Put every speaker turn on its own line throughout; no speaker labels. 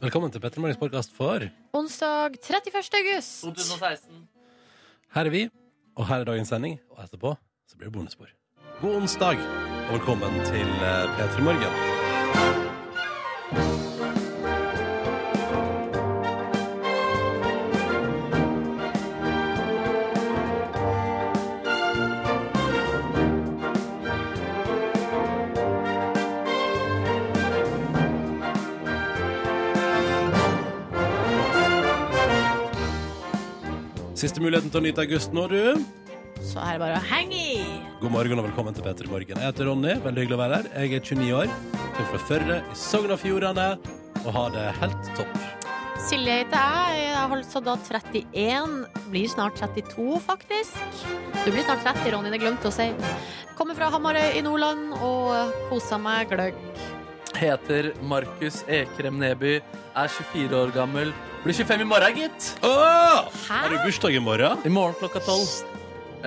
Velkommen til Petter Morgens podkast for
Onsdag 31. august.
2016.
Her er vi, og her er dagens sending. Og etterpå så blir det bonusspor. God onsdag, og velkommen til eh, P3 Morgen. Siste muligheten til å nyte august nå, du.
Så er det bare å henge i.
God morgen og velkommen til Petter Morgen. Jeg heter Ronny, veldig hyggelig å være her. Jeg er 29 år, kommer fra Førre i Sogn og Fjordane og har det helt topp.
Silje heter jeg. Jeg har holdt så da 31. Blir snart 32, faktisk. Du blir snart 30, Ronny. Det glemte å si. Kommer fra Hamarøy i Nordland og kosa meg gløgg.
Heter Markus Ekrem Neby, er 24 år gammel. Blir 25 i morgen, gitt!
Åh!
Hæ?
Har du bursdag i morgen?
I morgen klokka 12.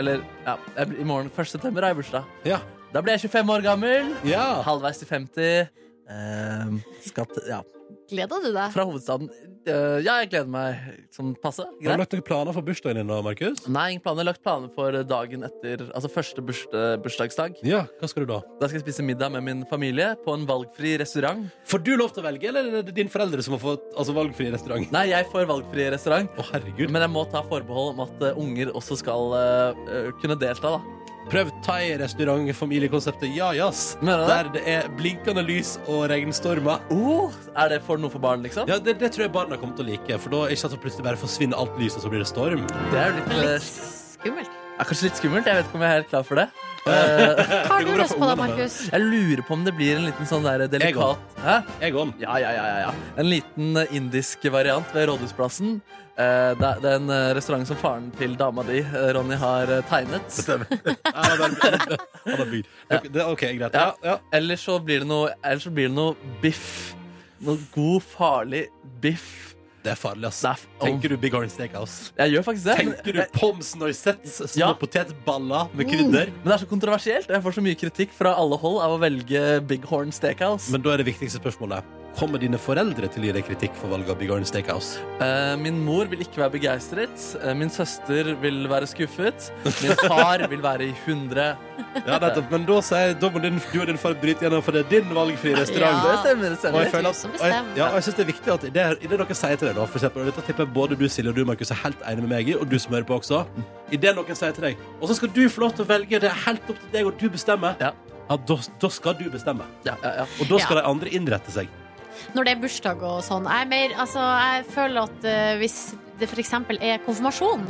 Eller ja, jeg blir- i morgen 1. september har jeg bursdag.
Ja.
Da blir jeg 25 år gammel.
ja.
Halvveis til 50. Ehm, skal til, ja,
Gleder du deg?
fra hovedstaden. Eh, ja, jeg gleder meg sånn passe.
Har du
Greit.
lagt noen planer for bursdagen din da, Markus?
Nei, ingen planer. Lagt planer for dagen etter Altså første burs, eh, bursdagsdag.
Ja, hva skal du da?
Da skal jeg spise middag med min familie på en valgfri restaurant.
Får du lov til å velge, eller er det din foreldre som har fått altså, valgfri restaurant?
Nei, jeg får valgfri restaurant.
Å, herregud.
Men jeg må ta forbehold om at eh, unger også skal eh, eh, kunne delta, da.
Prøv thai-restaurant-familiekonseptet Ja Jazz.
Mener du det?
Der det er blinkende lys og regnstormer.
Oh, er det for noe for barn, liksom?
Ja, det, det tror jeg barna kommer til å like. For da er ikke sånn at det plutselig bare forsvinner alt lyset, og så blir det storm.
Det er jo litt, eh,
Litt
s-
skummelt.
er kanskje litt skummelt. Jeg vet ikke om jeg er helt klar for det. Eh,
Hva har
Det
du
går bra
lyst
for
på da,
ungene,
Markus?
jeg lurer på om det blir en liten sånn der delikat Hæ?
Jeg om.
Ja, ja, ja, ja, ja. En liten eh, indisk variant ved Rådhusplassen. Eh, det, er- det er en eh, restaurant som faren til dama di, eh, Ronny, har eh, tegnet.
Han har bare- han har bygd. Det, OK, greit. Ja,
Ja.
ja.
Eller så blir det noe, ellers så blir det noe biff. Noe god, farlig biff.
Det er farlig, ass.
Det er f- oh.
Tenker du Big Horn Steakhouse?
Jeg gjør faktisk det. men-
Tenker du Poms Noisettes små
Ja. Oh.
potetballer med krydder?
Men det er så kontroversielt, og jeg får så mye kritikk fra alle hold av å velge Big Horn Steakhouse.
Men da er det viktigste spørsmålet Kommer dine foreldre til å gi deg kritikk for valget av Big Horn Steakhouse?
Eh, min mor vil ikke være begeistret. Eh, min søster vil være skuffet. Min far vil være i hundre.
Ja, nettopp. Men da, sier, da må din, du og din far bryte gjennom, for det er din valgfrie restaurant.
Ja.
Det stemmer, det
Og jeg,
stemmer.
føler at,
som
og jeg,
bestemmer.
ja, og jeg synes det er viktig at det, er- i det dere sier til deg, da, for eksempel, og dette tipper jeg både du, Silje, og du, Markus, er helt enig med meg i, og du som hører på også, i det noen sier til deg, og så skal du få lov til å velge, det er helt opp til deg, og du bestemmer,
Ja.
Ja, da, da skal du bestemme.
Ja, ja, ja.
Og da skal de andre innrette seg.
Når det er bursdag og sånn. Jeg, er mer, altså, jeg føler at eh, hvis det f.eks. er konfirmasjon,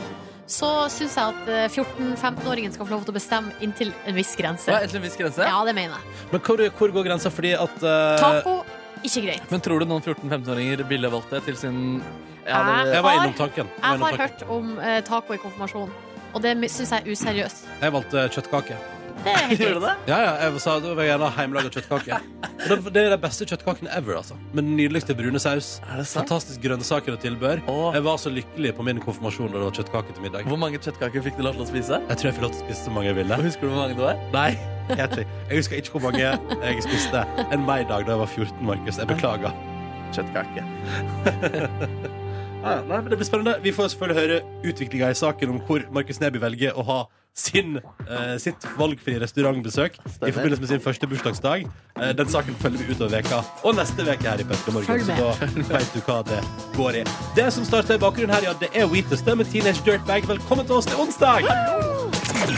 så syns jeg at eh, 14-15-åringen skal få lov til å bestemme inntil en viss
Det
grense.
var egentlig en viss grense.
Ja, det mener jeg.
Men hvor, hvor går grensa? Fordi at eh,
Taco, ikke greit.
Men tror du noen 14-15-åringer ville valgt det til sin
Nei.
det,
Jeg var innom tanken. Jeg, var
Jeg
innom
har
tanken.
hørt om eh, taco i konfirmasjon, og det syns jeg er useriøst.
jeg valgte kjøttkake.
Det er helt
Gjorde du
greit.
det?
Ja, ja, jeg sa da vil jeg gjerne ha hjemmelaga kjøttkake. Og det, det er de beste kjøttkakene ever, altså. Med den nydeligste brune saus.
Er det sant?
Fantastisk grønnsaker og tilbør.
Åh.
Jeg var så lykkelig på min konfirmasjon da det var kjøttkake til middag.
Hvor mange kjøttkaker fikk du lov til å spise?
Jeg tror jeg fikk lov til å spise så mange jeg ville.
Og husker du hvor mange det var?
Nei, jeg, vet ikke. jeg husker ikke hvor mange jeg spiste en meidag da jeg var 14, Markus. Jeg beklager.
Kjøttkake.
Ja, Ah, nei, men det blir spennende. Vi får selvfølgelig høre utviklinga i saken om hvor Markus Neby velger å ha sin, eh, sitt valgfrie restaurantbesøk i forbindelse med sin første bursdagsdag. Eh, den saken følger vi utover veka og neste veke her i Petter Morgen.
Følg
Så
med.
da vet du hva det går i. Det som starter i bakgrunnen her, ja, det er Weetest med Teenage Dirtbag. Velkommen til oss til onsdag!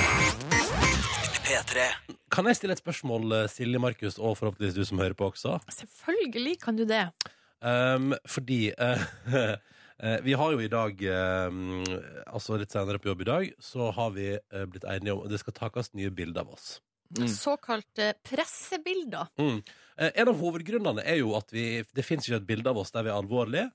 Kan jeg stille et spørsmål, eh, Silje Markus, og forhåpentligvis du som hører på også?
Selvfølgelig kan du det.
Um, fordi eh, eh, vi har jo i dag um, Altså litt senere på jobb i dag Så har vi eh, blitt enige om at Det skal takast nye bilder av oss
Mm.
Såkalte eh, pressebilder.
Eh, En av hovedgrunnene er jo at vi, Det finnes ikke et bilde av oss der vi er alvorlige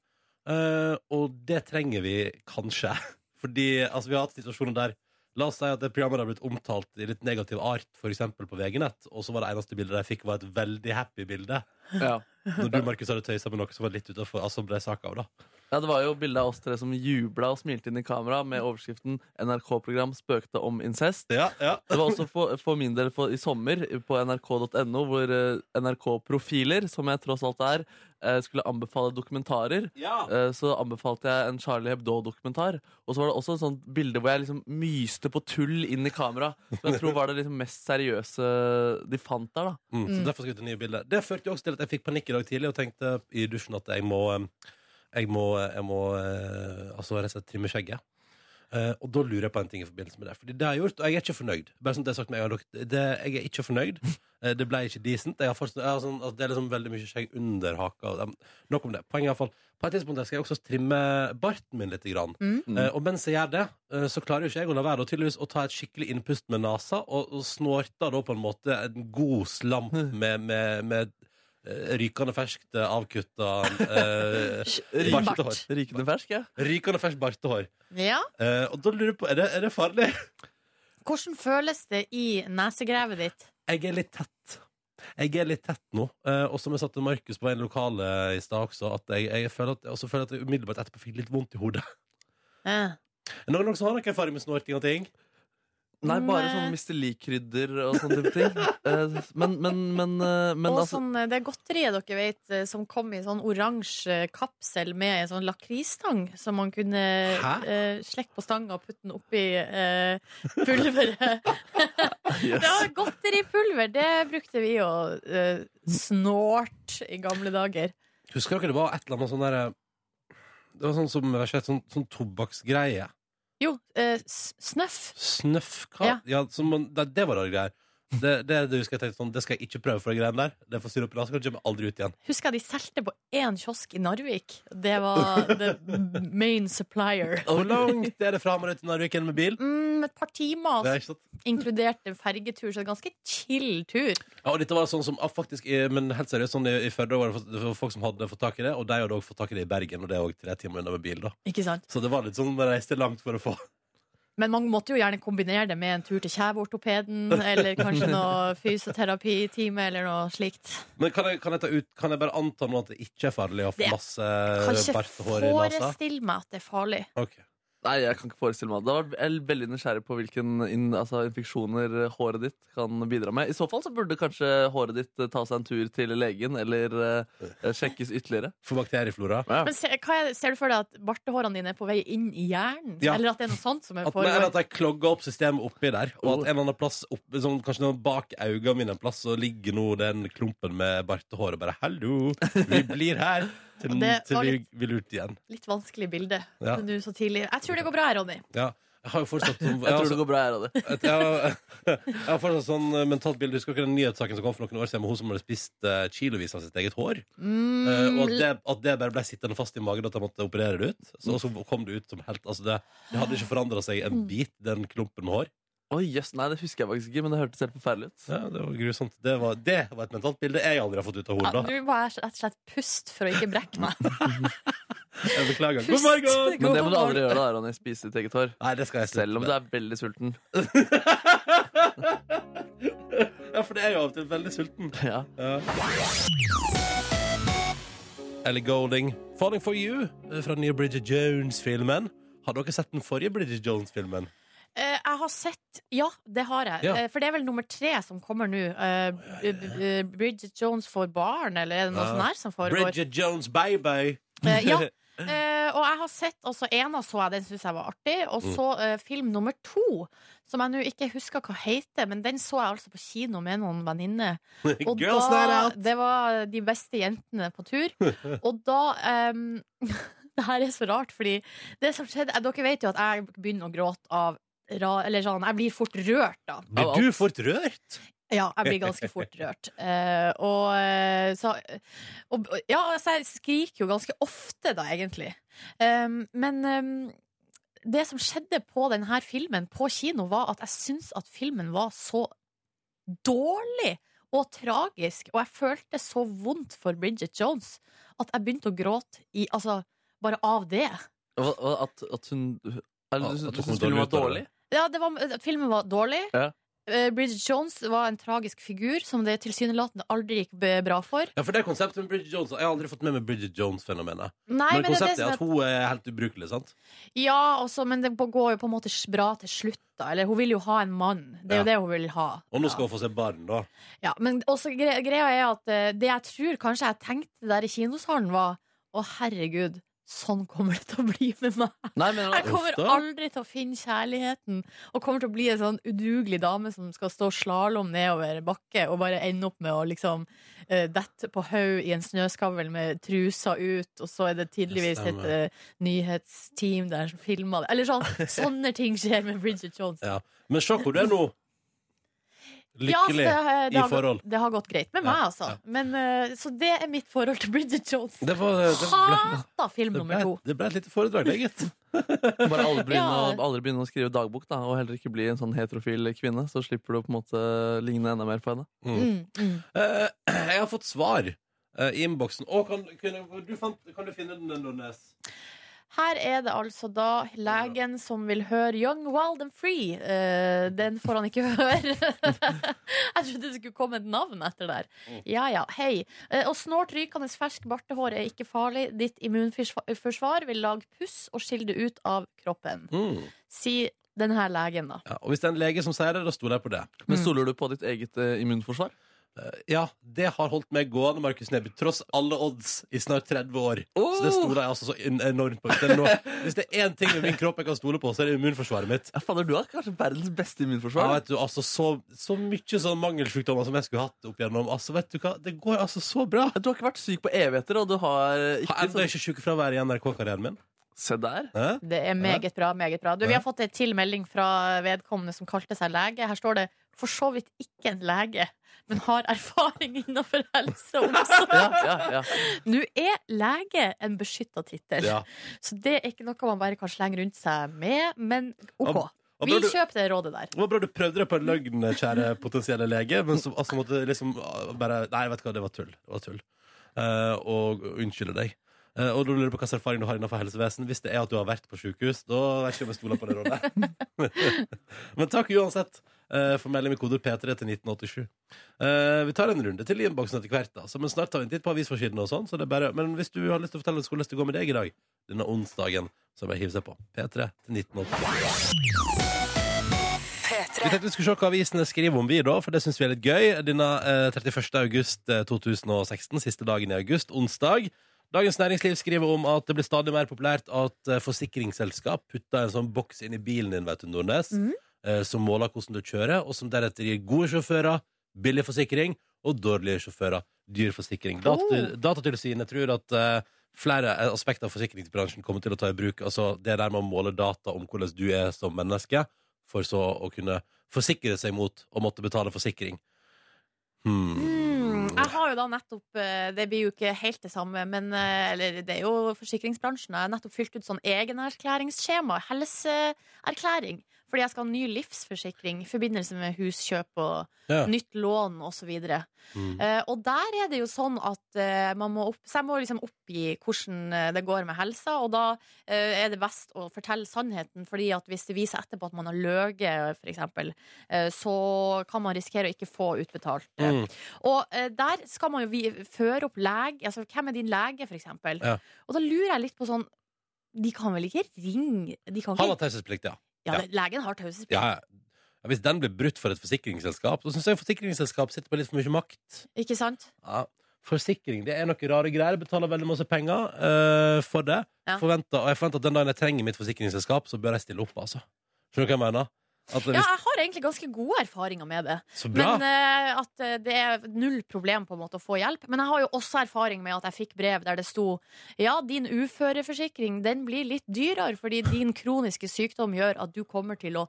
eh, Og det trenger vi kanskje Fordi altså, vi har hatt situasjoner der La oss si at det programmet har blitt omtalt i litt negativ art For eksempel på VG-nett Og så var det eneste bildet jeg fikk var et veldig happy bilde
Ja.
Når du, Markus, hadde tøysa med noe som var litt utenfor Altså ble saka av da
Ja, Det var jo bilde av oss tre som jubla og smilte inn i kamera med overskriften 'NRK-program spøkte om incest'.
Ja, ja.
Det var også for, for min del for, i sommer på nrk.no, hvor eh, NRK-profiler, som jeg tross alt er, eh, skulle anbefale dokumentarer. Eh, Så anbefalte jeg en Charlie Hebdo-dokumentar. Og så var det også et sånt bilde hvor jeg liksom myste på tull inn i kamera. Som jeg tror var det liksom mest seriøse de fant der. da
Mm, så
Mm.
derfor skal jeg ut nye bilder. Det førte jo også til at jeg fikk panikk i dag tidlig og tenkte i dusjen at jeg må eh, Jeg må, jeg må eh, altså rett og slett trimme skjegget. Eh, og da lurer jeg på en ting i forbindelse med det. Fordi det har jeg gjort, og jeg er ikke fornøyd. Bare sånn at jeg har sagt med en gang, dere, det, jeg er ikke fornøyd. Eh, det ble ikke decent. Jeg har fortsatt, jeg har sånn, at det er liksom veldig mye skjegg under haka. og- Nok om det. Poenget er i hvert fall På et tidspunkt skal jeg også trimme barten min litt. Grann.
Mm.
Eh, og mens jeg gjør det, eh, så klarer jo ikke jeg å la være å tydeligvis å ta et skikkelig innpust med nesa, og, og snorter da på en måte en god slamp med, med, med eh, rykende ferskt eh, avkutta eh, bartehår.
Rykende fersk, ja.
Rykende ferskt bartehår.
Ja.
Eh, og da lurer jeg på, er det, er det farlig?
Hvordan føles det i nesegrevet ditt?
Jeg er litt tett. Jeg er litt tett nå. Eh, og som jeg sa til Markus på en lokale i stad også, at jeg, jeg føler at, også føler at jeg umiddelbart etterpå fikk litt vondt i hodet.
Eh.
Er det noen som har noen erfaring med snorting og ting?
Nei, bare
Nei.
sånn Mr. Lee-krydder og sånne type ting. Eh, Men, men, men, eh, men
og
altså
sånn, eh, det godteriet dere vet, eh, som kom i sånn oransje kapsel med en sånn lakrisstang, som man kunne
Hæ?
eh, slekke på stanga og putte den oppi eh, pulveret.
yes.
ja, godteripulver, det brukte vi å eh, snorte i gamle dager.
Husker dere det var et eller annet sånn der Det var sånn som rett og slett sånn, sånn tobakksgreie.
Jo, eh, s- snøff.
Snøff hva? Ja.
Ja.
som man, det, det var rare greier. Det, det, det husker jeg tenkte sånn Det skal jeg ikke prøve for de greiene der. Det får syre opp i nesa, kan jeg aldri ut igjen.
Husker jeg de solgte på én kiosk i Narvik. Det var the main supplier.
Hvor langt er det fra meg ut til Narviken med bil?
Mm, et par timer,
Det
altså,
er ikke sant.
inkludert en fergetur, så det er ganske chill tur.
Ja, og dette var sånn som ah, faktisk eh, Men helt seriøst, sånn i, i Førde var det fått- det var folk som hadde fått tak i det, og de hadde også fått tak i det i Bergen, og det er også tre timer unna med bil, da.
Ikke sant?
Så det var litt sånn man reiste langt for å få.
Men man måtte jo gjerne kombinere det med en tur til kjeveortopeden, eller kanskje noe fysioterapitime, eller noe slikt.
Men kan jeg, kan jeg, ta ut, kan jeg bare anta nå at det ikke er farlig å få
Det-
masse
Kan ikke
bartehår Eh, i nesa?
forestille meg at det er farlig.
Ok.
Nei, jeg kan ikke forestille meg det. Da var Jeg er veldig nysgjerrig på hvilken inn, altså, infeksjoner håret ditt kan bidra med. I så fall så burde kanskje håret ditt eh, ta seg en tur til legen eller eh, sjekkes ytterligere.
For bakterieflora?
Ja.
Men se, hva er, ser du for deg at bartehårene dine er på vei inn i hjernen?
Ja.
Eller at det er noe sånt som er
At, nei, eller
foregår?
at jeg klogger opp systemet oppi der, og at en eller annen plass opp, sånn, Kanskje noen bak øynene mine en plass, så ligger nå den klumpen med bartehår og bare 'Hallo, vi blir her til,
Og det
til
var
vi
litt-
vil ut igjen'.
Litt vanskelig bilde
Ja.
nå så tidlig. Jeg tror det går bra, Ronny.
Ja. Jeg har jo fortsatt sånn,
Jeg tror det går bra, jeg, Radi.
Et, jeg, har, jeg har fortsatt sånn eh, mentalt bilde. Husker dere den nyhetssaken som kom for noen år siden med hun som hadde spist eh, kilovis av sitt eget hår? Eh, og
Mm.
at det, at det bare ble sittende fast i magen at de måtte operere det ut. Så, og så kom det ut som helt altså Det, det hadde ikke forandra seg
Mm.
en bit, den klumpen med hår.
Oi, jøss, Nei, det husker jeg faktisk ikke, men det hørtes helt forferdelig ut.
Ja, det var grusomt. Det var, det var et mentalt bilde jeg aldri har fått ut av
Ja,
hodet.
Nå må jeg rett og slett puste for å ikke brekke meg.
Jeg beklager.
Pust.
God morgen!
Men det må
God
du aldri
morgen.
gjøre, da, Ronny. Spise ditt eget hår.
Nei, det skal jeg
Selv om du
slutte med.
er veldig sulten.
Ja, for det er jo av og til veldig sulten.
Ja.
Ellie Golding, 'Falling for You' eh, fra den nye Bridget Jones-filmen. Har dere sett den forrige Bridget Jones-filmen?
Eh, jeg har sett Ja, det har jeg.
Ja.
Eh, for det er vel nummer tre som kommer nå. Eh, B- B- Bridget Jones får barn, eller er det noe
Ja.
sånt her som foregår?
Bridget Jones, baby!
Eh, ja. Eh, og jeg har sett altså ena så jeg, den syns jeg var artig. Og
Mm.
så eh, film nummer to, som jeg nå ikke husker hva heter, men den så jeg altså på kino med noen venninner. Og
Girls Night
da,
Out!
det var de beste jentene på tur. Og da em, Det her er så rart, fordi det som skjedde eh, Dere vet jo at jeg begynner å gråte av ra, Eller sånn, jeg blir fort rørt, da.
Blir du fort rørt?
Eh,
Ja, jeg blir ganske fort rørt. Eh, og, eh, så, og Ja, altså, jeg skriker jo ganske ofte, da, egentlig. Em, men em, det som skjedde på denne filmen på kino, var at jeg syns at filmen var så dårlig og tragisk, og jeg følte så vondt for Bridget Jones at jeg begynte å gråte i Altså, bare av det.
Og, og at, at hun er,
Ja,
Du,
at
du,
hun
du
kom
syns filmen var
dårlig ut av
dårlig?
det.
Ja, det var, filmen var dårlig.
Ja.
eh, Bridget Jones var en tragisk figur som det tilsynelatende aldri gikk b- bra for.
Ja, for det konseptet med Bridget Jones Jeg har aldri fått med meg Bridget Jones-fenomenet.
Nei,
Men,
men, det er det
konseptet er
som er
at hun er helt ubrukelig, sant?
Ja, også, men det går jo på en måte bra til slutt, da. Eller hun vil jo ha en mann. Det er
Ja.
jo det hun vil ha.
Og nå
Ja.
skal hun få seg barn, da.
Ja, men også gre greia er at eh, det jeg tror kanskje jeg tenkte der i kinosalen, var å herregud, sånn kommer det til å bli med meg.
Nei, men,
Jeg kommer
Ofte.
aldri til å finne kjærligheten. Og kommer til å bli en sånn udugelig dame som skal stå slalåm nedover bakke og bare ende opp med å liksom eh, dette på haug i en snøskavl med trusa ut, og så er det tydeligvis
Det
et
stemmer.
eh, nyhetsteam der som filmer det. Eller sånn. Sånne ting skjer med Bridget Jones.
Ja. Men se hvor du er nå.
Ja, så
Lykkelig
det- det
i
har gått-
forhold.
Det har gått greit med
Ja,
meg, altså.
ja.
Men, eh, så det er mitt forhold til Bridget Jones.
Det, var, det, ble,
Hata film
det,
nummer
ble,
to.
det ble et lite foredrag, det, gitt.
bare aldri begynne,
Ja.
å, aldri begynne å skrive dagbok, da, og heller ikke bli en sånn heterofil kvinne. Så slipper du å på en måte ligne enda mer på henne.
Mm.
Mm, mm.
Eh, jeg har fått svar eh, i innboksen. Å, kan, kunne- du fant, kan du finne den, Nordnes?
Her er det altså da legen som vil høre Young, Wild and Free. Eh, den får han ikke høre. Jeg trodde det skulle komme et navn etter der. Ja ja, hei. Eh, Å snort rykende fersk bartehår er ikke farlig. Ditt immunforsvar vil lage puss og skille det ut av kroppen.
Mm.
Si den her legen, da.
Ja, og hvis det er en lege som sier det, da stoler jeg på det.
Men
Mm.
stoler du på ditt eget eh, immunforsvar?
Eh, ja, det har holdt meg gående, Markus Neby, tross alle odds i snart 30 år. Så det
Oh!
stoler jeg altså så en- enormt på. Hvis det, er noe- hvis det er én ting med min kropp jeg kan stole på, så er det immunforsvaret mitt.
Ja, fader, du har kanskje verdens beste
Ja,
immunforsvar.
vet du, altså så, så mye sånn mangelsykdommer som jeg skulle hatt opp igjennom. Altså, vet du hva? Det går altså så bra.
Du har ikke vært syk på evigheter, og du har ikke
Har ennå
sånn-
ikke sykefravær i NRK-karrieren min.
Se der.
Hæ?
Det er meget bra. meget bra Du, Vi
Ja.
har fått en til melding fra vedkommende som kalte seg lege. Her står det 'for så vidt ikke en lege', men har erfaring innenfor helse og omsorg.
Ja, ja, ja.
Nå er lege en beskytta tittel,
Ja.
så det er ikke noe man bare kan slenge rundt seg med, men
Ja,
OK.
Og
Vi
bra du-
kjøper det rådet der.
Det var bra du prøvde deg på en løgn, kjære potensielle lege, men så altså, måtte jeg liksom ah, bare Nei, vet du hva, det var tull. Det var tull. Eh, og unnskylde deg. Eh, og da lurer du på hvilken erfaring du har innenfor helsevesen. Hvis det er at du har vært på sykehus, da vet ikke om jeg stoler på det rådet. men takk uansett eh, for melding med kode P3 til 1987. Eh, vi tar en runde til i innboksen etter hvert, da. Så, men snart tar vi en titt på avisforsidene og sånn. Så det er bare, men hvis du har lyst til å fortelle oss hvordan det går med deg i dag, denne onsdagen, så bare hiv seg på. P3 til 1987. Vi tenkte vi skulle se hva avisene skriver om vi da, for det syns vi er litt gøy. Denne eh, 31. august eh, 2016, siste dagen i august, onsdag. Dagens Næringsliv skriver om at det blir stadig mer populært at eh, forsikringsselskap putter en sånn boks inn i bilen din, vet du, Nordnes,
Mhm.
eh, som måler hvordan du kjører, og som deretter gir gode sjåfører, billig forsikring, og dårlige sjåfører, dyr forsikring. Dat
Oh.
Datatilsynet tror at eh, flere eh, aspekter av forsikringsbransjen kommer til å ta i bruk. Altså det der med å måle data om hvordan du er som menneske, for så å kunne forsikre seg mot å måtte betale forsikring. Hmm.
Mm, jeg har jo da nettopp eh, Det blir jo ikke helt det samme, men eh, Eller det er jo forsikringsbransjen. Jeg har nettopp fylt ut sånn egenerklæringsskjema, helseerklæring. Fordi jeg skal ha ny livsforsikring i forbindelse med huskjøp og
Ja.
nytt lån osv.
Hmm.
Eh, og der er det jo sånn at eh, man må opp, så jeg må liksom oppgi hvordan eh, det går med helsa, og da eh, er det best å fortelle sannheten, fordi at hvis det viser etterpå at man har løyet, for eksempel, eh, så kan man risikere å ikke få utbetalt. eh,
Mm.
og eh, der skal man jo vi, føre opp lege altså, Hvem er din lege, for eksempel?
Ja.
Og da lurer jeg litt på sånn De kan vel ikke ringe de kan
Han
ikke,
har taushetsplikt, ja.
ja, det- Legen har taushetsplikt.
Ja, ja. Ja, Hvis den blir brutt for et forsikringsselskap, så syns jeg forsikringsselskap sitter på litt for mye makt.
Ikke sant?
Ja. Forsikring det er noen rare greier. Betaler veldig masse penger eh, for det.
Ja.
Forventer, og jeg forventer at den dagen jeg trenger mitt forsikringsselskap, så bør jeg stille opp. altså Skjønner du hva jeg mener? At
Ja,
hvis,
jeg har egentlig ganske gode erfaringer med det.
så bra!
Men eh, at eh, det er null problem på en måte å få hjelp. Men jeg har jo også erfaring med at jeg fikk brev der det sto Ja, din uføreforsikring den blir litt dyrere fordi din kroniske sykdom gjør at du kommer til å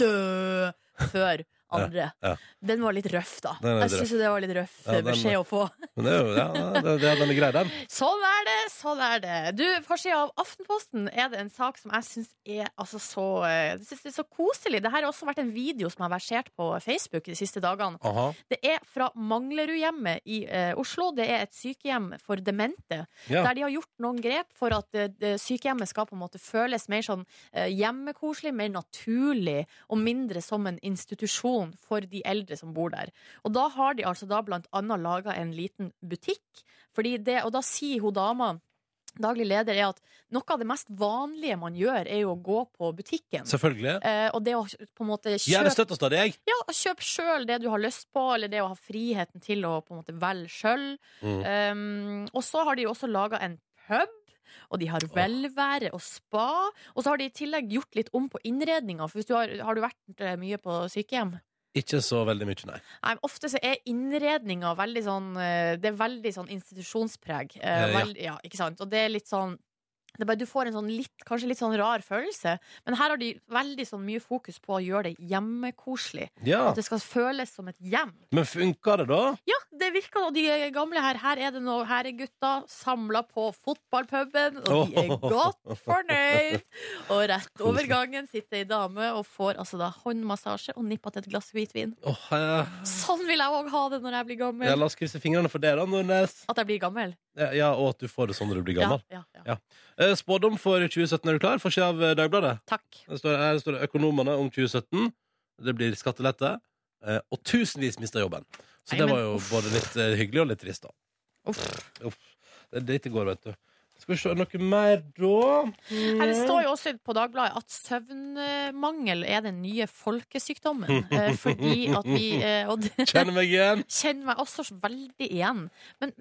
dø før andre.
Ja, ja.
Den var litt røff, da.
Den er litt
Jeg syns jo det var litt røff
Ja,
eh,
den-
beskjed å få.
Men det er jo, ja, det, det, den er grei, den.
Sånn er det, sånn er det. Du, Forsida av Aftenposten er det en sak som jeg syns er altså så eh, jeg synes det er så koselig. Det her har også vært en video som har versert på Facebook de siste dagene.
Aha.
Det er fra Manglerudhjemmet i eh, Oslo. Det er et sykehjem for demente.
Ja.
Der de har gjort noen grep for at eh, det- sykehjemmet skal på en måte føles mer sånn eh, hjemmekoselig, mer naturlig og mindre som en institusjon. informasjon for de eldre som bor der. Og da har de altså da blant annet laga en liten butikk, fordi det, og da sier hun dama Daglig leder er at noe av det mest vanlige man gjør, er jo å gå på butikken.
Selvfølgelig.
Eh, og det å på en måte
Gjerne
kjøpe
støtt og stadig, jeg.
ja, kjøp sjøl det du har lyst på, eller det å ha friheten til å på en måte velge sjøl.
Mm.
Um, og så har de jo også laga en pub. Og de har velvære og spa. Og så har de i tillegg gjort litt om på innredninga. For hvis du har, har du vært eh, mye på sykehjem?
Ikke så veldig mye, nei.
Nei, men ofte så er innredninga veldig sånn eh, Det er veldig sånn institusjonspreg. Eh,
Eh, ja.
Veld, ja, ikke sant? Og det er litt sånn det er bare, du får en sånn litt, kanskje litt sånn rar følelse, men her har de veldig sånn mye fokus på å gjøre det hjemmekoselig.
Ja.
At det skal føles som et hjem.
Men funka det, da?
Ja, det virker. Og de gamle her, her er det nå her er gutta samla på fotballpuben, og de er godt fornøyd. Og rett over gangen sitter ei dame og får altså da håndmassasje og nippa til et glass hvitvin.
Åh, eh,
Sånn vil jeg òg ha det når jeg blir
ja,
gammel.
la oss krysse fingrene for det, da, Nordnes.
At jeg blir gammel.
Ja, Ja, og at du får det sånn når du blir gammel.
Ja, ja,
Ja.
ja.
Eh, Spådom for 2017 er du klar? Forsida av eh, Dagbladet.
Takk.
Det står, her står det 'Økonomene om 2017'. Det blir skattelette. eh, Og tusenvis mister jobben. Så
Nei,
det
men
var jo
uff.
både litt eh, hyggelig og litt trist, da.
Uff.
Uff. Det er dritt i går, vet du. Skal vi se noe mer, da?
Nei, det
Mm.
står jo også på Dagbladet at søvnmangel er den nye folkesykdommen. eh, Fordi at vi eh, Og det
Kjenner meg igjen.
kjenner meg også veldig igjen. Men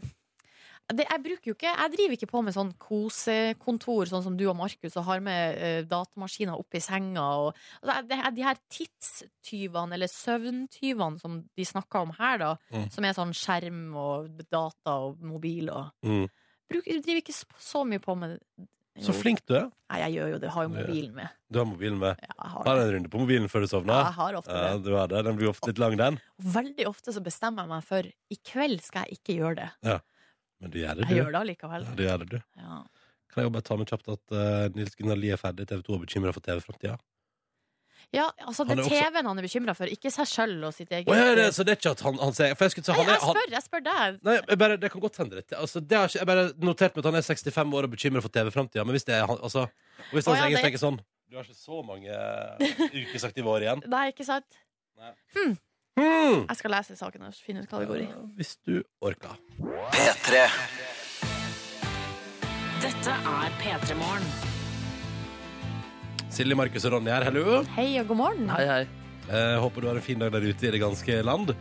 det, jeg bruker jo ikke Jeg driver ikke på med sånn kosekontor, sånn som du og Markus, og har med eh, datamaskiner oppi senga. Og, altså, jeg- det, er de her tidstyvene, eller søvntyvene, som de snakker om her, da,
Mm.
som er sånn skjerm og data og mobil og
Mm.
bruk, Jeg driver ikke så- så mye på med
Så flink du er.
Nei, jeg gjør jo det. Har jo mobilen med.
Du har mobilen med.
Ja, jeg har
Har
det.
en runde på mobilen før du
Ja, jeg
sovner.
har ofte
Ja,
det.
du har det. Den blir ofte litt lang, den.
Veldig ofte så bestemmer jeg meg for i kveld skal jeg ikke gjøre det.
Men du gjør det,
Jeg gjør
du.
det allikevel.
Ja, du gjør det, du.
Ja.
Kan jeg jo bare ta med kjapt at eh, Nils Gunnar Lie er ferdig, TV 2 er bekymra for TV-framtida.
Ja, altså
Han
det er
er også-
TV-en han er bekymra for, ikke seg sjøl og sitt eget.
Å, ja, det- så det er ikke at han, han sier For jeg skulle si
Nei,
han er
jeg
han,
spør, jeg spør deg.
Nei, jeg bare, det kan godt hende det. Altså, det har ikke, jeg bare notert meg at han er 65 år og bekymra for TV-framtida, men hvis det er han altså, og Hvis han
Å, ja,
egentlig
det-
tenker sånn Du har ikke så mange eh, yrkesaktive år igjen.
Nei, ikke sant? Hm.
Hmm.
Jeg skal lese saken og finne ut hva det går i.
Ja, Hvis du orker.
P3
Dette er P3 Morgen.
Silje, Markus og Ronny her, hallo.
Hei og god morgen.
Hei, hei.
Eh, håper du har en fin dag der ute i det ganske land.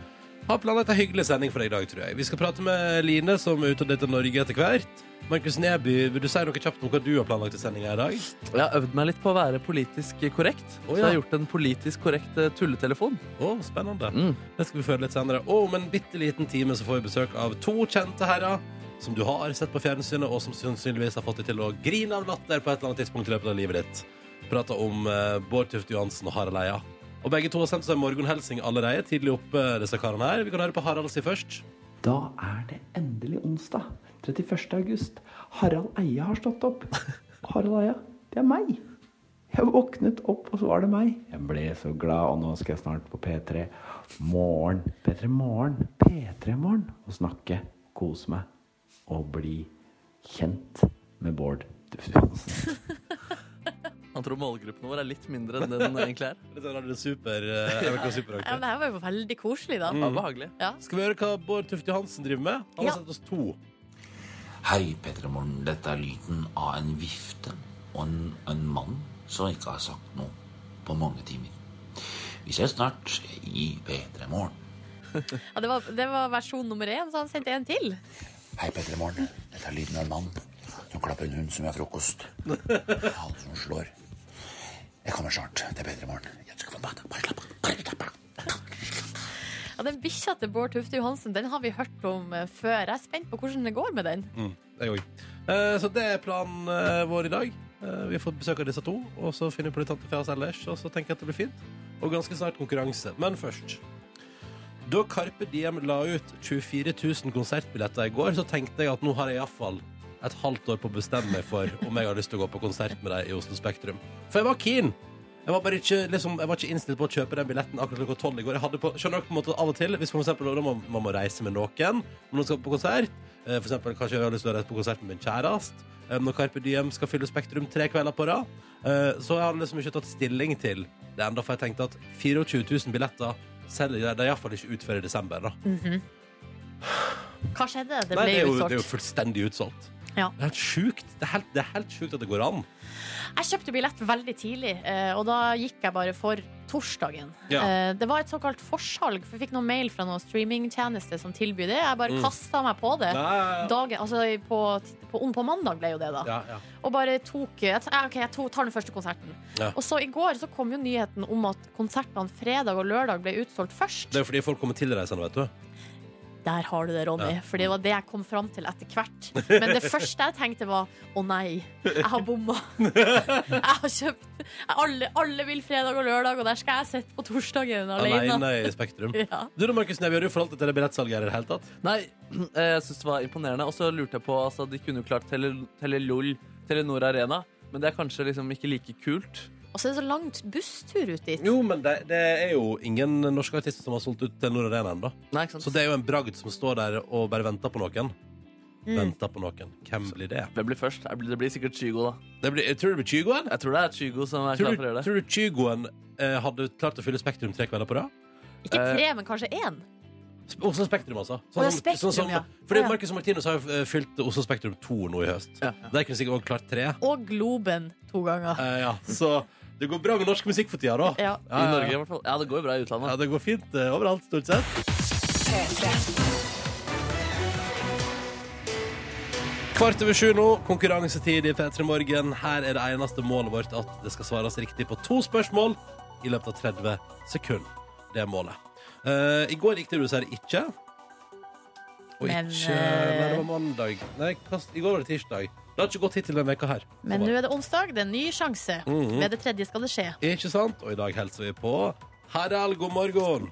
Har planlagt en hyggelig sending for deg i dag, tror jeg. Vi skal prate med Line, som er ute og dater Norge etter hvert. Markus Neby, vil du si noe kjapt om hva du har planlagt i sendinga i dag?
Jeg har øvd meg litt på å være politisk korrekt.
Å,
Så
ja.
jeg har gjort en politisk korrekt eh, tulletelefon.
Å, spennende.
Mm.
Det skal vi føle litt senere. Og om en bitte liten time så får vi besøk av to kjente herrer som du har sett på fjernsynet, og som sannsynligvis har fått deg til å grine av latter på et eller annet tidspunkt i løpet av livet ditt. Prata om eh, Bård Tufte Johansen og Harald Eia. Og begge to har sendt seg morgenhelsing allerede, tidlig oppe, disse karene her. Vi kan høre på Harald si først.
Da er det endelig onsdag. 31. august. Harald Eia har stått opp. Harald Eia, det er meg. Jeg våknet opp, og så var det meg. Jeg ble så glad, og nå skal jeg snart på P3 Morgen. P3 Morgen. P3 Morgen. Og snakke, kose meg og bli kjent med Bård Tufte Johansen.
Han tror målgruppen vår er litt mindre enn det den egentlig er.
Litt sånn Radio Super. eh, NRK
Ja, men
Superaktig.
det her var jo veldig koselig, da.
Det var behagelig.
Ja.
Skal vi høre hva Bård Tufte Johansen driver med? Han har
Ja.
sendt oss to.
Hei, Petremorgen. Dette er lyden av en vifte og en, en mann som ikke har sagt noe på mange timer. Vi ses snart i Petremorgen.
Ja, det, var, det var versjon nummer én, så han sendte en til.
Hei, Petremorgen. Dette er lyden av en mann som klapper en hund som gjør frokost. Han som slår. Jeg kommer snart. Det er Petremorgen. Jeg skal få mat. Bare slapp av. Bare slapp av.
Ja, Den bikkja til Bård Tufte Johansen den har vi hørt om eh, før. Jeg er spent på hvordan det går med den.
Mm, Jeg òg. Eh, Så det er planen eh, vår i dag. Eh, Vi har fått besøk av disse to, og så finner vi på litt tante fra oss ellers. Og så tenker jeg at det blir fint. Og ganske snart konkurranse. Men først Da Carpe Diem la ut 24 000 konsertbilletter i går, så tenkte jeg at nå har jeg iallfall et halvt år på å bestemme meg for om jeg har lyst til å gå på konsert med dem i Oslo Spektrum. For jeg var keen. Jeg var, bare ikke, liksom, jeg var ikke innstilt på å kjøpe den billetten akkurat klokka tolv i går. Jeg hadde på, skjønner dere på en måte av og til Hvis for eksempel, da må, man må reise med noen når man skal på konsert Eh, For eksempel kanskje jeg har lyst til å reise på konsert med min kjærest eh, Når Carpe Diem skal fylle Spektrum tre kvelder på rad Eh, Så jeg hadde liksom ikke tatt stilling til det enda For jeg tenkte at 24 000 billetter selger de iallfall ikke ut før i desember. da
Hva skjedde? Det
Nei,
ble
det, er jo, det er jo
utsolgt.
fullstendig utsolgt.
Ja.
Det er helt sjukt Det er helt, det er helt sjukt at det går an.
Jeg kjøpte billett veldig tidlig, eh, og da gikk jeg bare for torsdagen.
Ja.
Eh, Det var et såkalt forsalg, for jeg fikk noen mail fra noen streamingtjeneste som tilbyr det. Jeg bare
Mm.
kastet kasta meg på det.
Nei,
Dagen, altså på, på, om på mandag ble jo det, da.
ja, ja.
Og bare tok jeg, t- ja, OK, jeg to- tar den første konserten.
Ja.
Og så i går så kom jo nyheten om at konsertene fredag og lørdag ble utsolgt først.
Det er jo fordi folk kommer tilreisende, vet du.
Der har du det, Ronny.
Ja.
For det var det jeg kom fram til etter hvert. Men det første jeg tenkte, var å nei, jeg har bomma. Jeg har kjøpt alle, alle vil fredag og lørdag, og der skal jeg sitte på torsdagen alene.
Alene i Spektrum.
Ja.
Du da, Markus Neby, har du forholdt deg til det billettsalget her i det hele tatt?
Nei, eh, jeg syns det var imponerende. Og så lurte jeg på altså, De kunne jo klart Tele- Telelol, Telenor Arena, men det er kanskje liksom ikke like kult.
Og så er det så langt busstur ut dit.
Jo, men det, det er jo ingen norske artister som har solgt ut til Nord Arena ennå.
Nei, ikke sant?
Så det er jo en bragd som står der og bare venter på noen.
Mm.
Venter på noen. Hvem blir det?
Hvem blir først? Det blir- Det blir sikkert Kygo, da.
det blir, tror du det blir Kygoen?
Jeg tror det er Kygo som er
Tror
klar for
du,
å gjøre det.
tror du Kygoen eh, hadde klart å fylle Spektrum tre kvelder på rad?
Ikke
Eh.
tre, men kanskje én.
Sp- Oslo Spektrum, altså.
Å, ja,
som-
Spektrum,
som,
ja.
Fordi
Å, ja.
Marcus og Martinus har jo eh, fylt Oslo Spektrum to nå i høst.
Ja.
Der kunne sikkert også klart tre.
Og Globen to ganger.
Eh, ja. Så det går bra med norsk musikk for tida, da. Ja,
Ja.
I
ja,
Norge, i
ja.
hvert fall. Ja, det går jo bra i utlandet.
Ja, det går fint eh, overalt, stort sett. Kvart over sju nå, konkurransetid i P3 Morgen. Her er det eneste målet vårt at det skal svares riktig på to spørsmål i løpet av 30 sekunder. Det er målet. Eh, I går gikk det russ her ikke. Og
Men,
ikke
eh,
Nei, det var mandag. Nei, kast, i går var det tirsdag. Det har ikke gått hittil denne veka her.
Men nå er det onsdag. Det er en ny sjanse.
Mhm.
Ved det tredje skal det skje.
Ikke sant? Og i dag hilser vi på Harald, god morgen.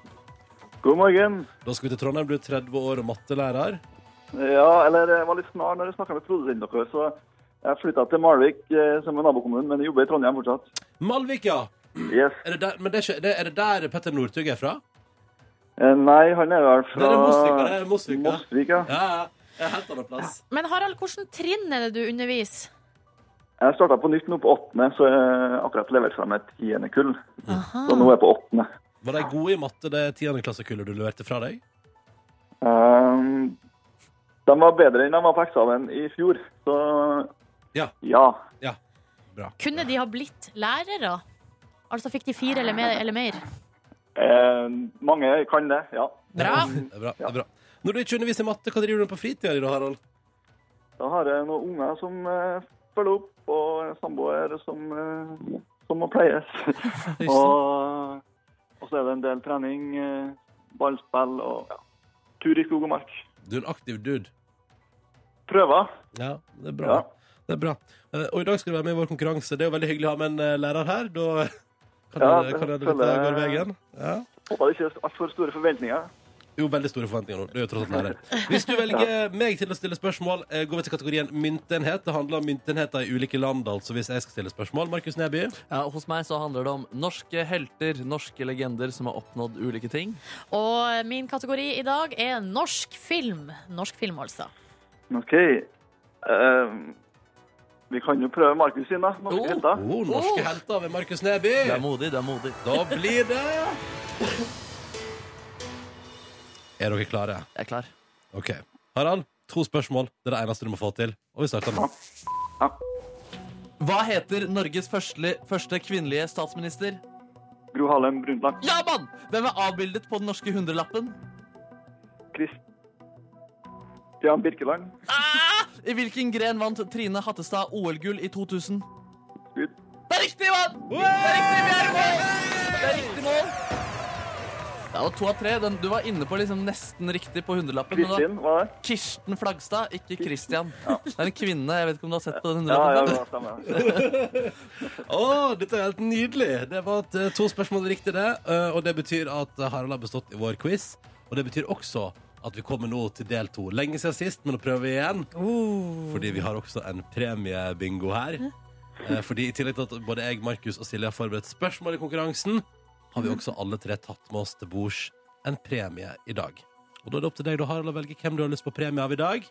God morgen.
Da skal vi til Trondheim, du er 30 år og mattelærer.
Ja, eller jeg var litt snar når jeg snakka med produsenten deres, så jeg flytta til Malvik, eh, som er nabokommunen, men jeg jobber i Trondheim fortsatt.
Malvik, ja.
Yes.
Er det der, men det er, ikke, det, er det der Petter Northug er fra?
Eh, Nei, han er vel
Det
fra
er Mosvika. Det er Mosvika.
Mosvik, ja.
Ja, ja. Det er helt annen plass.
Men Harald, hvilken trinn er det du underviser?
Jeg starta på nytt nå på åttende, så jeg har akkurat levert frem et tiende kull. Så nå er jeg på åttende.
Var de gode i matte, det tiendeklassekullet du leverte fra deg?
Ehm, De var bedre enn de var på eksamen i fjor, så
Ja.
ja.
Kunne de ha blitt lærere? Altså fikk de fire eller mer? Eller mer?
Eh, mange kan det, ja.
Bra.
Det er bra, det er bra. Når du ikke underviser i matte, hva driver du med på fritida di da, Harald?
Da har jeg noen unger som eh, følger opp, og en samboer som, eh, som må pleies. og, og så er det en del trening, eh, ballspill og ja, tur i skog og mark.
Du er en aktiv dude.
Prøver.
Ja, det er bra.
Ja.
Det er bra. Eh, Og i dag skal du være med i vår konkurranse. Det er jo veldig hyggelig å ha med en eh, lærer her. Da kan
Ja, det
det, kan det,
føler
litt, eh,
jeg-
går veien. Ja.
Håper det ikke er altfor store forventninger.
Jo, veldig store forventninger nå. Du er jo tross alt lærer. Hvis du velger meg til å stille spørsmål, eh, går vi til kategorien myntenhet. Det handler om myntenheter i ulike land, altså, hvis jeg skal stille spørsmål. Markus Neby.
Ja, hos meg så handler det om norske helter, norske legender som har oppnådd ulike ting.
Og min kategori i dag er norsk film. Norsk film, altså.
OK. Eh, vi kan jo prøve Markus sin, da. Norske
Oh.
helter.
Oh, norske helter ved Markus Neby.
Det er modig, det er modig.
Da blir det Er dere klare?
Jeg er klar.
OK. Harald, to spørsmål. Det er det eneste du må få til. Og vi starter nå.
Hva heter Norges første, første kvinnelige statsminister?
Gro Harlem Brundtland.
Ja, mann! Hvem er avbildet på den norske hundrelappen?
Kristian Birkeland.
Ah! I hvilken gren vant Trine Hattestad OL-gull i 2000?
Skudd.
Det er riktig, mann! Det er riktig, vi er i mål! Det er riktig mål. Det var to av tre. Den, du var inne på liksom nesten riktig på hundrelappen. men det var
Kristin, var det?
Kirsten Flagstad, ikke Christian. Det er en kvinne. Jeg vet ikke om du har sett på den
Ja, ja,
hundrelappen?
det stemmer.
Å, dette er helt nydelig! Det var t- to spørsmål riktig, det. Eh, Og det betyr at Harald har bestått i vår quiz. Og det betyr også at vi kommer nå til del to. Lenge siden sist, men nå prøver vi igjen. Fordi vi har også en premiebingo her. Eh, Fordi i tillegg til at både jeg, Markus og Silje har forberedt spørsmål i konkurransen, har vi også alle tre tatt med oss til bords en premie i dag. Og da er det opp til deg, da, Harald, å velge hvem du har lyst på premie av i dag.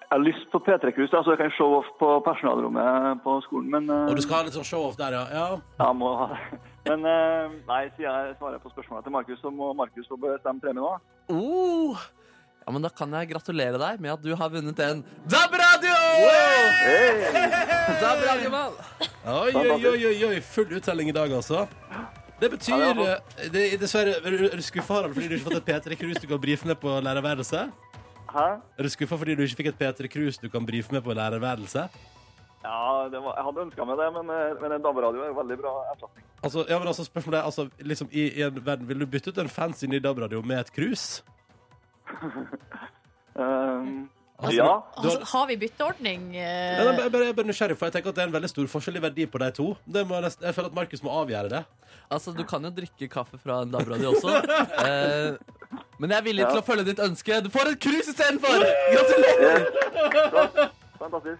Jeg har lyst på P3-kurs, da, så jeg kan show off på personalrommet på skolen, men eh,
Og du skal ha litt sånn show-off der, ja. ja.
jeg må ha det. Men eh, nei, siden jeg svarer på spørsmålet til Markus, så må Markus få bestemme premien òg.
Oh. Ja, men Da kan jeg gratulere deg med at du har vunnet en DAB-radio! DAB-radiomann!
Oi, oi, oi, oi, oi. Full uttelling i dag, altså. Det betyr
Ja, det
eh, det, Dessverre, er du- er du skuffa, Harald, fordi du ikke fått et P3 Cruise du kan brife med på lærerværelset?
Hæ?
Er du skuffa fordi du ikke fikk et P3 Cruise du kan brife med på lærerværelset?
Ja, det var, jeg hadde ønska meg det, men, eh, men en DAB-radio er en veldig bra erstatning.
Altså, ja, men altså, spørsmålet er altså, liksom, i, i en verden, Vil du bytte ut en fancy ny DAB-radio med et cruise?
Eh,
Altså,
ja.
Du
Altså,
har,
har vi bytteordning? eh?
Nei, nei, jeg er bare- jeg er bare nysgjerrig, for jeg tenker at det er en veldig stor forskjell i verdi på de to. Det må jeg, nesten, jeg føler at Markus må avgjøre det.
Altså, Du kan jo drikke kaffe fra en DAB-radio også. Eh, men jeg er villig til å følge ditt ønske. Du får et cruise istedenfor! Gratulerer!
Fantastisk.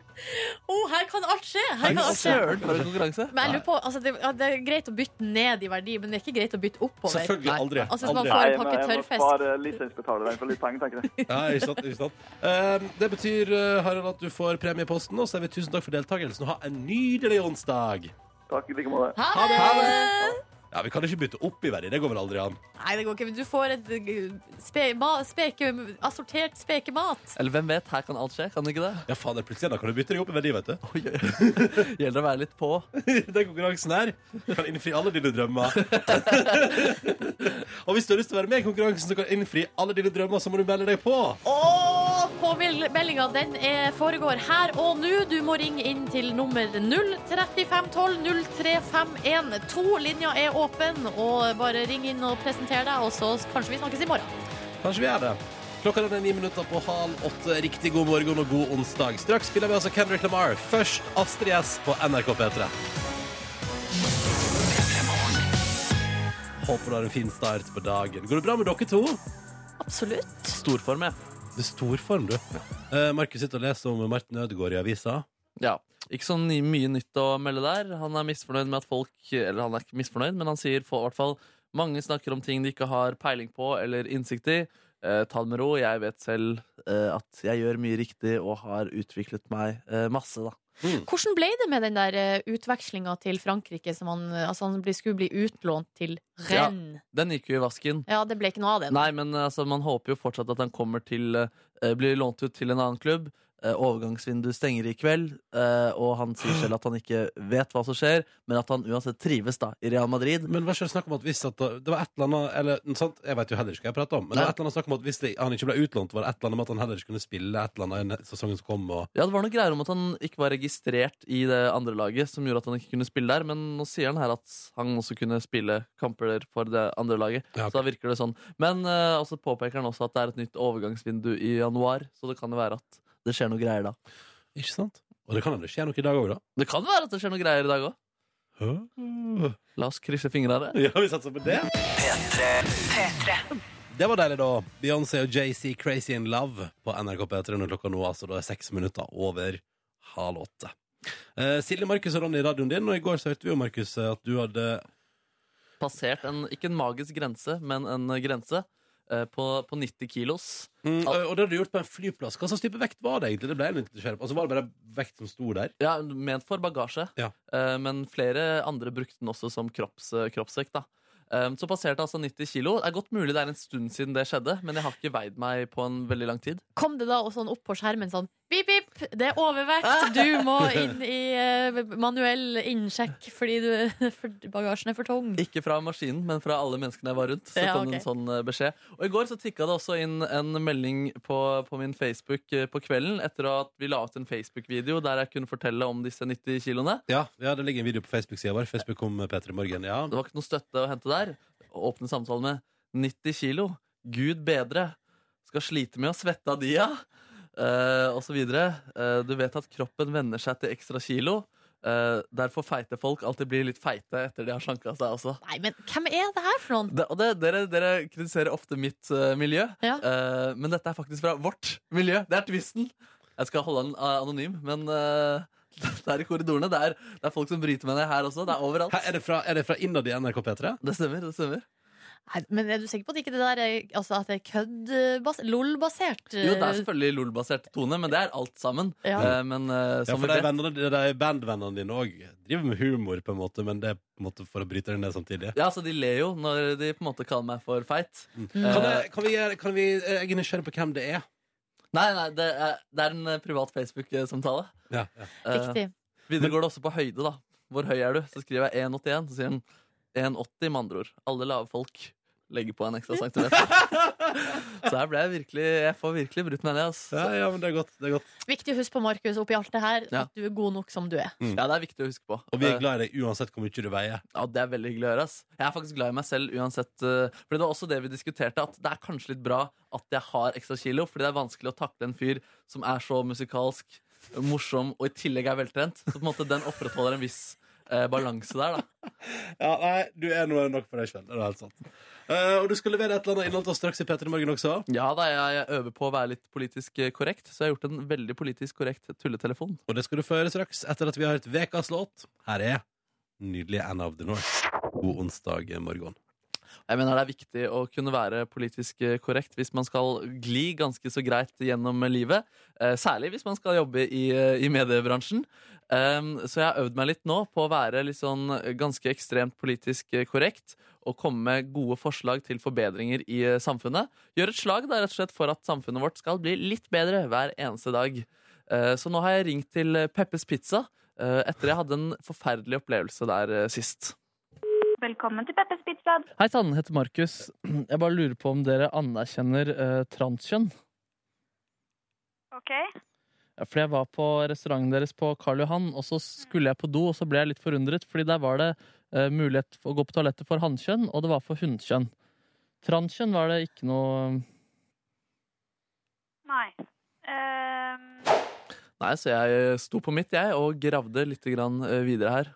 Oh, her kan alt skje! Her kan alt skje.
Søren, for en konkurranse.
Men jeg lurer på, altså, det, ja, det er greit å bytte ned i verdi, men det er ikke greit å bytte oppover.
Selvfølgelig aldri.
Altså, hvis
aldri.
man får- Bare
men
pakke
jeg må
tørrfisk.
spare lisensbetaleren for litt penger, tenker jeg.
Ja, ikke sant, ikke sant. Ehm, det betyr eh, Harald, at du får premie i posten, og så sier vi tusen takk for deltakelsen. og Ha en nydelig onsdag!
Takk i like måte.
Ha
Ha det!
det. Ja, Vi kan ikke bytte opp i verdi. Det går vel aldri an.
Nei, det går ikke. men Du får et eh, spe, ma, speke, assortert spekemat.
Eller hvem vet, her kan alt skje. Kan det ikke det?
Ja, faen, det er plutselig da kan du bytte deg opp i verdi, vet du.
Oi, oi, oi. Gjelder å være litt på.
Den konkurransen her kan innfri alle dine drømmer. og hvis du har lyst til å være med i konkurransen som kan innfri alle dine drømmer, så må du melde deg på.
Og påmeldinga den er, foregår her og nå. Du må ringe inn til nummer 03512 0351. To linjer er åpen, og bare ring inn og presenter deg, og så kanskje vi snakkes i morgen.
Kanskje vi gjør det. Klokka den er ni minutter på halv åtte. Riktig god morgen og god onsdag. Straks spiller vi altså Kendrick Lamar. Først Astrid S på NRK P3. Håper du har en fin start på dagen. Går det bra med dere to?
Absolutt.
Storform, jeg.
Det er storform, du. Eh, Markus sitter og leser om Martin Ødegaard i avisa.
Ja. Ikke så ny- mye nytt å melde der. Han er misfornøyd med at folk Eller han er ikke misfornøyd, men han sier for, i hvert fall mange snakker om ting de ikke har peiling på eller innsikt i. Eh, ta det med ro. Jeg vet selv eh, at jeg gjør mye riktig og har utviklet meg eh, masse, da.
Hvordan ble det med den der utvekslinga til Frankrike som han, altså han ble, skulle bli utlånt til Rennes?
Den gikk jo i vasken.
Ja. det ble ikke noe av det.
Nei, men eh, altså, man håper jo fortsatt at han kommer til eh, Blir lånt ut til en annen klubb. Eh, Overgangsvinduet stenger i kveld, eh, og han sier selv at han ikke vet hva som skjer, men at han uansett trives da i Real Madrid.
Men hva skjer det snakk om at hvis at eh, det var et eller annet eller, noe sånt, Jeg vet jo heller ikke hva jeg prater om, men det
Nei.
var et eller annet snakk om at hvis det, han ikke ble utlånt, var det et eller annet med at han heller ikke kunne spille et eller annet i sesongen som kom. Og,
Ja, Det var noe greier om at han ikke var registrert i det andre laget, som gjorde at han ikke kunne spille der, men nå sier han her at han også kunne spille kamper der for det andre laget.
Ja, ok.
Så da virker det sånn. Men eh, også påpeker han også at det er et nytt overgangsvindu i januar, så det kan jo være at det skjer noe greier da.
ikke sant? Og det kan hende det skjer noe i dag òg, da.
Det kan være at det skjer noe greier i dag òg.
Hæ?
La oss krysse fingrene.
Ja, vi satser på det. Det var deilig, da. Beyoncé og JC Crazy in Love på NRK P3 når klokka nå altså da er seks minutter over halv åtte. Eh, Silje, Markus og Ronny i radioen din, og i går så hørte vi jo, Markus, at du hadde
Passert en, ikke en magisk grense, men en grense eh, på, på 90 kilos.
mm, Og og det hadde du gjort på en flyplass. Hva slags type vekt var det egentlig? Det ble jeg litt nysgjerrig på. Altså, var det bare vekt som sto der?
Ja, ment for bagasje,
Ja.
Eh, men flere andre brukte den også som kropps, kroppsvekt. da. Eh, Så passerte altså 90 kilo. Det er godt mulig det er en stund siden det skjedde, men jeg har ikke veid meg på en veldig lang tid.
Kom det da og sånn opp på skjermen sånn Pip, pip, det er
Ah!»
overvekt! Du må inn i eh, manuell innsjekk fordi du, for bagasjen er for tung.
Ikke fra maskinen, men fra alle menneskene jeg var rundt. Så
Ja,
kom
ok.
det en sånn eh, beskjed. Og i går så tikka det også inn en melding på, på min Facebook eh, på kvelden etter at vi la ut en Facebook-video der jeg kunne fortelle om disse 90 kiloene.
Ja, ja det ligger en video på Facebook-sida vår. Facebook kom P3 Morgen. Ja.
Det var ikke noe støtte å hente der. Å åpne samtalen med 90 kilo. Gud bedre. Skal slite med å svette av de, ja. Eh, og så videre. Eh, du vet at kroppen venner seg til ekstra kilo. Eh, derfor feite folk alltid blir litt feite etter de har slanka seg også.
Nei, men hvem er det her for noen?
Det, og det, dere, dere kritiserer ofte mitt eh, miljø,
Ja.
Eh, men dette er faktisk fra vårt miljø. Det er twisten. Jeg skal holde den eh, anonym, men eh, det er i korridorene. Det er, det er folk som bryter med det her også. Det er overalt.
Hæ, er det fra, er det fra innad i NRK P3?
Det stemmer, det stemmer.
Nei, men er du sikker på at ikke det der er, altså, at det er kødd-basert? LOL-basert? eh,
Jo, det er selvfølgelig LOL-basert tone, men det er alt sammen.
Ja.
Eh, Men eh,
Ja,
som
for
vi
de,
vet
vennene, de bandvennene dine òg driver med humor, på en måte, men det er på en måte for å bryte det ned samtidig.
Ja, så de ler jo når de på en måte kaller meg for feit.
Kan, jeg, kan, vi, gjøre- kan vi eh, Jeg er nysgjerrig på hvem det er.
Nei, nei, det er, det er en eh, privat Facebook-samtale.
Ja, ja.
Eh,
Riktig.
Videre går det også på høyde, da. Hvor høy er du? Så skriver jeg 1,81. Så sier han 1,80, med andre ord. Alle lave folk legger på en ekstra centimeter. så her ble jeg virkelig Jeg får virkelig brutt meg ned, ass.
Ja, ja, men det er godt. det er godt
Viktig å huske på, Markus, oppi alt det her,
Ja.
at du er god nok som du er.
Ja, det er viktig å huske på.
Mm. Og vi er
Eh,
glad i deg uansett hvor mye du veier.
Ja, Det er veldig hyggelig å høre. ass Jeg er faktisk glad i meg selv uansett. eh, Fordi Det var også det vi diskuterte, at det er kanskje litt bra at jeg har ekstra kilo, fordi det er vanskelig å takle en fyr som er så musikalsk, morsom og i tillegg er veltrent. Så på en måte den opprettholder en viss eh, balanse der, da.
Ja, nei, Du er noe nok for deg sjøl. Det er helt sant. Eh, og du skal levere et eller annet innhold til oss straks i P3 Morgen også.
Ja da, jeg, jeg øver på å være litt politisk eh, korrekt, så jeg har gjort en veldig politisk korrekt tulletelefon.
Og det skal du få høre straks etter at vi har hørt Vekas låt. Her er nydelige Anna of the North. God onsdag morgen.
Jeg mener det er viktig å kunne være politisk eh, korrekt hvis man skal gli ganske så greit gjennom livet. eh, Særlig hvis man skal jobbe i, eh, i mediebransjen. Um, Så jeg har øvd meg litt nå på å være litt sånn ganske ekstremt politisk eh, korrekt. Og komme med gode forslag til forbedringer i eh, samfunnet. Gjøre et slag da, rett og slett for at samfunnet vårt skal bli litt bedre hver eneste dag. Eh, Så nå har jeg ringt til eh, Peppes Pizza eh, etter jeg hadde en forferdelig opplevelse der eh, sist.
Velkommen til Peppers Pizza.
Hei sann, heter Markus. Jeg bare lurer på om dere anerkjenner eh, transkjønn.
Ok,
Ja, Fordi jeg var på restauranten deres på Karl Johan, og så skulle jeg på do, og så ble jeg litt forundret, fordi der var det eh, mulighet for å gå på toalettet for hannkjønn, og det var for hunnkjønn. Transkjønn var det ikke noe
nei. Ehm,
Nei, så jeg sto på mitt, jeg, og gravde litt grann eh, videre her.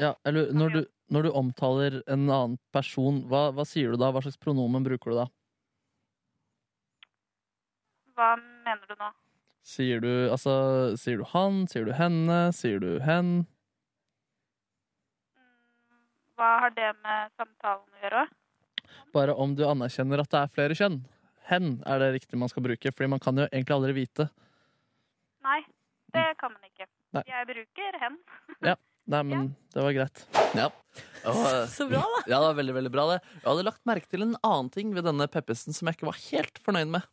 Ja, eller når du, når du omtaler en annen person, hva, hva sier du da? Hva slags pronomen bruker du da?
hva mener du nå?
Sier du, altså, sier du han, sier du henne, sier du hen?
Mm, Hva har det med samtalen å gjøre?
Bare om du anerkjenner at det er flere kjønn. Hen er det riktig man skal bruke, fordi man kan jo egentlig aldri vite.
Nei, det kan man ikke.
Nei.
Jeg bruker hen.
Nei, men det var greit. Ja. eh,
Så bra, da.
det var veldig, veldig bra det. Jeg hadde lagt merke til en annen ting ved denne Peppesen som jeg ikke var helt fornøyd med.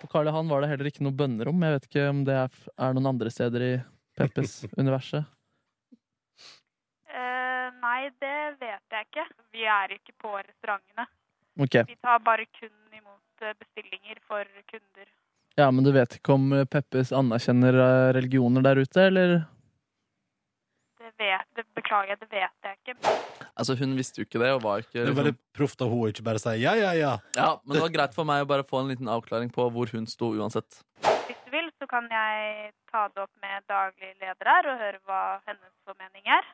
På Karl Johan var det heller ikke noe bønnerom. Jeg vet ikke om det er, er noen andre steder i Peppes-universet.
Eh, nei, det vet jeg ikke. Vi er ikke på restaurantene.
Ok,
Vi tar bare kun imot eh, bestillinger for kunder.
ja, men du vet ikke om eh, Peppes anerkjenner eh, religioner der ute, eller?
Det vet, det, beklager jeg, det vet jeg ikke.
Altså, hun visste jo ikke det, og var ikke... liksom-
Det sånn? er veldig proft av hun ikke bare sier ja, ja, ja.
Ja, men det var greit for meg å bare få en liten avklaring på hvor hun sto uansett.
Hvis du vil, så kan jeg ta det opp med daglig leder her og høre hva hennes formening er.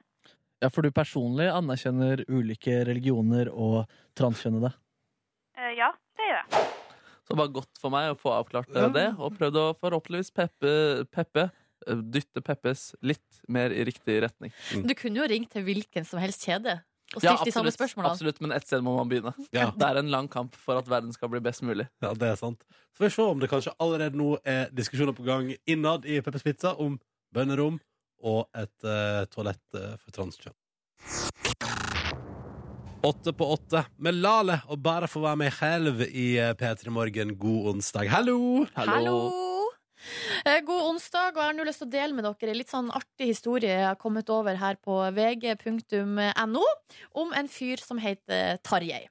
Ja, for du personlig anerkjenner ulike religioner og transkjønnede.
Eh, ja, det gjør jeg.
Så det var godt for meg å få avklart eh, det, og prøvde å forhåpentligvis peppe, peppe eh, dytte Peppes litt mer i riktig retning.
Mm.
Du kunne jo ringt til hvilken som helst kjede og stilt de samme spørsmålene.
absolutt, men ett sted må man begynne.
Ja.
Det er en lang kamp for at verden skal bli best mulig.
Ja, det er sant. Så får vi se om det kanskje allerede nå er diskusjoner på gang innad i Peppers Pizza om bønnerom og et eh, toalett eh, for transkjønn. Åtte på åtte med Lale og bare få være meg selv i eh, P3 Morgen. God onsdag. Hallo!
Hallo! Eh, God onsdag, og jeg har nå lyst til å dele med dere en litt sånn artig historie jeg har kommet over her på vg.no om en fyr som heter Tarjei.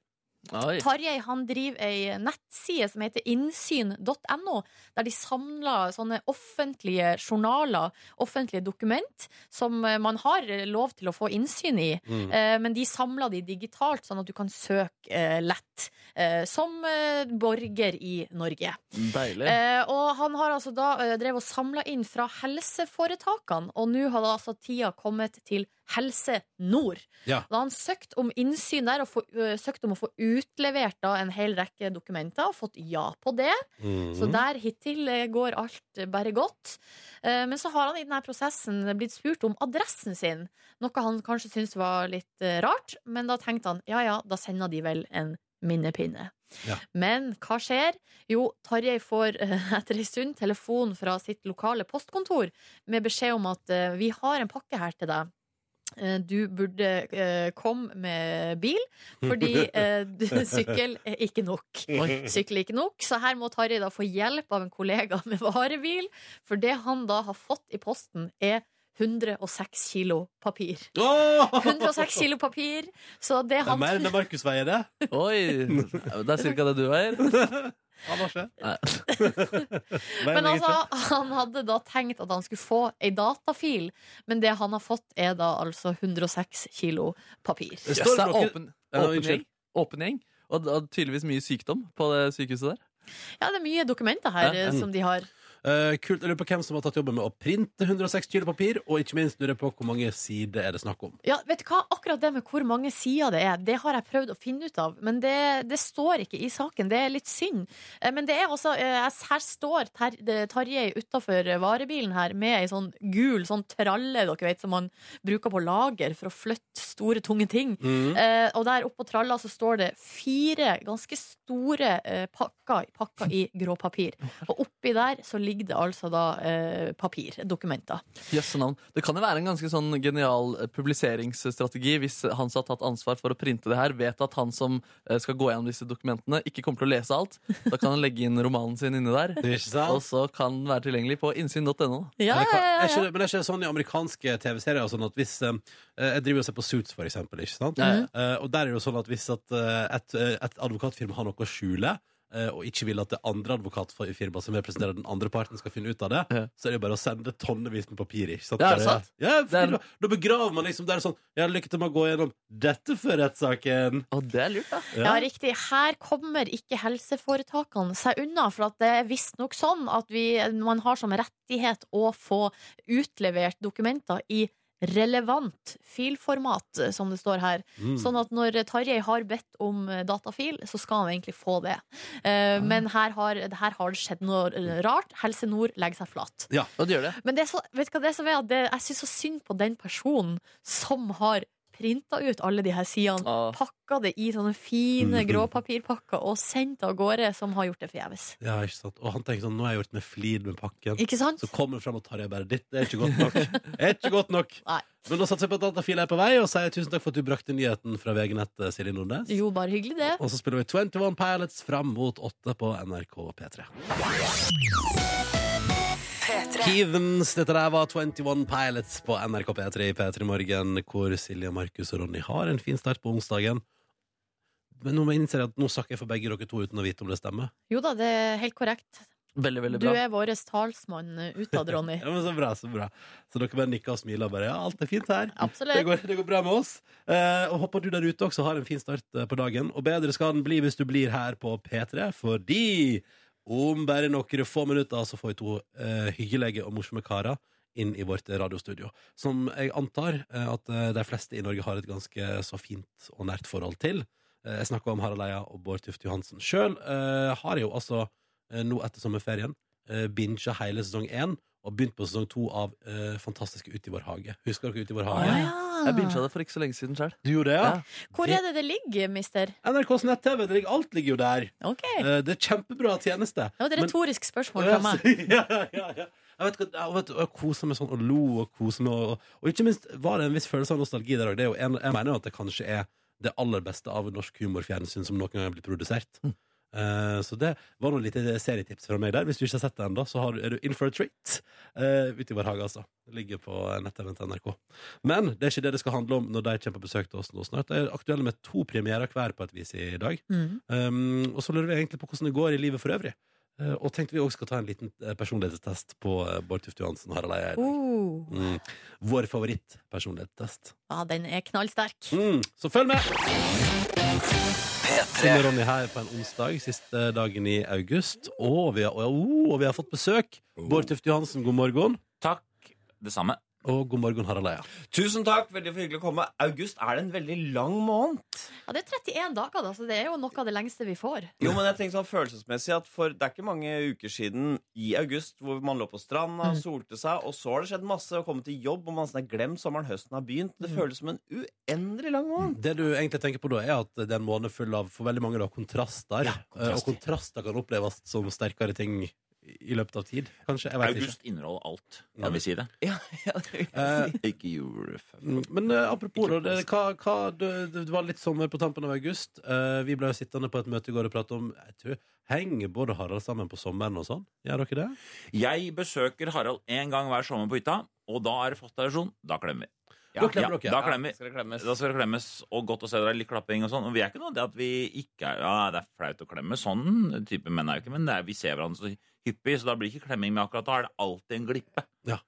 Oi.
Tarjei han driver ei nettside som heter innsyn.no, der de samler sånne offentlige journaler, offentlige dokument, som eh, man har lov til å få innsyn i.
Mm.
Eh, Men de samler de digitalt, sånn at du kan søke eh, lett, eh, som eh, borger i Norge.
Deilig.
Eh, og han har altså da eh, drev og samla inn fra helseforetakene, og nå har da altså tida kommet til Helse Nord.
Ja.
Da har han søkt om innsyn der og få, eh, søkt om å få utlevert da en hel rekke dokumenter, og fått ja på det.
Mhm.
Så der hittil eh, går alt eh, bare godt. Eh, Men så har han i denne prosessen blitt spurt om adressen sin, noe han kanskje syntes var litt eh, rart, men da tenkte han ja ja, da sender de vel en minnepinne.
Ja.
Men hva skjer? Jo, Tarjei får eh, etter ei stund telefon fra sitt lokale postkontor med beskjed om at eh, vi har en pakke her til deg. Eh, Du burde eh, komme med bil, fordi eh, du- sykkel er ikke nok. Sykkel er ikke nok, så her må Tarjei da få hjelp av en kollega med varebil. For det han da har fått i posten, er 106 kilo papir.
Åh!
106 kilo papir, så det
Det er
han
mer enn det Markus veier, det.
Oi! Det er cirka det du veier.
Han har ikke.
Nei.
Mer
Men
enn jeg
altså,
ikke.
han hadde da tenkt at han skulle få ei datafil, men det han har fått, er da altså 106 kilo papir.
Det
Yes,
står
det er
noe-
åpen,
Ja,
åpen
unnskyld.
gjeng. Åpen gjeng. Og det er tydeligvis mye sykdom på det sykehuset der.
Ja, det er mye dokumenter
Ja,
her
ja.
eh, som de har.
Eh, kult. Jeg lurer på hvem som har tatt jobben med å printe 106 kilo papir, og ikke minst lurer jeg på hvor mange sider er det snakk om.
Ja, vet du hva? Akkurat det med hvor mange sider det er, det har jeg prøvd å finne ut av. Men det, det står ikke i saken. Det er litt synd. Eh, Men det er altså eh, Her står ter, det- Tarjei utafor varebilen her med ei sånn gul sånn tralle, dere vet, som man bruker på lager for å flytte store, tunge ting.
Mm.
Eh, og der oppå tralla så står det fire ganske store eh, pakker, pakker i grå papir. Og oppi der så ligger det altså da eh, papir, dokumenter.
Jøsse navn. Det kan jo være en ganske sånn genial eh, publiseringsstrategi hvis han som har tatt ansvar for å printe det her, vet at han som eh, skal gå gjennom disse dokumentene, ikke kommer til å lese alt. Da kan han legge inn romanen sin inni der.
Det er ikke sant?
Og så kan den være tilgjengelig på innsyn.no.
Men
Ja,
det
ja,
kan-
ja,
Er
ja.
ikke, det- men er ikke det sånn i amerikanske TV-serier og sånn at hvis eh, Jeg driver og ser på Suits, for eksempel. Ikke sant?
Ja, ja.
Eh, og der er det jo sånn at hvis at, eh, et, eh, et advokatfirma har noe å skjule, eh, og ikke vil at det andre advokatfirmaet som representerer den andre parten, skal finne ut av det,
Ja.
så er det jo bare å sende tonnevis med papir. Ikke sant?
Ja, er det
Bare-
sant?
Ja, fordi
Det er-
da, da begraver man liksom Det er sånn Ja, lykke til med å gå gjennom dette før rettssaken.
Og det er lurt, da.
Ja, riktig. Her kommer ikke helseforetakene seg unna, for at det er visstnok sånn at vi, man har som rettighet å få utlevert dokumenter i relevant filformat, som det står her.
Mm.
Sånn at når Tarjei har bedt om datafil, så skal han egentlig få det. Eh, Men her har, her har det skjedd noe rart. Helse Nord legger seg flat.
Og det gjør det.
Men det er så, vet du hva det som er? At det, jeg syns så synd på den personen som har printa ut alle de her sidene,
Ah.
pakka det i sånne fine
Mhm.
gråpapirpakker og sendt det av gårde, som har gjort det forgjeves.
Ja, ikke sant? Og han tenker sånn Nå har jeg gjort meg flid med pakken.
Ikke sant?
Så kommer hun fram og tar det bare ditt. Det er ikke godt nok. Det er ikke godt nok.
Nei.
Men da satser jeg på at Datafil er på vei, og sier tusen takk for at du brakte nyheten fra VG-nettet, Silje Nordnes.
Jo, bare hyggelig, det.
Og så spiller vi 21 Pilots fram mot 8 på NRK P3. Kivens, dette der var 21 Pilots på NRK P3 i P3 Morgen, hvor Silje, Markus og Ronny har en fin start på onsdagen. Men nå må jeg innse at nå snakker jeg for begge dere to uten å vite om det stemmer.
Jo da, det er helt korrekt.
Veldig, veldig
Du
bra.
er vår talsmann utad, Ronny.
Ja, men Så bra, så bra. Så dere bare nikker og smiler og bare ja, alt er fint her. Det
Absolutt.
går, det går bra med oss. Eh, og håper du der ute også har en fin start eh, på dagen. Og bedre skal den bli hvis du blir her på P3, fordi om bare noen få minutter så får vi to eh, hyggelige og morsomme karer inn i vårt radiostudio. Som jeg antar eh, at eh, de fleste i Norge har et ganske så fint og nært forhold til. Eh, jeg snakker om Harald Eia og Bård Tufte Johansen. Sjøl eh, har jeg jo altså eh, nå etter sommerferien eh, binga hele sesong én. Og begynt på sesong to av eh, Fantastiske Ut i vår hage. Husker dere Ut i vår hage?
Ah,
Jeg bincha det for ikke så lenge siden sjøl.
Du gjorde det, ja?
Ja.
Hvor er det det ligger, mister?
NRKs nett-TV, det ligger- alt ligger jo der.
OK.
Eh, Det er kjempebra tjeneste.
Det var et
Men-
retorisk spørsmål
Ja,
fra meg.
ja, ja, ja. Jeg vet, ikke, jeg, vet, jeg koser meg sånn og lo og koser meg. Og, og ikke minst var det en viss følelse av nostalgi der òg. Jeg mener jo at det kanskje er det aller beste av norsk humorfjernsyn som noen gang er blitt produsert. Eh, så det var noe lite serietips fra meg der. Hvis du ikke har sett det ennå, så har, du- er du in for a treat. Uh, ute i vår hage, altså. Det ligger på nett-TV-en til NRK. Men det er ikke det det skal handle om når de kommer på besøk til oss nå snart. Det er aktuelle med to premierer hver på et vis i dag.
Mm.
Um, og så lurer vi egentlig på hvordan det går i livet for øvrig. Eh, og tenkte vi også skal ta en liten eh, personlighetstest på eh, Bård Tufte Johansen. Harald Eia. i dag.
Oh.
Mm. Vår favorittpersonlighetstest.
Ja, den er knallsterk.
Mm. Så følg med! Silje og Ronny her på en onsdag, siste dagen i august. oh, Og vi har, og, og vi har fått besøk. Bård Tufte Johansen, god morgen.
Takk. Det samme.
Og god morgen, Harald Eia.
Tusen takk, veldig hyggelig å komme. August er det en veldig lang måned.
Ja, det er 31 dager, da, så det er jo noe av det lengste vi får.
Jo, men jeg tenker sånn følelsesmessig at for Det er ikke mange uker siden i august hvor man lå på stranda, solte seg, og så har det skjedd masse, og kommet til jobb, og man nesten har glemt sommeren, høsten har begynt. Det føles som en uendelig lang måned.
Det du egentlig tenker på da, er at det er en måned full av for veldig mange da, kontraster.
Ja, kontraster.
Eh, Og kontraster kan oppleves som sterkere ting i løpet av tid, kanskje. Jeg vet
August inneholder alt. Jeg vil si det.
ikke. Eh,
Ikke jul.
Men eh, apropos, da, det, hva, hva, det, det var litt sommer på tampen av august. Eh, vi ble jo sittende på et møte i går og prate om jeg tror, Henger Bård og Harald sammen på sommeren og sånn? Gjør dere det?
Jeg besøker Harald en gang hver sommer på hytta, og da er det fosterrelasjon. Da klemmer vi.
Da klemmer dere.
da klemmer.
Skal det klemmes?
Da skal det klemmes, og godt å se dere, litt klapping og sånn. Og vi er ikke noe det at vi ikke er Ja, det er flaut å klemme, sånn type menn er jo ikke, men det er, vi ser hverandre så hyppig, så da blir ikke klemming med akkurat da. Er det alltid en glippe.
Ja.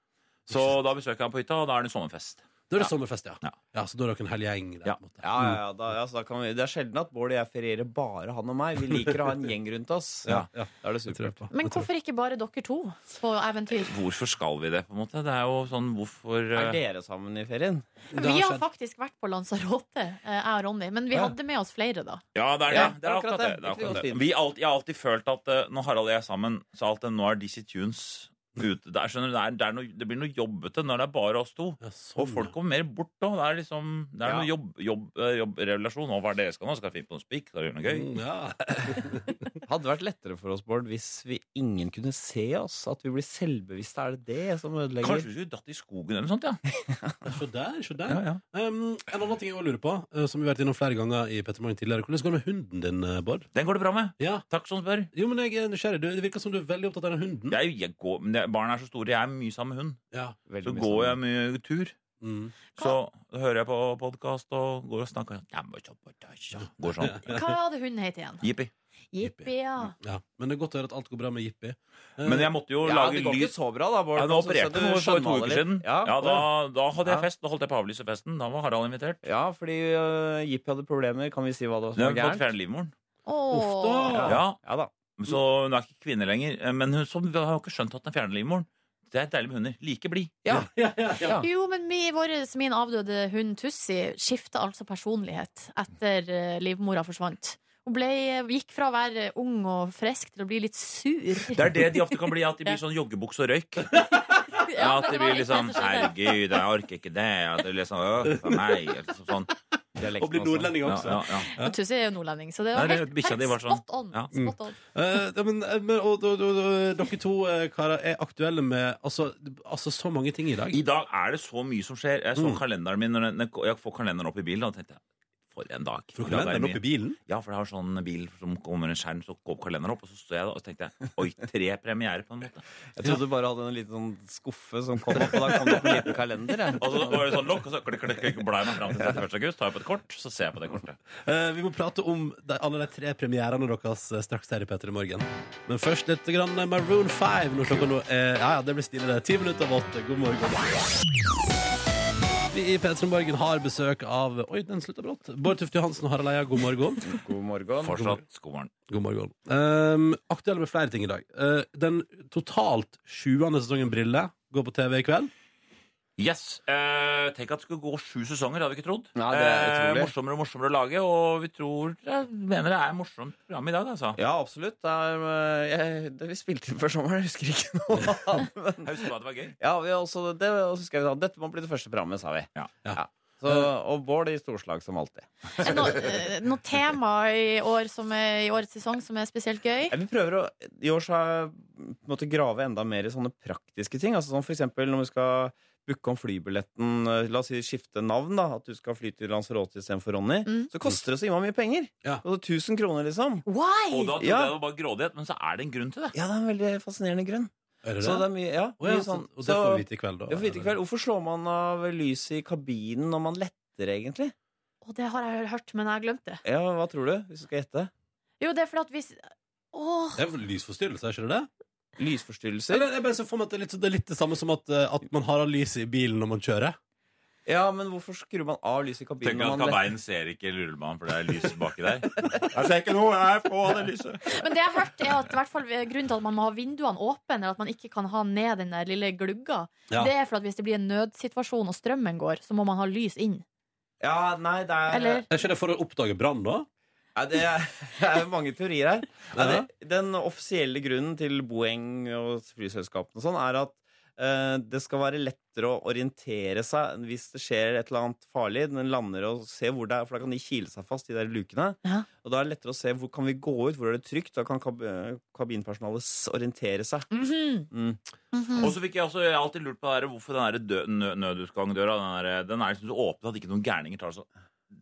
Så da besøker jeg ham på hytta, og da er det sommerfest.
Da er det
Ja.
sommerfest, Mm. ja.
Ja.
Så da er dere en hel gjeng der?
Ja.
på en måte.
Ja, ja, ja, da, ja, så da kan vi, det er sjelden at Bård og jeg ferierer bare han og meg. Vi liker å ha en gjeng rundt oss.
Ja,
ja.
Da er det
Det tror jeg
supert.
på.
Men
Det tror jeg
hvorfor ikke bare dere to på eventyr?
Hvorfor skal vi det, på en måte? Det er jo sånn hvorfor
Er
eh,
dere sammen i ferien?
på. Det
Vi har
skjedd.
faktisk vært på Lanzarote, eh, jeg og Ronny, men vi
Ja.
hadde med oss flere da.
Ja, det er det.
Ja,
det er akkurat det. det, er
kunne
akkurat
gått
det.
fint.
Vi alt, jeg har alltid følt at eh, når Harald og jeg er sammen, så er alt det, nå er DC Tunes ute. Det, er, skjønner, du, det, er, det, er noe, det blir noe jobbete når det er bare oss to.
Ja, sånn,
Og folk kommer mer bort da. Det er liksom Det er
Ja.
noe jobb, jobb, eh, jobbrelasjon. Og hva er det dere skal nå? Skal dere finne på noe spikk? Skal dere gjøre noe gøy?
Mm, ja.
Hadde vært lettere for oss, Bård, hvis vi ingen kunne se oss. At vi blir selvbevisste. Er det det som ødelegger?
Kanskje vi skulle dratt i skogen eller noe sånt, ja.
Se der, se der. Um, en annen ting jeg også lurer på, eh, som vi har vært innom flere ganger i Petter Morgen tidligere. Hvordan går det med hunden din, eh, Bård?
Den går det bra med.
Ja.
Takk som spør.
Jo, men jeg er nysgjerrig. Du, det virker som du er veldig opptatt av den hunden.
Jeg, jeg går, men det- barna er så store. Jeg er mye sammen med hund.
Ja.
Så går jeg mye tur.
Mm.
Så hører jeg på podkast og går og snakker. Ja, men så på tasja. Går sånn.
Hva hadde hunden hett igjen?
Jippi.
Jippi, ja.
ja. Men det er godt å høre at alt går bra med Jippi. Eh,
Men jeg måtte jo
Ja,
lage
det går ikke
lys.
så bra, da, Bård.
Ja, nå
Altså,
men så skal
opererte
du
jeg for to
skjønnmale
uker
litt.
siden. Ja,
Ja,
da, da hadde jeg
Ja.
fest. Da holdt jeg på avlysefesten. Da var Harald invitert.
ja fordi øh, Jippi hadde problemer. Kan vi si hva det
Hun
var som
har
var
fått
gærent?
fjernet livmoren.
Uff
Åh.
da!
Ja,
Ja da.
Så hun er ikke kvinne lenger. Eh, Men hun som, har jo ikke skjønt at den fjerner livmoren. Det er deilig med hunder. Like blid.
Ja. Ja.
Jo, men mi, vår, min avdøde hund Tussi skifta altså personlighet etter eh, livmora forsvant. Hun ble, gikk fra å være ung og frisk til å bli litt sur.
Det er det de ofte kan bli. At de blir sånn joggebukse og røyk. Ja, At
men
de
var
blir
litt
liksom
det som skjedde.
Herregud, jeg orker ikke det. At det liksom Åh, for meg. eller liksom Sånn.
Dialekten
Og blir
også.
nordlending
Ja,
også. Eh,
ja, ja.
Men Tussi er jo nordlending, så det var
Nei, det-
helt,
bikkja
helt
di var sånn.
spot on.
Ja.
Spot on.
Eh, ja, men, eh, men, og, og, og, og dere to eh, karer er aktuelle med altså, altså så mange ting i dag.
I dag er det så mye som skjer. Jeg så
Mm.
kalenderen min når den, når jeg får kalenderen opp i bilen, og tenkte jeg, for en dag.
For
I dag er
dere
det
er
mye.
oppe i bilen.
Ja, for jeg har sånn bil som kommer en skjerm, så går kalenderen opp, og så står jeg da, og så tenkte jeg, oi, tre premiere på en måte.
Jeg trodde du bare hadde en liten sånn skuffe som kom opp, og da kom det opp en liten kalender. Jeg.
Og så var det sånn lokk, og så klikk, klikk, klikk, blar jeg meg frem til 31. august, tar jeg på et kort, så ser jeg på det kortet.
Eh, vi må prate om de, alle de tre premierene deres eh, straks her i P3 Morgen. Men først litt grann eh, Maroon 5 når klokka nå er Ja, ja, det blir stille, det. Ti minutter over åtte. God morgen. Vi i P3 Morgen har besøk av Oi, den slutta brått. Bård Tufte Johansen og Harald Eia, god morgen.
God morgen.
Fortsatt skolen.
God morgen. Um, aktuelle med flere ting i dag. Eh, den totalt sjuende sesongen Brille går på TV i kveld.
Yes, eh, tenk at det skulle gå sju sesonger, hadde vi ikke trodd.
Nei, det er
Eh,
utrolig.
morsommere og morsommere å lage, og vi tror, jeg mener det er et morsomt program i dag, altså.
Ja, absolutt. Det er, øh, jeg, det vi spilte inn før sommeren, jeg husker ikke noe annet. Men,
Jeg husker bare at det var gøy.
ja, vi har også, det, og så skrev vi sånn Dette må bli det første programmet, sa vi.
Ja.
Så, og Bård i storslag, som alltid.
Er det noe, eh, noe tema i, år som er, i årets sesong som er spesielt gøy?
Ja, Vi prøver å I år så har jeg på en måte grave enda mer i sånne praktiske ting. Altså sånn for eksempel når vi skal booke om flybilletten, eh, la oss si skifte navn, da. At du skal fly til Lanzarote istedenfor Ronny.
Mm.
Så koster det så innmye mye penger.
Ja.
Det koster 1000 kroner, liksom.
Og
Why?
da trodde
Ja.
jeg det var bare grådighet, men så er det en grunn til det.
Ja, det er en veldig fascinerende grunn.
Er det
Så det
det?
er mye, ja,
Å ja,
mye
så-
sånn.
og det
så,
får vi vite i kveld, da.
Ja, for vite i kveld. Hvorfor slår man av lyset i kabinen når man letter, egentlig?
Og det har jeg hørt, men jeg har glemt det.
Ja, Hva tror du, hvis du skal gjette?
Jo, det er fordi at hvis Åh,
Det er vel lysforstyrrelse, er ikke det det?
Lysforstyrrelser?
Eller, jeg bare ser for meg at det er litt, det er litt det samme som at, eh, at man har av lyset i bilen når man kjører.
Ja, men hvorfor skrur man av lyset i kabinen?
Tenker
når
at
man
Kabein ser ikke luremannen, for det er lys baki der. Jeg
ser ikke noe! Jeg er på det lyset!
Men det jeg har hørt er at i hvert fall, eh, grunnen til at man må ha vinduene åpne, eller at man ikke kan ha ned den der lille glugga,
Ja.
det er for at hvis det blir en nødsituasjon og strømmen går, så må man ha lys inn.
Ja, nei, det er
Eller-
Er ikke det for å oppdage brann, da?
Nei, det er, det er mange teorier her. Nei, det, den offisielle grunnen til Boeing og flyselskapene og sånn er at eh, det skal være lettere å orientere seg hvis det skjer et eller annet farlig. Den lander og ser hvor det er, for da kan de kile seg fast, de der lukene.
Ja.
Og da er det lettere å se hvor kan vi gå ut, hvor er det trygt. Da kan kab kabinpersonalet s- orientere seg.
Mhm.
Mm.
Og så fikk jeg også jeg har alltid lurt på det der, hvorfor den der dø- nø- nødutgangdøra den er, den er liksom så åpen at ikke noen gærninger tar, så,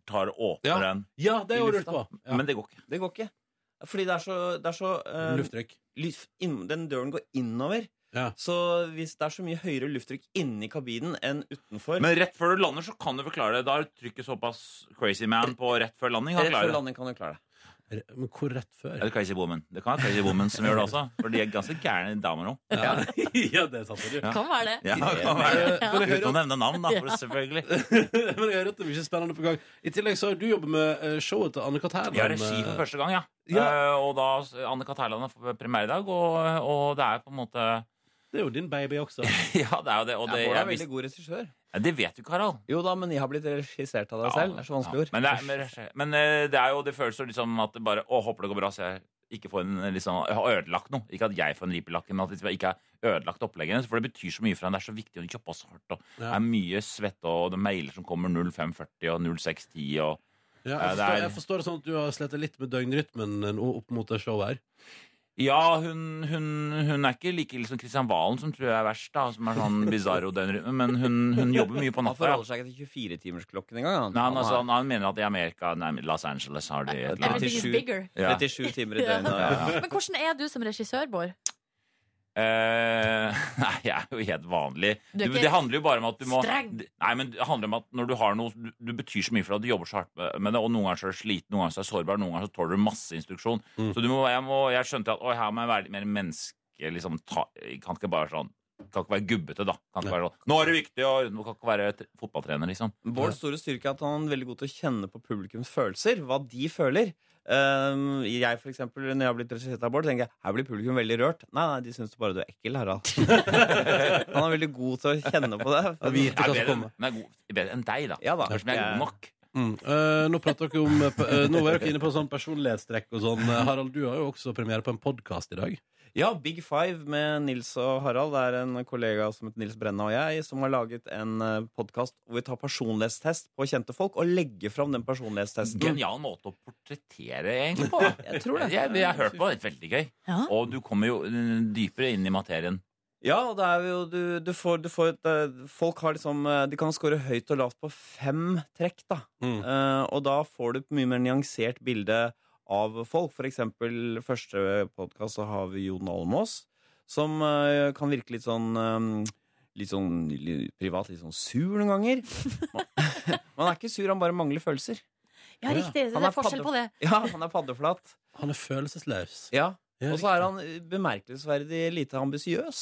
tar og åpner den.
Ja, det
i
har jeg
lufta.
lurt på. Ja.
Men det går ikke.
Det går ikke. Fordi det er så, det er så eh,
Lufttrykk.
lys- inn, Den døren går innover. Så hvis det er så mye høyere lufttrykk inni kabinen enn utenfor
Men rett før du lander, så kan du forklare det. Da er trykket såpass crazy man på rett før landing. Han
Rett
klarer
før
det.
landing kan du klare det.
Men hvor rett før?
Eller Crazy Woman. Det kan være Crazy Woman som gjør det også. For de er ganske gærne damer òg.
Ja. ja, det er sant. det er du.
Kan være det.
Ja, kan være det.
Ja. Men jeg hører-
Uten å nevne navn, da. For
Ja.
selvfølgelig.
Men jeg hører at det er mye spennende på gang. I tillegg så har du jobbet med eh, showet til Anne-Kat. Herland.
Vi har regi for første gang, ja. Eh, og da Anne Katerland er premieredag, og, og det er på en måte
Det er jo din baby også.
Ja, det er jo det. Og det,
Bård er
jeg
veldig
visste-
god regissør.
Ja, det vet du ikke, Harald.
Jo da, men jeg har blitt regissert av deg selv. Det er så vanskelig ord.
Men det er, men, regi- men eh, det er jo det føles jo litt sånn at det bare Å, håper det går bra, så jeg ikke får en eh, liksom, jeg har ødelagt noe. Ikke at jeg får en ripelakke, men at jeg ikke har ødelagt opplegget hennes. For det betyr så mye for henne. Det er så viktig, og hun jobber så hardt. Og det er mye svette, og det er mailer som kommer 0540 og 0610 og eh,
Ja, jeg,
det
forstår,
er-
jeg forstår det sånn at du har slettet litt med døgnrytmen nå opp mot det showet her.
Ja, hun, hun, hun er ikke like ille som Kristian Valen, som tror jeg er verst, da, som er sånn bizarro døgnrytme, men hun, hun jobber mye på
Han
natta. ja.
forholder seg ikke til 24-timersklokken engang.
Nei, han, altså, han, han mener at i Amerika, nei, Los Angeles har de et eller annet.
Everything is bigger.
Ja.
37 timer i
Ja.
døgnet. Ja.
Men hvordan er du som regissør, Bård?
Eh, nei, jeg er jo helt vanlig.
Du er
Du,
ikke
det handler jo bare om at du må
streng.
Nei, men det handler om at når du har noe Du, du betyr så mye for deg, du jobber så hardt med det, og noen ganger så er du sliten, noen ganger så er du sårbar, noen ganger så tåler du masse instruksjon. Så du må, jeg, må, jeg skjønte at oi, her må jeg være litt mer menneske. Liksom, ta, jeg kan ikke bare sånn Kan ikke være gubbete, da. Kan ikke være sånn, Nå er det viktig! Og, du kan ikke være t- fotballtrener, liksom.
Bårds store styrke er at han er veldig god til å kjenne på publikums følelser. Hva de føler. Ehm, jeg, for eksempel, når jeg har blitt regissert av Bård, tenker jeg her blir publikum veldig rørt. Nei, nei, de syns bare du er ekkel, Harald. han er veldig god til å kjenne på det.
Jeg er bedre, enn- men jeg er god, bedre enn deg, da.
Ja da.
Høres ut som jeg er god nok.
Mm. Eh, nå prater dere om eh, pe- eh, Nå var dere inne på sånn personlighetstrekk og sånn. Eh, Harald, du har jo også premiere på en podkast i dag.
Ja, Big Five med Nils og Harald. Det er en kollega som heter Nils Brenna og jeg, som har laget en podkast hvor vi tar personlighetstest på kjente folk og legger fram den personlighetstesten.
Genial måte å portrettere egentlig på.
Jeg tror det.
Jeg, jeg har hørt på det. Veldig gøy.
Ja.
Og du kommer jo eh, dypere inn i materien.
Ja, og det er jo du, du får, du får et, eh, Folk har liksom eh, De kan score høyt og lavt på fem trekk, da. Eh, og da får du et mye mer nyansert bilde av folk. For eksempel første podkast så har vi Jon Almås, som eh, kan virke litt sånn eh, Litt sånn li- privat, litt sånn sur noen ganger. Man, man er ikke sur, han bare mangler følelser.
Ja, riktig. Det
Han
er forskjell
padde-
på det.
Ja, han er paddeflat.
Han er følelsesløs.
Ja.
Ja,
Og så er han eh, bemerkelsesverdig lite ambisiøs.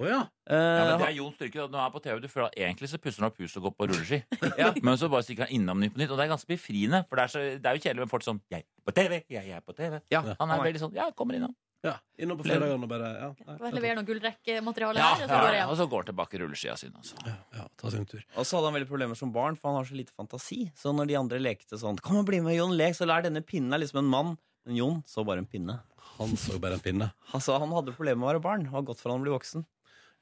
Å ja.
Ja, men
Eh,
det er Jons styrke. da. Når han er på TV, du føler at egentlig så pusser han opp huset og går på rulleski.
Ja.
Men så bare stikker han innom Nytt på Nytt, og det er ganske befriende. For det er, så, det er jo kjedelig med folk som 'Jeg er på TV! Jeg er på TV!'
ja,
Han er veldig sånn 'Ja, kommer innom'.
ja. Innom på fredagene og bare ja, nei,
Bare Lever noe gullrekkemateriale
Ja,
her, og så går
ja,
jeg
ja.
hjem.
Og så går tilbake rulleskia sine. Altså.
ja, ta seg en tur.
Og så hadde han veldig problemer som barn, for han har så lite fantasi. Så når de andre lekte sånn 'Kom og bli med, Jon, lek', så lær denne pinnen er liksom en mann. Men Jon så bare en pinne.
Han så bare en pinne.
Altså, han hadde problemer med å være barn. Det var godt for han å bli voksen.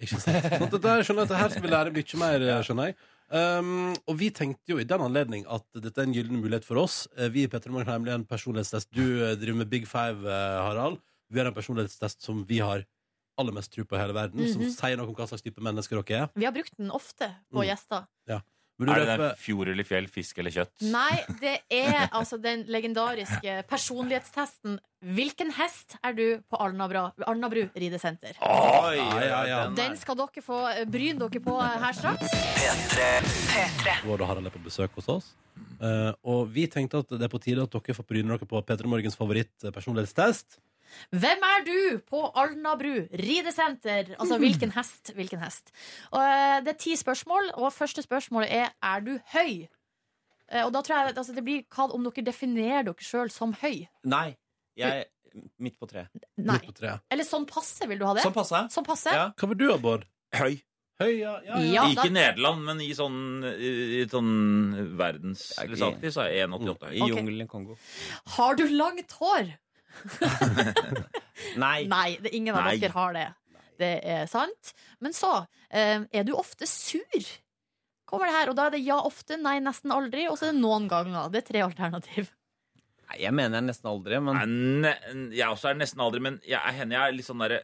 Ikke sant? Sånn, dette, her- skjønner, jeg, dette her skal vi lære mye mer, eh, skjønner jeg. Um, og vi tenkte jo i den anledning at dette er en gyllen mulighet for oss. Eh, Vi i Petter Morgen har nemlig en personlighetstest. Du eh, driver med Big Five, eh, Harald. Vi har en personlighetstest som vi har aller mest tro på i hele verden,
Mhm.
som sier noe om hva slags type mennesker dere er.
Vi har brukt den ofte på
Mm.
gjester.
Vil du
Er det
røpe-
den fjord eller fjell, fisk eller kjøtt?
Nei, det er altså den legendariske personlighetstesten 'Hvilken hest er du på Alnabra, Alnabru ridesenter?'
Oi,
ja, ja.
Den skal dere få eh, bryne dere på eh, her straks.
Bård og Harald er på besøk hos oss. Eh, og vi tenkte at det er på tide at dere får bryne dere på Petra Morgens favorittpersonlighetstest.
Hvem er du på Alnabru ridesenter? Altså hvilken hest? Hvilken hest? Og, eh, det er ti spørsmål, og første spørsmålet er er du høy? Eh, Og da tror jeg altså, det blir hva om dere definerer dere sjøl som høy.
Nei. Jeg Midt på treet.
Nei. Eller sånn passe, vil du ha det?
Sånn passe.
Sånn passe?
Hva vil du ha, Bård?
Høy.
ja,
ja. Ja, da-
ikke i Nederland, men i sånn, i sånn verdens
er ikke-
Eller alltid så er 1,88 høy.
Mm.
I jungelen i Kongo.
Har du langt hår?
Nei.
Nei, det, ingen av
Nei.
dere har det. Det er sant. Men så eh, er du ofte sur. Kommer det her, og Da er det ja ofte, nei nesten aldri, og så er det noen ganger. Det er tre alternativ.
Nei, jeg mener jeg nesten aldri, men
Nei, ne- Jeg også er nesten aldri, men jeg, jeg, jeg er litt sånn derre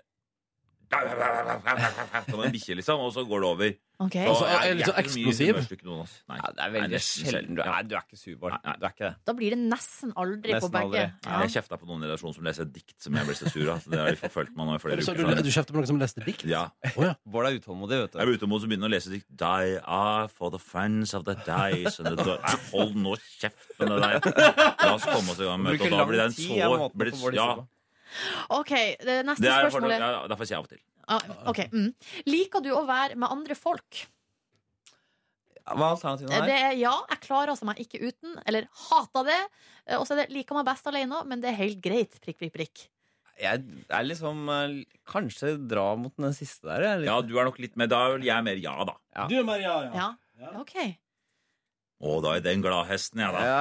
Som en bikkje, liksom. Og så går det over.
Ok.
Og
Altså, er
jeg-
litt
jeg
sånn
ikke mye
eksplosiv?
humørstykke noen av oss. Nei.
ja, det er veldig
Nei,
sjelden. Du er, du er ikke sur, Bård. Du er ikke det.
Da blir det nesten aldri
Nesten
på begge.
aldri.
Jeg kjefta på noen i redaksjonen som leser dikt som jeg ble så sur av. så Det har de forfulgt meg nå i flere
Så
uker.
du, du kjefter på noen som leste dikt?
Ja.
Bård er utålmodig, vet
Jeg
du.
ble ute mot å begynne å lese dikt. Die are for the friends of the dice and the door. Nei, Ah, Hold nå kjeft med det der. La oss komme oss i gang med møtet.
Bruker
og Da blir den
lang tid, jeg
så
måten
blir,
på hvor de
ja,
ser på.
OK, det neste
det er for,
spørsmålet.
ja, Derfor sier jeg av og til.
Ah, ok, mm. Liker du å være med andre folk?
Hva er alternativene her?
Eh, Det er ja, jeg klarer altså meg ikke uten, eller hater det. Eh, Og så er det liker meg best alene, men det er helt greit. Prikk, prikk, prikk.
Jeg er liksom eh, Kanskje dra mot den siste der. Jeg er litt,
Ja, du er nok litt med. Da er vel jeg mer ja, da.
Ja.
Du, Maria,
Ja, OK.
Å, da er den gladhesten, jeg, da.
Ja.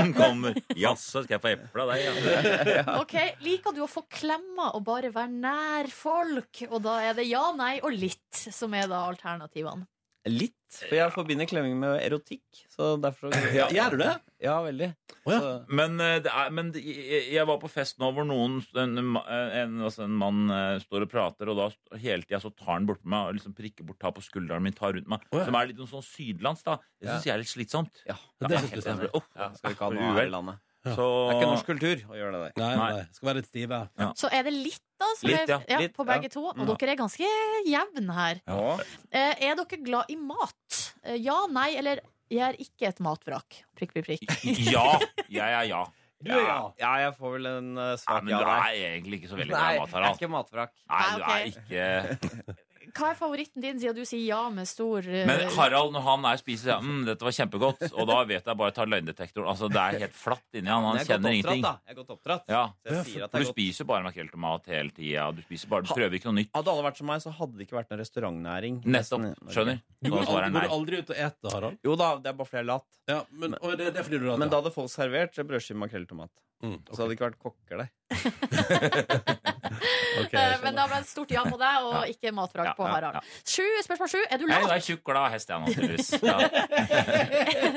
Som kommer. Jaså, skal jeg få eple av deg? Ja.
Ok, Liker du å få klemmer og bare være nær folk? Og da er det ja, nei og litt som er da alternativene.
litt. For jeg forbinder klemming med erotikk. Så derfor så
Ja, Gjør du det?
Ja, veldig.
Å, ja.
Så-
Men, eh, det er, men det- jeg jeg var på fest nå hvor noen, en, en, altså en mann eh, står og prater, og da st- hele tida så tar han bortpå meg og liksom prikker bort, tar på skulderen min, tar rundt meg.
Å, ja.
Som er litt sånn sydlands, da. Det syns jeg er litt slitsomt.
ja.
Ja,
Det synes
helt
du stemmer.
enig. Åh,
ja, skal vi ikke ha noe
uvel.
her i landet.
Så
Det er ikke norsk kultur å gjøre det der.
Nei, nei.
Nei.
Skal være litt stive.
Så er det litt, da, som
Litt, ja. Mm.
er ja,
Litt,
på
ja.
begge to. Og
Ja.
dere er ganske jevne her.
Ja.
Eh, er dere glad i mat? Eh, ja, nei eller jeg er ikke et matvrak. Prikk, prikk, prikk.
Ja! Jeg er ja.
Du er ja.
Ja, jeg får vel en eh,
Nei,
svak
men du
ja der.
er egentlig ikke så veldig glad
Nei,
i mat,
jeg er
Harald.
ikke matvrak.
Nei, du
Nei,
er ikke
Hva er favoritten din, siden du sier ja med stor eh,
Men Harald, når han er spiser, sier han, mm, dette var kjempegodt. Og da vet jeg bare ta løgndetektoren. Altså, det er helt flatt inni han.
Men
Han
jeg er godt
kjenner
oppdratt,
ingenting.
da. Jeg er godt oppdratt.
Ja.
Så jeg sier at det
For
er
du
godt.
spiser jo bare makrelltomat hele tida. Du spiser bare, du prøver ikke noe nytt.
Hadde alle vært som meg, så hadde det ikke vært noen restaurantnæring.
Nettopp.
Nesten i Norge.
Skjønner?
Du
Så
går
svarer
aldri,
nei.
går du aldri ut og ete, Harald?
Jo da, det er bare fordi jeg er lat.
Ja, men, og det, det er fordi du er
Men da hadde folk servert brødskive, makrell, tomat.
mm,
Så hadde det ikke vært kokker der.
ok, jeg
Eh, men
skjønner.
da ble det stort ja på deg, og
Ja.
ikke matvrak
Ja,
på
ja,
Harald.
ja.
Sju, spørsmål sju. Er du
Jeg
lat?
er tjukk, glad hest, jeg, naturligvis. Ja.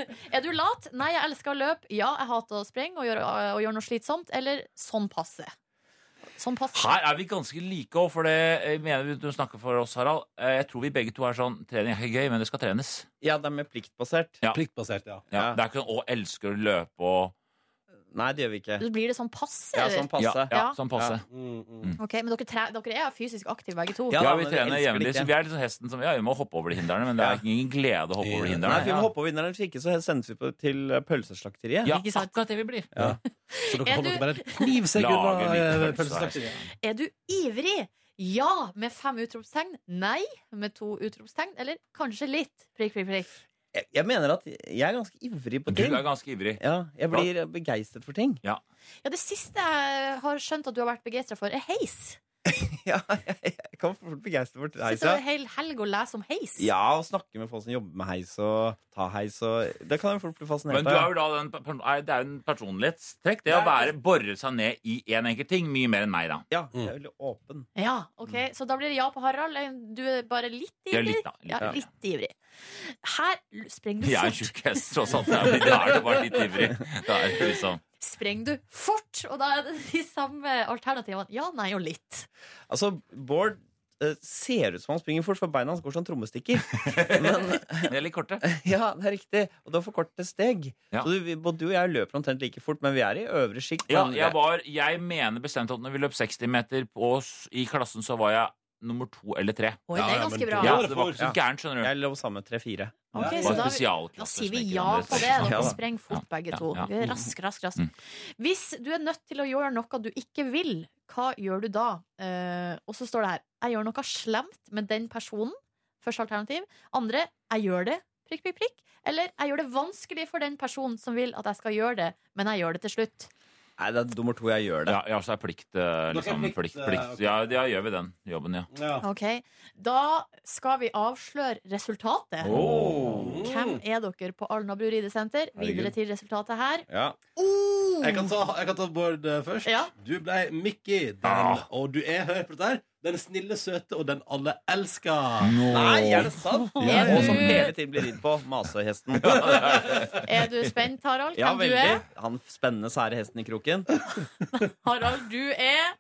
Er du lat? Nei, jeg elsker å løpe. Ja, jeg hater å sprenge og gjøre, og gjøre noe slitsomt. Eller sånn passe. Sånn passe.
Her er vi ganske like òg, for det jeg mener vi du snakker for oss, Harald. Eh, Jeg tror vi begge to er sånn Trening er ikke gøy, men det skal trenes.
Ja, det er mer pliktbasert.
Ja.
Pliktbasert, ja.
Ja.
Ja.
Det er ikke sånn 'å, elsker å løpe' og
Nei, det gjør vi ikke.
Så Blir det sånn passe?
Ja,
eller?
sånn passe.
Ja, ja,
Ja.
sånn passe.
Mm, mm.
Ok, Men dere, tre, dere er fysisk aktive begge to.
Ja,
Ja, da,
vi
men vi
trener
elsker
jevnlig,
det ikke.
så vi er litt sånn hesten som Ja, vi må hoppe over de hindrene, men det er ingen glede å hoppe over de
Ja.
Nei, for vi må
hindrene.
hoppe over vinneren, hvis ikke så sendes vi på, til eh, pølseslakteriet.
Ja,
Ikke sant?
akkurat det vi blir.
Så dere
Er
holder
du-
dere bare et knivsegg
Lager
unna
litt
eh,
pølse
pølseslakteriet.
Er du ivrig? Ja med fem utropstegn. Nei med to utropstegn. Eller kanskje litt. Prikk, prikk, prikk.
Jeg, jeg mener at jeg er ganske ivrig på
Du
ting.
er ganske ivrig.
Ja, jeg blir begeistret for ting.
Ja, Det siste jeg har skjønt at du har vært begeistra for, er heis.
Ja, jeg, jeg kan fort begeistre for heis. Ja.
Sitter du en hel helg og leser om heis?
ja, og snakke med folk som jobber med heis og ta heis og Det kan jeg fort bli fascinert
Men du er
av.
jo da den, per- per- nei, det er jo en personlighetstrekk. Det å være, bore seg ned i én enkelt ting. Mye mer enn meg, da.
Ja, jeg er veldig åpen.
Ja, ok, Så da blir det ja på Harald. Eh, Du er bare litt
Jeg er
ivrig.
litt, da. Litt,
ja,
Mm. ja.
litt ivrig. Her l- sprenger du
Jeg er
fort.
tjukk hest, tross alt. Jeg er litt- Da er du bare litt ivrig. Da er det liksom
Sprenger du fort? Og da er det de samme alternativene. Ja, nei og litt.
Altså, Bård eh, ser ut som han springer fort, for beina hans går som trommestikker. Men
Jeg er litt korte.
ja, det er riktig. Og du har for korte steg.
Ja.
Så du, både du og jeg løper omtrent like fort, men vi er i øvre sjikt.
Ja,
men-
jeg, var, jeg mener bestemt at når vi løp 60 meter på oss i klassen, så var jeg nummer to eller tre.
Oi, det er ganske bra.
Ja, det var ikke så gærent, skjønner du.
jeg lå sammen med tre-fire.
Ok,
Det
så
var
da, da
spesialklasse
sier vi
snekker,
ja
men det-
på det.
Ja,
Dere
da.
sprenger fort begge
ja,
to.
ja. Mm.
Vi er Rask, rask, rask. Hvis du er nødt til å gjøre noe du ikke vil, hva gjør du da? Eh, og så står det her Jeg gjør noe slemt med den personen. Første alternativ. Andre jeg gjør det. Prikk, prikk, prikk. Eller jeg gjør det vanskelig for den personen som vil at jeg skal gjøre det, men jeg gjør det til slutt.
Nei, det er nummer to jeg gjør det.
Ja, ja så er plikt, eh, liksom,
plikt,
plikt, plikt,
eh, ok.
Ja, ja, gjør vi den jobben, ja.
Ok, Da skal vi avsløre resultatet.
Åh.
Hvem er dere på Alnabru ridesenter?
Herregud.
Videre til resultatet her.
Ja.
Oh!
Jeg kan ta, jeg kan ta Bård eh, først.
Ja.
Du ble Mickey. Den,
Ah.
Og du er, hør på dette her, den snille, søte og den alle elsker.
Nei, er sånn det sant?
Ja, ja.
Og som hele tiden blir ridd på. Masehesten.
Er du spent, Harald?
Ja,
Hvem du
veldig.
er?
Han spennende, sære hesten i kroken.
Harald, du er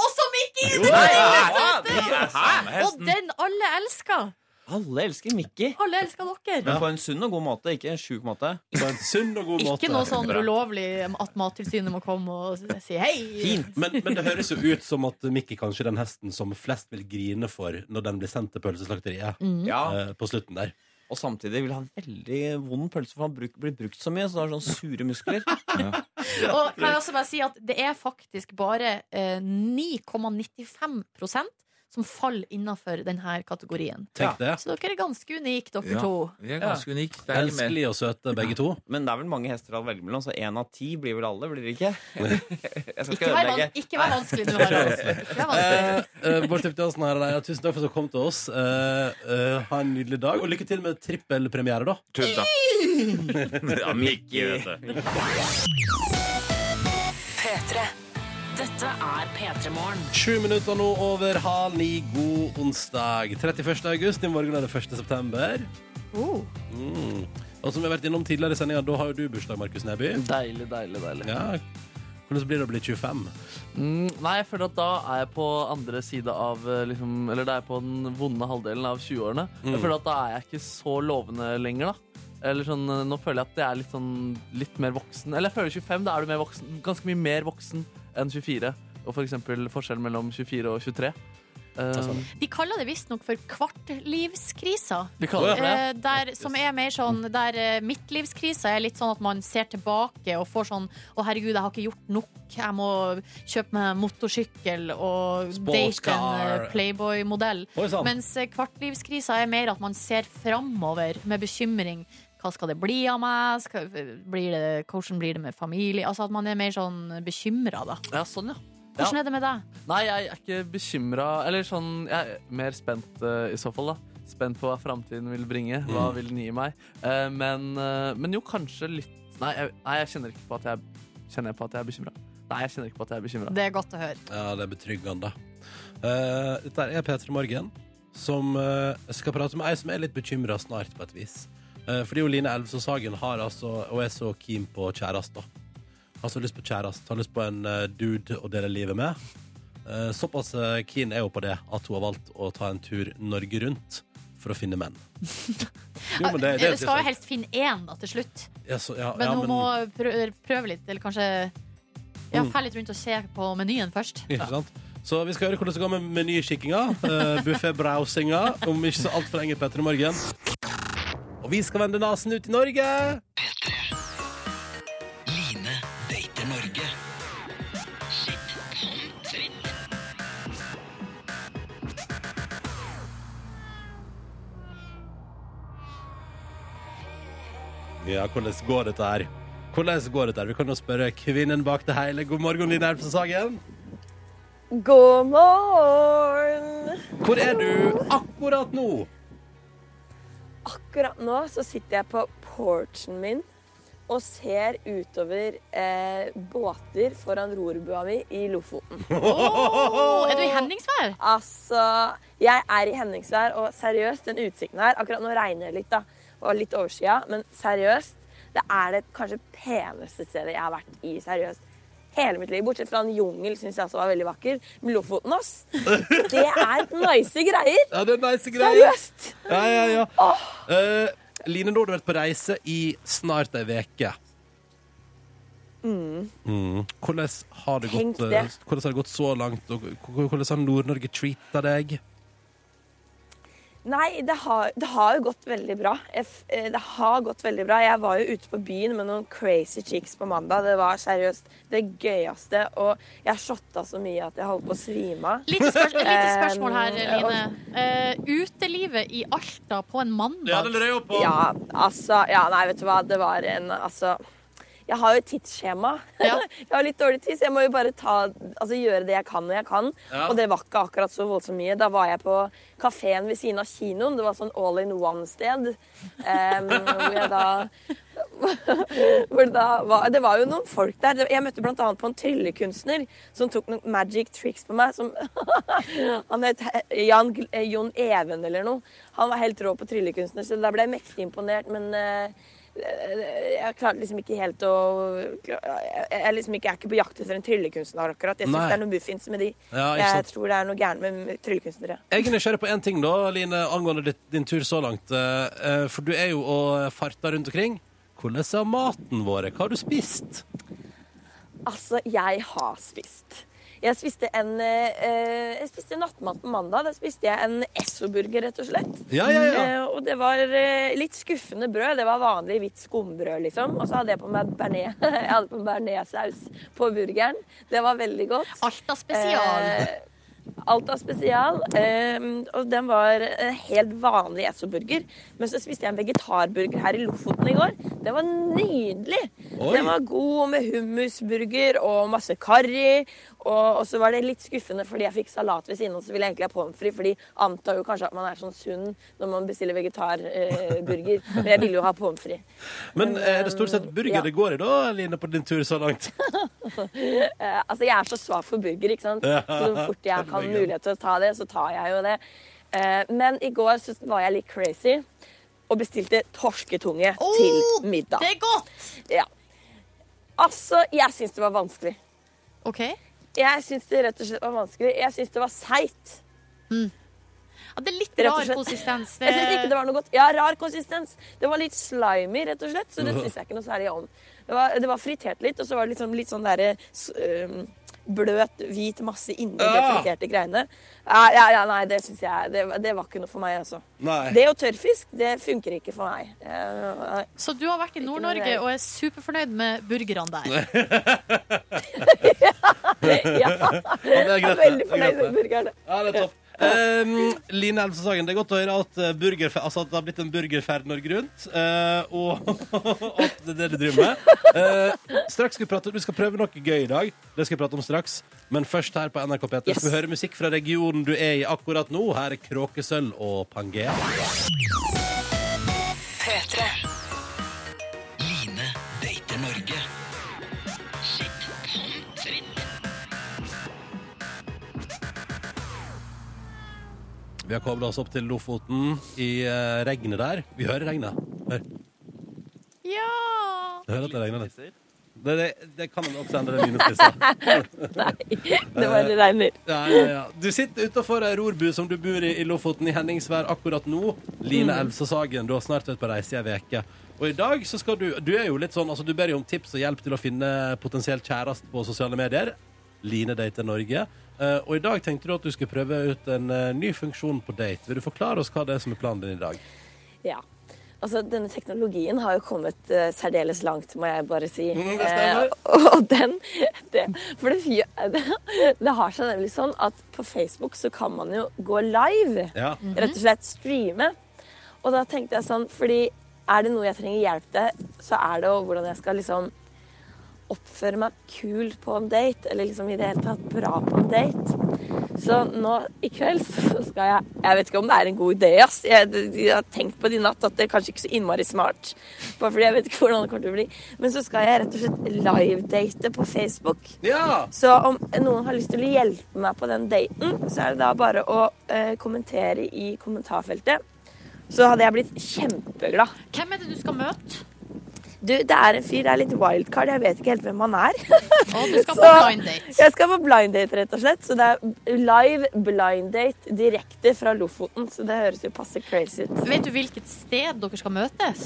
også Mickey!
Jo,
Du
nei,
er
nei,
ikke
nei,
sant,
det
det?
er samme
Og
hesten.
den alle elsker!
Alle elsker Mickey.
Alle elsker dere.
Men på en sunn og god måte, ikke en sjuk måte.
På en sunn og god
Ikke noe sånn ulovlig at Mattilsynet må komme og si hei.
Men, men det høres jo ut som at Mickey kanskje er den hesten som flest vil grine for når den blir sendt til pølseslakteriet
Mm.
Ja.
eh, på slutten der.
Og samtidig vil han veldig vond pølse, for han bruk, blir brukt så mye, så da har han sånne sure muskler.
Og kan jeg også bare si at det er faktisk bare eh, 9,95 som faller innafor denne kategorien.
Tenk det.
Så dere er ganske unike, dere
Ja.
to.
Vi er ganske
Ja.
unike. Det er ikke mer.
Elskelig og søte, begge to.
Men det er vel mange hester å velge mellom, så én av ti blir vel alle, blir det ikke? Jeg skal
Ikke vær, van ikke vær vanskelig nå, Harald. Ikke vær vanskelig.
Eh, eh, Bård Tufte Hansen her, og deg, og tusen takk for at du kom til oss. Eh, eh, ha en nydelig dag, og lykke til med trippelpremiere, da.
Tusen
takk.
Ja, Mickey, vet du.
P3. Dette er P3 Morgen.
Sju minutter nå over halv ni. God onsdag. 31. august. I morgen er det 1. september.
Oh.
Mm. Og som vi har vært innom tidligere i sendinga, da har jo du bursdag, Markus Neby.
Deilig, deilig, deilig.
Ja. Hvordan blir det å bli 25?
Mm, nei, jeg føler at da er jeg på andre side av eh, liksom, Eller da er jeg på den vonde halvdelen av 20-årene.
Mm.
Jeg føler at da er jeg ikke så lovende lenger, da. Eller sånn, eh, Nå føler jeg at jeg er litt, sånn, litt mer voksen. Eller jeg føler 25, da er du mer voksen, ganske mye mer voksen enn 24. Og for eksempel forskjellen mellom 24 og 23. Um,
De kaller det visstnok for kvartlivskrisa.
De kaller det Mm. for det?
Eh, Der, som er mer sånn Der eh, midtlivskrisa er litt sånn at man ser tilbake og får sånn Å, herregud, jeg har ikke gjort nok. Jeg må kjøpe meg motorsykkel og date en eh,
Sportscar.
Playboy-modell.
Oi, sann.
Mens eh, kvartlivskrisa er mer at man ser framover med bekymring. Hva skal det bli av meg? Skal, blir det, hvordan blir det med familie? Altså at man er mer sånn bekymra, da.
ja, sånn, ja.
Hvordan er det med deg?
Nei, jeg er ikke bekymra. Eller sånn Jeg er mer spent eh, i så fall, da. Spent på hva framtiden vil bringe. Hva
Mm.
vil den gi meg? Eh, men, eh, men jo, kanskje litt Nei, jeg, nei, jeg kjenner ikke på at jeg Kjenner jeg på at jeg er bekymra. Nei, jeg kjenner ikke på at jeg er bekymra.
Det er godt å høre.
Ja, det er betryggende. Eh, dette er P3 Morgen, som eh, skal prate med ei som er litt bekymra snart, på et vis. Eh, fordi jo Line Elvsås Hagen har altså, og er så keen på kjæreste. Har så lyst på kjæreste, har lyst på en eh, dude å dele livet med. Eh, såpass eh, keen er hun på det at hun har valgt å ta en tur Norge rundt for å finne menn. Jo, men det- det-
Du skal jo helst finne én da, til slutt.
Ja, så- ja,
Men
ja,
hun må prø- prøve litt, eller kanskje ja,
Mm.
fære litt rundt og se på menyen først.
Ikke sant? Så vi skal høre hvordan det går med menykikkinga, uh, buffé-browsinga, om ikke så altfor lenge på etter i morgen. Og vi skal vende nesen ut i Norge!
Line dater Norge. Shit, sånn dritt.
Ja, hvordan går dette her? Hvordan går dette her? Vi kan jo spørre kvinnen bak det hele. God morgen, Line Elvsås Hagen.
God morgen!
Hvor er du akkurat nå?
Akkurat nå så sitter jeg på porchen min og ser utover eh, båter foran rorbua mi i Lofoten.
Åh, Oh, er du i Henningsvær?
Altså, jeg er i Henningsvær, og seriøst, den utsikten her Akkurat nå regner det litt, da, og litt overskya, men seriøst, det er det kanskje peneste stedet jeg har vært i seriøst hele mitt liv. Bortsett fra en jungel, syns jeg også var veldig vakker. Men Lofoten, ass! Det er nice greier!
Ja, det er nice greier.
Seriøst!
Ja, ja, ja. Eh, Line, nå har du vært på reise i snart ei uke.
Mm.
Mm. Hvordan, har det
Tenk
gått, eh,
det.
hvordan har det gått så langt, og hvordan har Nord-Norge treata deg?
Nei, det har, det har jo gått veldig bra. Jeg, f- eh, det har gått veldig bra. Jeg var jo ute på byen med noen crazy chicks på mandag. Det var seriøst det gøyeste. Og jeg shotta så mye at jeg holdt på å svime av.
Lite spørs- lite spørsmål her,
Eh, og-
Line. Eh, utelivet i Alta på en mandag
Ja, altså Ja, nei, vet du hva. Det var en Altså. Jeg har jo et tidsskjema. jeg har litt dårlig tid, så jeg må jo bare ta, altså, gjøre det jeg kan når jeg kan.
Ja.
Og det var ikke akkurat så voldsomt mye. Da var jeg på kafeen ved siden av kinoen. Det var sånn all in one-sted. em, hvor jeg da hvor da var, det var jo noen folk der. Jeg møtte blant annet på en tryllekunstner som tok noen magic tricks på meg. Som, han het He- Jan, Gl- eh, Jon Even eller noe. Han var helt rå på tryllekunstner, så da ble jeg mektig imponert. Men eh, eh, jeg klarte liksom ikke helt å Jeg, jeg, liksom ikke, jeg er ikke på jakt etter en tryllekunstner akkurat. Jeg
Nei.
syns det er noe muffins med de.
Ja, ikke
jeg
sant.
tror det er noe gærent med tryllekunstnere.
Jeg er nysgjerrig på én ting, da, Line, angående ditt, din tur så langt. Eh, eh, For du er jo og farter rundt omkring. Hvordan er maten vår? Hva har du spist?
Altså, jeg har spist. Jeg spiste en, eh, jeg spiste nattmat på mandag. Da spiste jeg en Esso-burger, rett og slett.
Ja, ja, ja.
Eh, og det var eh, litt skuffende brød. Det var vanlig hvitt skumbrød, liksom. Og så hadde jeg på meg bearnés. Jeg hadde på bearnéssaus på burgeren. Det var veldig godt. Eh,
Alta spesial.
Alta spesial. Eh, og den var en helt vanlig Esso-burger. Men så spiste jeg en vegetarburger her i Lofoten i går. Den var nydelig.
Oi.
Den var god og med hummusburger og masse karri. Og, og så var det litt skuffende fordi jeg fikk salat ved siden av, så ville jeg egentlig ha pommes frites. For de antar jo kanskje at man er sånn sunn når man bestiller vegetarburger. Eh, burger. Men jeg ville jo ha pommes frites.
Men eh, er det stort sett burger
ja.
det går i, da, Line, på din tur så langt?
Eh, altså, jeg er så svak for burger, ikke sant?
Ja.
Så fort jeg kan mulighet til å ta det, så tar jeg jo det. Eh, men i går så var jeg litt crazy og bestilte torsketunge til middag.
det er godt!
Ja. Altså, jeg syns det var vanskelig.
OK?
Jeg syns det rett og slett var vanskelig. Jeg syns det var seigt.
Mm. Ja, det er litt
Rett og
rar
slett.
konsistens. eh.
Jeg synes ikke det var noe godt. Ja, rar konsistens. Det var litt slimy, rett og slett, så det syns jeg ikke noe særlig om. Det var, det var fritert litt, og så var det liksom litt sånn derre s- øhm, bløt, hvit masse inni de
Ah!
friterte greiene. Ja, ja, ja, nei, det syns jeg det, var- det var ikke noe for meg, altså.
Nei.
Det og tørrfisk, det funker ikke for meg. Eh, nei.
Så du har vært i Nord-Norge og er superfornøyd med burgerne der.
ja. men det er greit,
Jeg
det. Det er
er veldig
greit,
fornøyd med
det.
burgeren.
Ja, det er topp. Ehm, Line Elvsåshagen, det er godt å høre at, eh, burger, altså at det har blitt en burgerferd Norge rundt. eh, og at det er det du driver med. Eh, straks skal vi prate, Du skal prøve noe gøy i dag. Det skal vi prate om straks. Men først her på NRK P3 skal vi høre musikk fra regionen du er i akkurat nå. Her er Kråkesølv og Pangea.
P3. Line dater Norge. Sitt håndtrinn.
Vi har kobla oss opp til Lofoten i eh, regnet der. Vi hører regnet. Hør.
Ja!
Jeg hører at det regner litt. Det, det, det kan en også endre lynespisser.
Nei, det bare regner.
Eh, Ja, ja, ja. Du sitter utafor ei rorbu som du bor i i Lofoten, i Henningsvær akkurat nå. Line
Mm.
Elvsås Hagen, du har snart vært på reise i ei uke. Og i dag så skal du Du er jo litt sånn, altså du ber jo om tips og hjelp til å finne potensielt kjæreste på sosiale medier. Line dater Norge. Eh, og i dag tenkte du at du skulle prøve ut en eh, ny funksjon på date. Vil du forklare oss hva det er som er planen din i dag?
Ja. Altså, denne teknologien har jo kommet eh, særdeles langt, må jeg bare si.
Mm, det stemmer.
Eh, og den det, For det, fy- det, det har seg nemlig sånn at på Facebook så kan man jo gå live.
Ja. Mhm.
Rett og slett streame. Og da tenkte jeg sånn, fordi er det noe jeg trenger hjelp til, så er det jo hvordan jeg skal liksom oppføre meg kult på en date, eller liksom i det hele tatt bra på en date. Så nå i kveld så skal jeg Jeg vet ikke om det er en god idé, ass. Jeg, jeg har tenkt på det i natt at det er kanskje ikke så innmari smart. Bare fordi jeg vet ikke hvordan det kommer til å bli. Men så skal jeg rett og slett livedate på Facebook. Så om noen har lyst til å hjelpe meg på den daten, så er det da bare å eh, kommentere i kommentarfeltet. Så hadde jeg blitt kjempeglad.
Hvem er det du skal møte?
Du, det er en fyr, det er litt wildcard, jeg vet ikke helt hvem han er.
du skal på
Så-
blind date.
Jeg skal på blind date, rett og slett. Så det er live blind date direkte fra Lofoten, så det høres jo passe crazy ut.
Vet du hvilket sted dere skal møtes?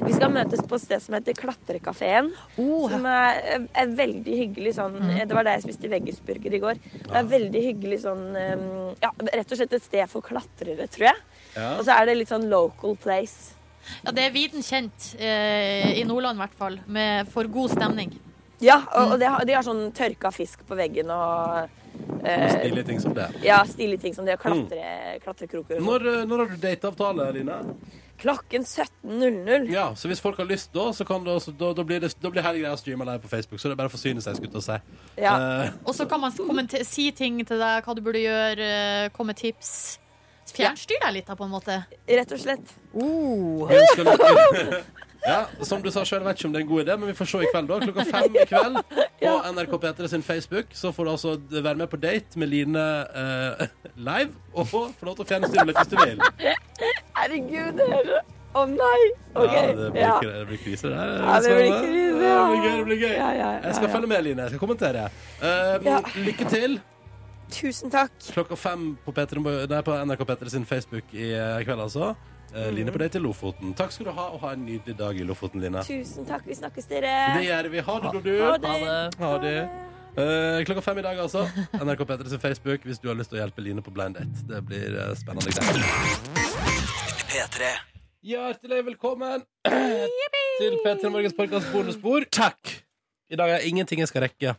Vi skal møtes på et sted som heter Klatrekafeen. Som er, eh, er veldig hyggelig sånn
Mm.
Det var der jeg spiste veggisburger i går. Det er veldig hyggelig sånn eh, Ja, rett og slett et sted for klatrere, tror jeg.
Ja.
Og så er det litt sånn local place.
Ja, det er viden kjent, eh, i Nordland i hvert fall, med, for god stemning.
Ja, og, og
Mm.
de, har, de har sånn tørka fisk på veggen og eh,
Stilige ting Mm. som det.
Ja, stilige ting som det å klatre, klatrekroker og sånn.
Når, eh, når har du dateavtale, Line?
Klokken 17.00.
Ja, så hvis folk har lyst da, så kan det også, da, da blir, det, da blir hele greia streama live på Facebook. Så det er bare å forsyne seg, skulle jeg til å si. Eh,
Og så kan man kommente- si ting til deg, hva du burde gjøre, eh, komme med tips. Fjernstyr deg litt, da, på en måte.
Rett og slett.
Oh.
men skal- ja, som du sa sjøl, vet ikke om det er en god idé, men vi får se i kveld, da. Klokka fem i kveld på NRK P3 sin Facebook. Så får du altså være med på date med Line eh, live, og få lov til å fjernstyre litt hvis du vil.
Herregud, det er så- Å nei! OK.
Ja, det blir,
Ja.
kri- det blir krise, det her.
Ja, det blir
Svane. Ja,
krise,
det
ja.
blir gøy. det blir gøy.
Ja, ja, ja,
jeg skal
ja.
følge med, Line. Jeg skal kommentere. Eh,
Ja.
Lykke til.
Tusen takk.
Klokka fem på, Peter, nei, på NRK P3 sin Facebook i eh, kveld, altså.
Mm.
Eh, Line på date til Lofoten. Takk skal du ha, og ha en nydelig dag i Lofoten, Line.
Tusen takk. Vi snakkes, dere.
Det gjør vi. Ha det, Dodu.
Ha det.
Ha det. Eh, klokka fem i dag, altså. NRK P3 sin Facebook hvis du har lyst til å hjelpe Line på blind date. Det blir eh, spennende greier.
P3.
Hjertelig velkommen til P3 Morgens podkast bonusbord. Takk! I dag er ingenting jeg skal rekke.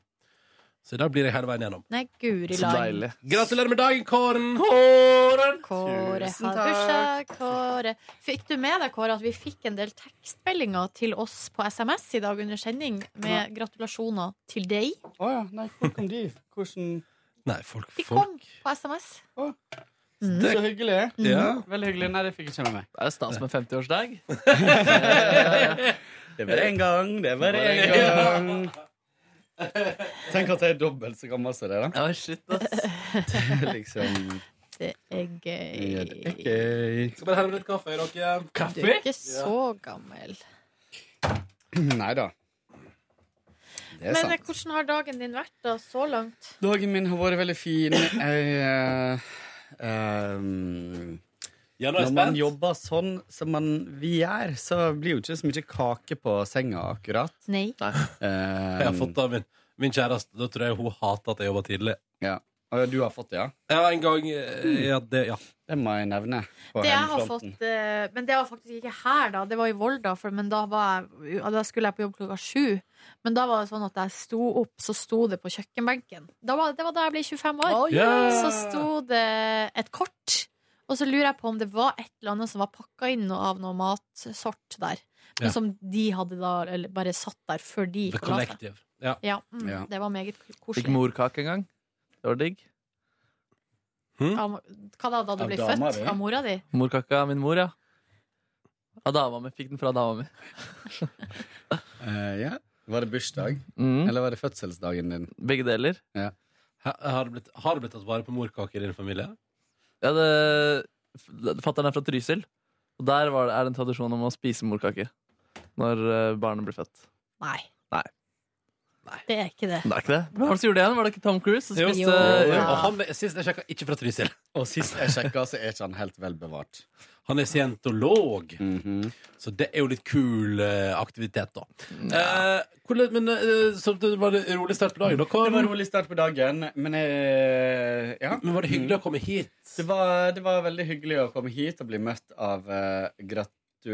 Så i dag blir jeg hele veien gjennom.
Nei, guri land.
Gratulerer med dagen, Kåren!
Kåre
Tusen
har bursdag, Kåre. Fikk du med deg, Kåre, at vi fikk en del tekstmeldinger til oss på SMS i dag under sending med gratulasjoner til deg?
Å ja. Nei, hvor kom de? Hvordan
Nei, folk,
De kom på SMS. Mm.
Så hyggelig.
Ja.
Veldig hyggelig. Nei, det fikk jeg ikke med meg.
Det er stas med 50-årsdag.
Det var en gang, det var en gang. Tenk at jeg er dobbelt så gammel som deg, da.
Ja, shit, ass.
Det er liksom
Det er
ja,
gøy.
det er gøy.
Skal bare helle litt kaffe i dere.
Du er ikke så gammel.
Nei da. Det er
Men eh,
sant.
hvordan har dagen din vært da, så langt?
Dagen min har vært veldig fin. Jeg eh, ehm,
nå er jeg
Når man
spent.
jobber sånn som man, vi gjør, så blir jo ikke så mye kake på senga akkurat. Eh,
Nei.
Jeg har fått av min, min kjæreste. Da tror jeg hun hater at jeg jobber tidlig.
Ja. Og du har fått det, ja?
Ja, en gang eh, ja, det, ja.
Det må jeg nevne. på
Det jeg har fått,
hjemmefronten.
eh, men det var faktisk ikke her, da. Det var i Volda, for, men da, var jeg, ja, da skulle jeg på jobb klokka sju. Men da var det sånn at da jeg sto opp, så sto det på kjøkkenbenken. Da var, det var da jeg ble 25 år.
yeah.
Så sto det et kort, og så lurer jeg på om det var et eller annet som var pakka inn noe av noe matsort der. Men
Ja.
som de hadde da eller bare satt der før de
The
forlot seg.
collective. Ja.
Ja, mm,
Ja.
Det var meget
Fikk
koselig.
morkake en gang. Det var digg.
Hm?
Av- Hva da, da du
Av
ble
dama di?
født? Av mora di?
Morkaka av min mor, ja. Av dama mi. Fikk den fra dama mi.
Eh, ja. Var det bursdag? Eller var det fødselsdagen din?
Mm. Begge deler.
Ja.
Ha- Har det, blitt, har det blitt tatt vare på morkaker i din familie?
Ja, det Fatter'n er fra Trysil, og der var det, er det en tradisjon om å spise morkake når eh, barnet blir født.
Nei.
Nei.
Det er ikke det.
Det er ikke det. Hvem var det som gjorde det igjen? Var det ikke Tom Cruise? som
Jo.
spiste-
Jo.
Ja.
Og han, sist jeg sjekka, ikke fra Trysil.
Og sist jeg sjekka, så er ikke han helt velbevart.
Han er scientolog, så det er jo litt kul eh, aktivitet, da. Eh, hvordan, men eh, så det var en rolig start på dagen? Da. Hva-
Det var en rolig start på dagen, men eh, ja.
Men var det hyggelig å komme hit?
Det var, det var veldig hyggelig å komme hit og bli møtt av eh,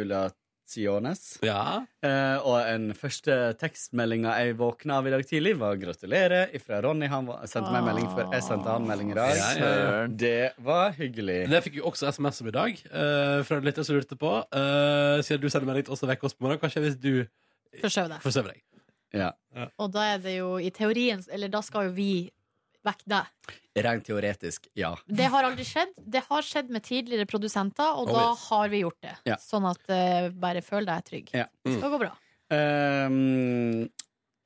gratulasjones.
Ja.
Eh, og den første tekstmeldinga jeg våkna av i dag tidlig, var 'gratulerer' fra Ronny. Han var, sendte meg melding før jeg sendte han melding i dag.
Ja, ja, ja.
Det var hyggelig.
Det fikk vi også SMS om i dag, eh, fra en lytter som lurte på. eh, siden du sender melding til oss og vekker oss på morgenen, hva skjer hvis du
Forsøv deg.
forsøver deg?
Ja.
Og da er det jo i teorien Eller da skal jo vi vekke deg.
Rent teoretisk, ja.
Det har aldri skjedd. Det har skjedd med tidligere produsenter, og
Oh,
da
yes.
har vi gjort det.
Ja. Mm.
Sånn at eh, bare føl deg trygg.
Ja.
Det skal gå bra.
Ehm,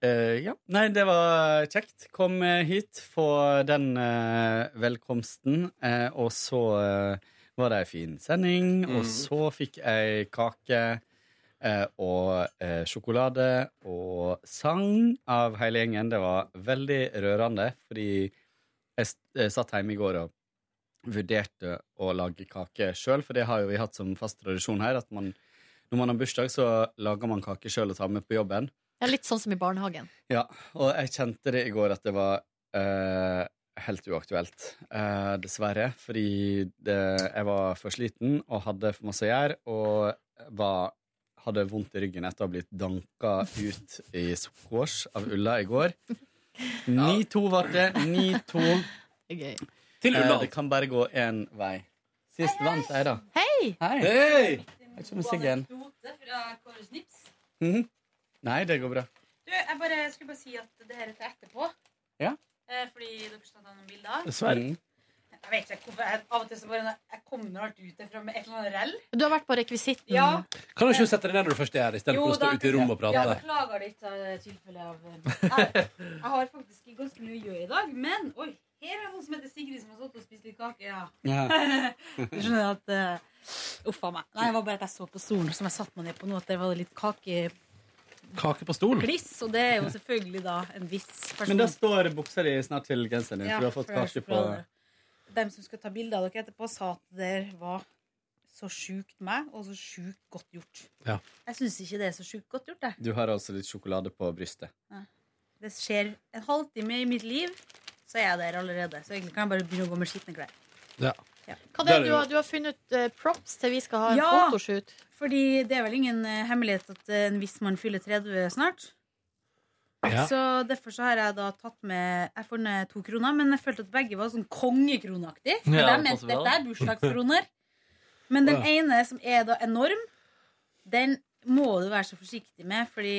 eh, ja. Nei, det var kjekt. Kom eh, hit, få den eh, velkomsten. eh, og så eh, var det ei fin sending,
Mm.
og så fikk jeg kake. eh, og eh, sjokolade og sang av hele gjengen. Det var veldig rørende, fordi jeg, s- jeg satt hjemme i går og vurderte å lage kake sjøl, for det har jo vi hatt som fast tradisjon her, at man Når man har bursdag, så lager man kake sjøl og tar med på jobben.
Ja, litt sånn som i barnehagen.
Ja, og jeg kjente det i går at det var eh, helt uaktuelt, eh, dessverre. Fordi det, jeg var for sliten og hadde for masse å gjøre, og var, hadde vondt i ryggen etter å ha blitt danka ut i squash av Ulla i går. 9-2 ble det. 9-2.
Det er gøy.
Til Ulla.
Eh, det kan bare gå én vei. Sist vant jeg, da.
Hei!
Hei! Hei! Jeg kommer sikkert igjen. Mhm. Nei, det går bra.
Du, jeg bare, jeg skulle bare si at det her er til etterpå.
Ja.
Eh, fordi dere skal ta noen bilder.
Mm.
Jeg vet ikke hvorfor. Jeg, av og til så bare Jeg kommer alt ut derfra med et eller annet rell.
Du har vært på rekvisitten.
Ja.
Kan du ikke sette deg ned når du først er her, istedenfor å stå ute i rommet og
Ja,
prate?
beklager litt av tilfellet av eh, jeg, jeg har faktisk ganske mye å gjøre i dag, men oi, her er noen som heter Sigrid, som har stått og spist litt kake. Ja.
Ja.
Du skjønner at uh, Uff a meg. Nei, det var bare at jeg så på stolen som jeg satte meg ned på nå, at det var litt kakekliss,
Kake på stol.
og det er jo selvfølgelig da en viss person.
Men da står buksa di snart til genseren din,
Ja,
for du har fått
for jeg
kake på
forstår det. dem som skal ta bilde av dere etterpå, sa at det der var så sjukt meg, og så sjukt godt gjort.
Ja.
Jeg syns ikke det er så sjukt godt gjort, jeg.
Du har altså litt sjokolade på brystet.
Nei. Det skjer en halvtime i mitt liv, så er jeg der allerede. Så egentlig kan jeg bare begynne å gå med skitne klær.
Ja.
Hva det er, du, har, du har funnet ut eh, props til vi skal ha en
Ja.
fotoshoot.
Fordi det er vel ingen eh, hemmelighet at eh, en viss mann fyller 30 snart.
Ja.
Så derfor så har jeg da tatt med Jeg har funnet to kroner, men jeg følte at begge var sånn kongekroneaktig. For
Ja,
jeg
passer
mente
bra.
dette er bursdagskroner. Men den
Å, ja.
ene, som er da enorm, den må du være så forsiktig med, fordi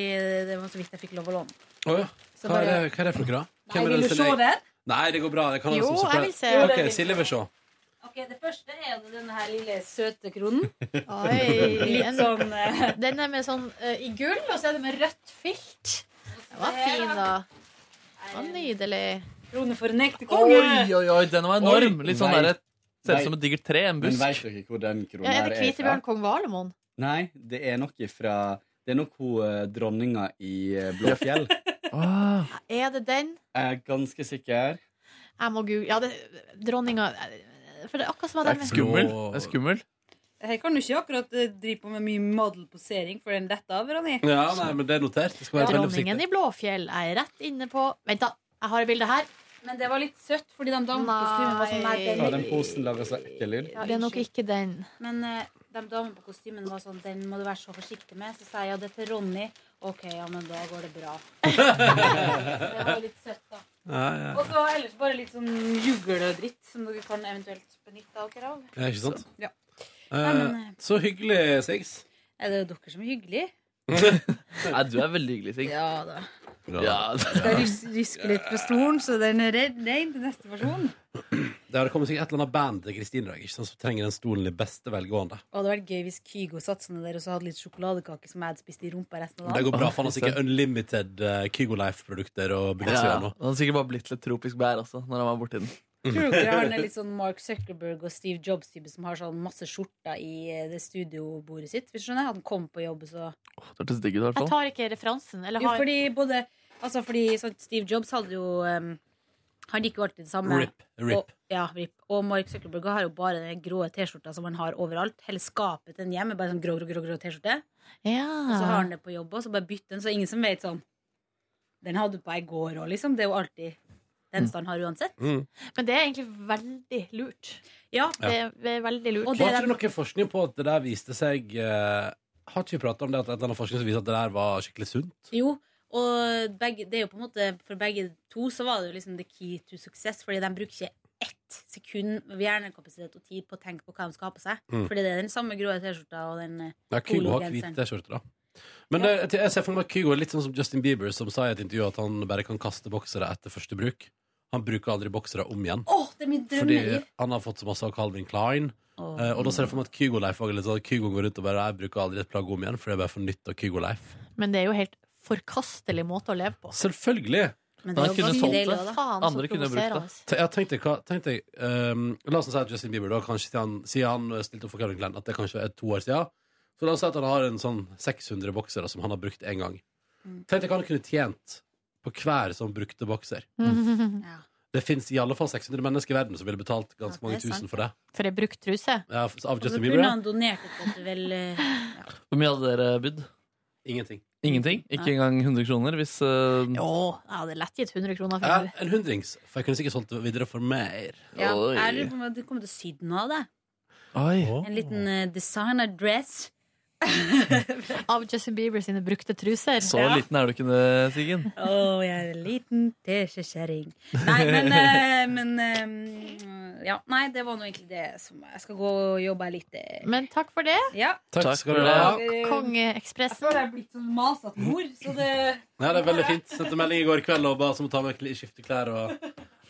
det var så vidt jeg fikk lov å låne.
Å ja.
Så
Hva er det,
bare-
hva er det for noe, da?
Nei, vil du se den?
Nei, det går bra. Jeg kan ha det
Jo,
som
jeg vil
surprise.
se. Jo, det vil
Ok, Silje vil se.
Ok, Det første er jo denne her lille søte kronen.
Oi,
Litt sånn eh,
Den er med sånn eh, i gull, og så er det med rødt filt. Den var fin, da. Den var nydelig.
Krone for en ekte
Oi, oi, oi, den var enorm!
Oi,
Litt sånn
nei.
der, Ser
Nei.
ut som et digert tre, en
Men
busk.
vet dere hvor den kronen
Ja, er det
her
Kvitebjørn kong Valemon?
Nei, det er nok ifra Det er nok hun eh, dronninga i eh, Blåfjell.
Ah.
Er det den?
Jeg er ganske sikker.
Jeg må google Ja, det, dronninga For det er akkurat som at den
Det er skummel.
Her kan du ikke akkurat eh, drive på med mye modelposering, for den detter av, Ronny.
Ja, nei, men det er notert. Det skal være veldig
Dronningen
forsiktig.
i Blåfjell er rett inne på Vent, da. Jeg har et bilde her.
Men det var litt søtt, fordi de
Nei.
damekostymen var sånn
Ja,
nei,
den
den-
posen lager så ekkel lyd.
Det er nok ikke den.
Men eh, de damene på kostymen var sånn Den må du være så forsiktig med. Så sa jeg ja, det er til Ronny. OK, ja, men da går det bra. det var litt søtt, da.
Ja, ja.
Og så ellers bare litt sånn jugledritt som dere kan eventuelt benytte dere av.
Ja, ikke sant?
Så, ja.
Eh,
men, eh,
så hyggelig, Sigs.
Er det dere som er hyggelige?
Nei, du er veldig hyggelig, Sig.
Ja da.
Ja,
Skal rys ryske litt på stolen, så den er redd nei, til neste person.
Det hadde kommet sikkert et eller annet band til Kristine i dag, ikke sant, som trenger den stolen i beste velgående.
Og det hadde vært gøy hvis Kygo satt sånn der og så hadde litt sjokoladekake som jeg hadde spist i rumpa resten av dagen.
Det går bra, for han altså, har sikkert unlimited eh, Kygo Life-produkter og benytter seg
Ja,
av nå.
han har sikkert bare blitt litt tropisk bær også, når han var borti den.
Tror dere han er litt sånn Mark Zuckerberg og Steve Jobs-type som har sånn masse skjorter i eh, det studiobordet sitt? Hvis du skjønner? Han kom på jobb, så
Det hørtes digg ut, i hvert
Jeg
fall.
tar ikke referansen. Eller
Jo,
har
fordi både Altså, fordi sånn, Steve Jobs hadde jo em, Han gikk jo alltid det samme.
Rip, rip.
Og, ja, rip. Og Mark Zuckerberg har jo bare den grå T-skjorta som han har overalt. Hele skapet til en hjem er bare sånn grå, grå, grå, grå T-skjorte. Og så har han det på jobb også, så bare bytt den, så ingen som vet sånn Den hadde du på i går òg, liksom. Det er jo alltid
Mm.
den stand har uansett.
Men det er egentlig veldig lurt.
Ja.
Det er, det er veldig lurt.
Var ikke det noe forskning på at det der viste seg eh, Har ikke vi prata om det at et eller annet forskning som viser at det der var skikkelig sunt?
Jo, og begge, det er jo på en måte For begge to så var det jo liksom the key to success, fordi de bruker ikke ett sekund av hjernekapasitet og tid på å tenke på hva de skal ha på seg.
Mm.
Fordi det er den samme grå T-skjorta og den eh,
Ja, Kygo har hvit
pologenseren.
T-skjorte, da. Men eh, til- jeg ser for meg at Kygo er litt sånn som Justin Bieber, som sa i et intervju at han bare kan kaste boksere etter første bruk. Han bruker aldri boksere om igjen.
Åh, det er mitt
Fordi
drømmeliv!
han har fått så masse av Calvin Klein.
Åh.
Eh, og da ser jeg for meg at Kygo Leif også er litt sånn at Kygo går rundt og bare Jeg bruker aldri et plagg om igjen, for det er bare for nytt av Kygo Leif.
Men det er jo helt forkastelig måte å leve på.
Selvfølgelig!
Men det er jo Han kunne ganske solgt det. deilig, da. Faen, så Andre kunne brukt det. provoserende.
Te- Ja, tenk deg, hva- tenk deg ehm, La oss nå si at Justin Bieber, da, kanskje til han, siden han stilte opp for Calvin Klein, at det kanskje er to år siden. Så la oss si at han har en sånn 600 boksere som han har brukt Mm. én gang. Tenk deg hva han kunne tjent på hver som brukte bokser. Det fins i alle fall 600 mennesker i verden som ville betalt ganske mange
det er
tusen
sant.
for det.
For ei brukt truse?
Ja, f- av
Og så
Justin
kunne
Bieber.
han donert det til vel eh,
Hvor mye hadde dere bydd?
Ingenting.
Ingenting? Ikke
Nei.
engang 100 kroner? Hvis, eh,
Jo, jeg hadde lett gitt 100 kroner for
Ja,
det.
en hundrings. For jeg kunne sikkert solgt det videre for mer.
ja, Jeg lurer på om du kommer til Syden av det. En liten eh, designer dress.
Av Justin Bieber sine brukte truser.
Så liten er du ikke, Siggen.
Å, jeg er en liten teskjekjerring. Nei, men, eh, men eh, Ja, nei, det var nå egentlig det som Jeg skal gå og jobbe litt. eh.
Men takk for det.
Takk Takk skal du for ha.
det. Jeg
Kongeekspressen.
føler jeg er blitt sånn masete mor, så det
Ja, det er veldig fint. Sendte melding i går kveld og ba oss om å ta med kli- skifte klær og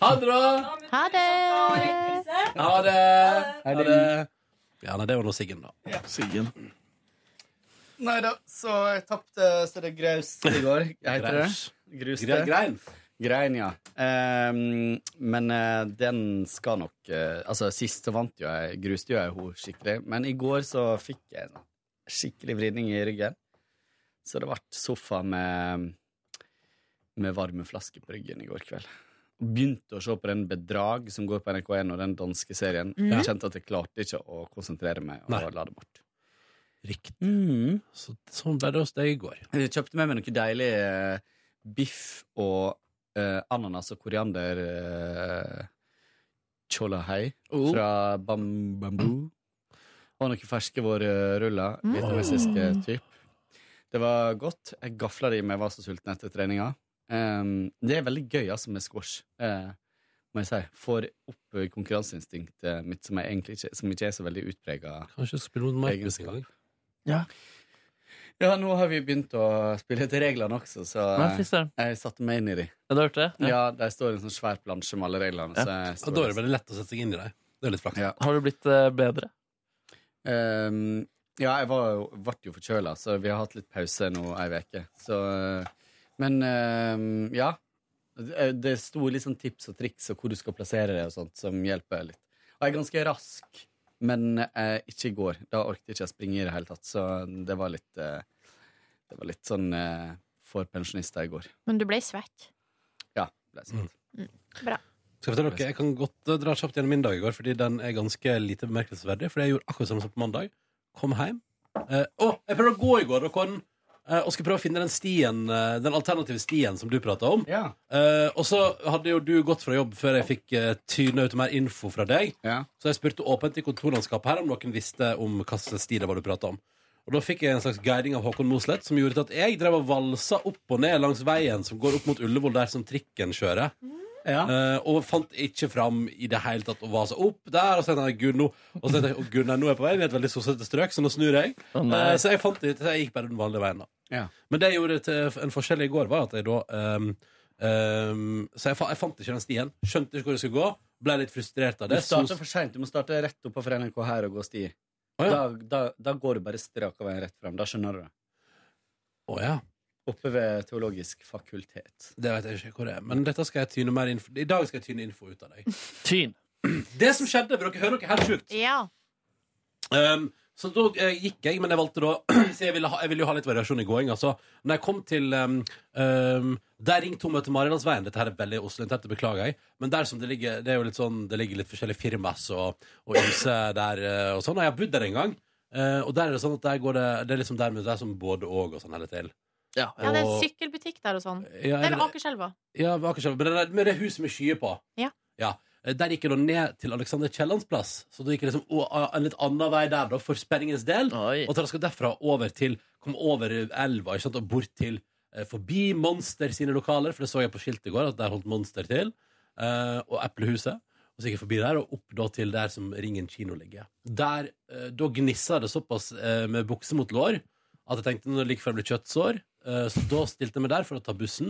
Ha det, da!
Ha det!
Ha det! Ha det! Ja, nei, det var nå Siggen, da. Siggen.
Nei da, så jeg tapte Stedet Graus i går. Heter det?
Graus.
Grus
Gre-
det.
grein. Grein, ja. Ehm, men eh, den skal nok eh, Altså, sist så vant jo jeg, gruste jo jeg henne skikkelig, men i går så fikk jeg en skikkelig vridning i ryggen. Så det ble sofa med, med varmeflaske på ryggen i går kveld. Og Begynte å se på den Bedrag som går på NRK1, og den danske serien.
Mhm.
Jeg kjente at jeg klarte ikke å konsentrere meg og
Nei.
la det bort. Mm.
Riktig.
Så,
sånn ble det hos deg i går.
Jeg kjøpte med meg noe deilig eh, biff og eh, ananas og koriander eh, cholahai
Oh.
fra bam, bamboo. Og noen ferske vårruller,
Mm.
vietnamesiske
Mm.
typ. Det var godt. Jeg gafla det i meg, jeg var så sulten etter treninga. Um, det er veldig gøy altså, med squash, eh, må jeg si. Får opp eh, konkurranseinstinktet mitt, som, jeg egentlig ikke, som ikke er så veldig utprega.
Kanskje du skal spille mot Markus en gang?
Ja, nå har vi begynt å spille etter reglene også, så eh,
Nei, fy søren.
jeg satte meg inn i de.
Ja, du hørte det?
Ja, der står en sånn svær plansje med alle reglene.
Ja.
Så
Ja,
jeg står
da er det
veldig lett å sette seg inn i dem. Det er litt flaks.
Har du blitt eh, bedre? Ehm, ja, jeg var, jo- ble jo forkjøla, så vi har hatt litt pause nå ei uke. Så eh, Men eh, ja. Det det sto litt sånn tips og triks og hvor du skal plassere det og sånt, som hjelper litt. Og jeg er ganske rask, men eh, ikke i går. Da orket jeg ikke å springe i det hele tatt, så det var litt, eh, det var litt sånn eh, for pensjonister i går.
Men du ble svett. Mm.
Ja. Ble sånn.
Mm.
Bra.
Skal jeg fortelle dere, jeg kan godt eh, dra kjapt gjennom min dag i går, fordi den er ganske lite bemerkelsesverdig. Fordi jeg gjorde akkurat samme som på mandag. Kom hjem. Eh, Å, jeg prøvde å gå i går, og, Kåren, eh, og skulle prøve å finne den stien, eh, den alternative stien som du prata om. Eh, og så hadde jo du gått fra jobb før jeg fikk eh, tyne ut mer info fra deg. Så jeg spurte åpent i kontorlandskapet her om noen visste om hvilken sti det var du prata om. Og da fikk jeg en slags guiding av Håkon Mosleth som gjorde til at jeg drev og valsa opp og ned langs veien som går opp mot Ullevål, der som trikken kjører. Eh, og fant ikke fram i det hele tatt og var så opp der. Og så tenkte jeg gud, nå, og så tenkte jeg, «Å, gud, nei, nå er jeg på vei. Vi er et veldig sosete strøk, så nå snur jeg.
Å, nei.
Eh, så jeg fant det ut. så Jeg gikk bare den vanlige veien, da.
Ja.
Men det jeg gjorde til en forskjell i går, var at jeg da ehm, ehm, Så jeg, fa jeg fant ikke den stien. Skjønte ikke hvor jeg skulle gå. Ble litt frustrert av
Du
det.
starter for seint. Du må starte rett opp på NRK her og gå stier. da, da, da går du bare strak av veien rett fram. Da skjønner du det. Oppe ved Teologisk fakultet.
Det vet jeg ikke hvor det er. Men dette skal jeg tyne mer info. i dag skal jeg tyne info ut av deg. Tyn. Det som skjedde, for dere hører dere helt sjukt.
Ja.
Um, så da eh, gikk jeg, men jeg valgte da så jeg, ville ha, jeg ville jo ha litt variasjon i gåing. Altså. Når jeg kom til um, um, Der ringte hun meg til Marienlandsveien. Dette her er veldig Oslo-internt, det beklager jeg. Men der som det ligger Det er jo litt sånn Det ligger litt forskjellige firmas og, og ymse der eh, og sånn. Og jeg har bodd der en gang. eh, og der er det sånn at der går det Det er liksom der med det er som både og og sånn hele til. Ja,
Ja, det er en sykkelbutikk der og sånn.
Ja,
det er ved
eller-
Akerselva.
Ja, ved Akerselva. Men det, der- men det huset med skyer på.
Ja.
Eh, Der gikk jeg da ned til Alexander Kiellands plass. Så det gikk jeg liksom å, a- en litt annen vei der, da, for sperringens del. Og traska derfra over til Kom over elva ikke sant? og bort til eh, Forbi Monster sine lokaler, for det så jeg på skiltet i går, at der holdt Monster til. Eh, og Eplehuset. Og så gikk jeg forbi der, og opp da til der som Ringen kino ligger. Der, eh, Da gnissa det såpass eh, med bukse mot lår at jeg tenkte nå er det like før det blir kjøttsår. Eh, så da stilte jeg meg der for å ta bussen.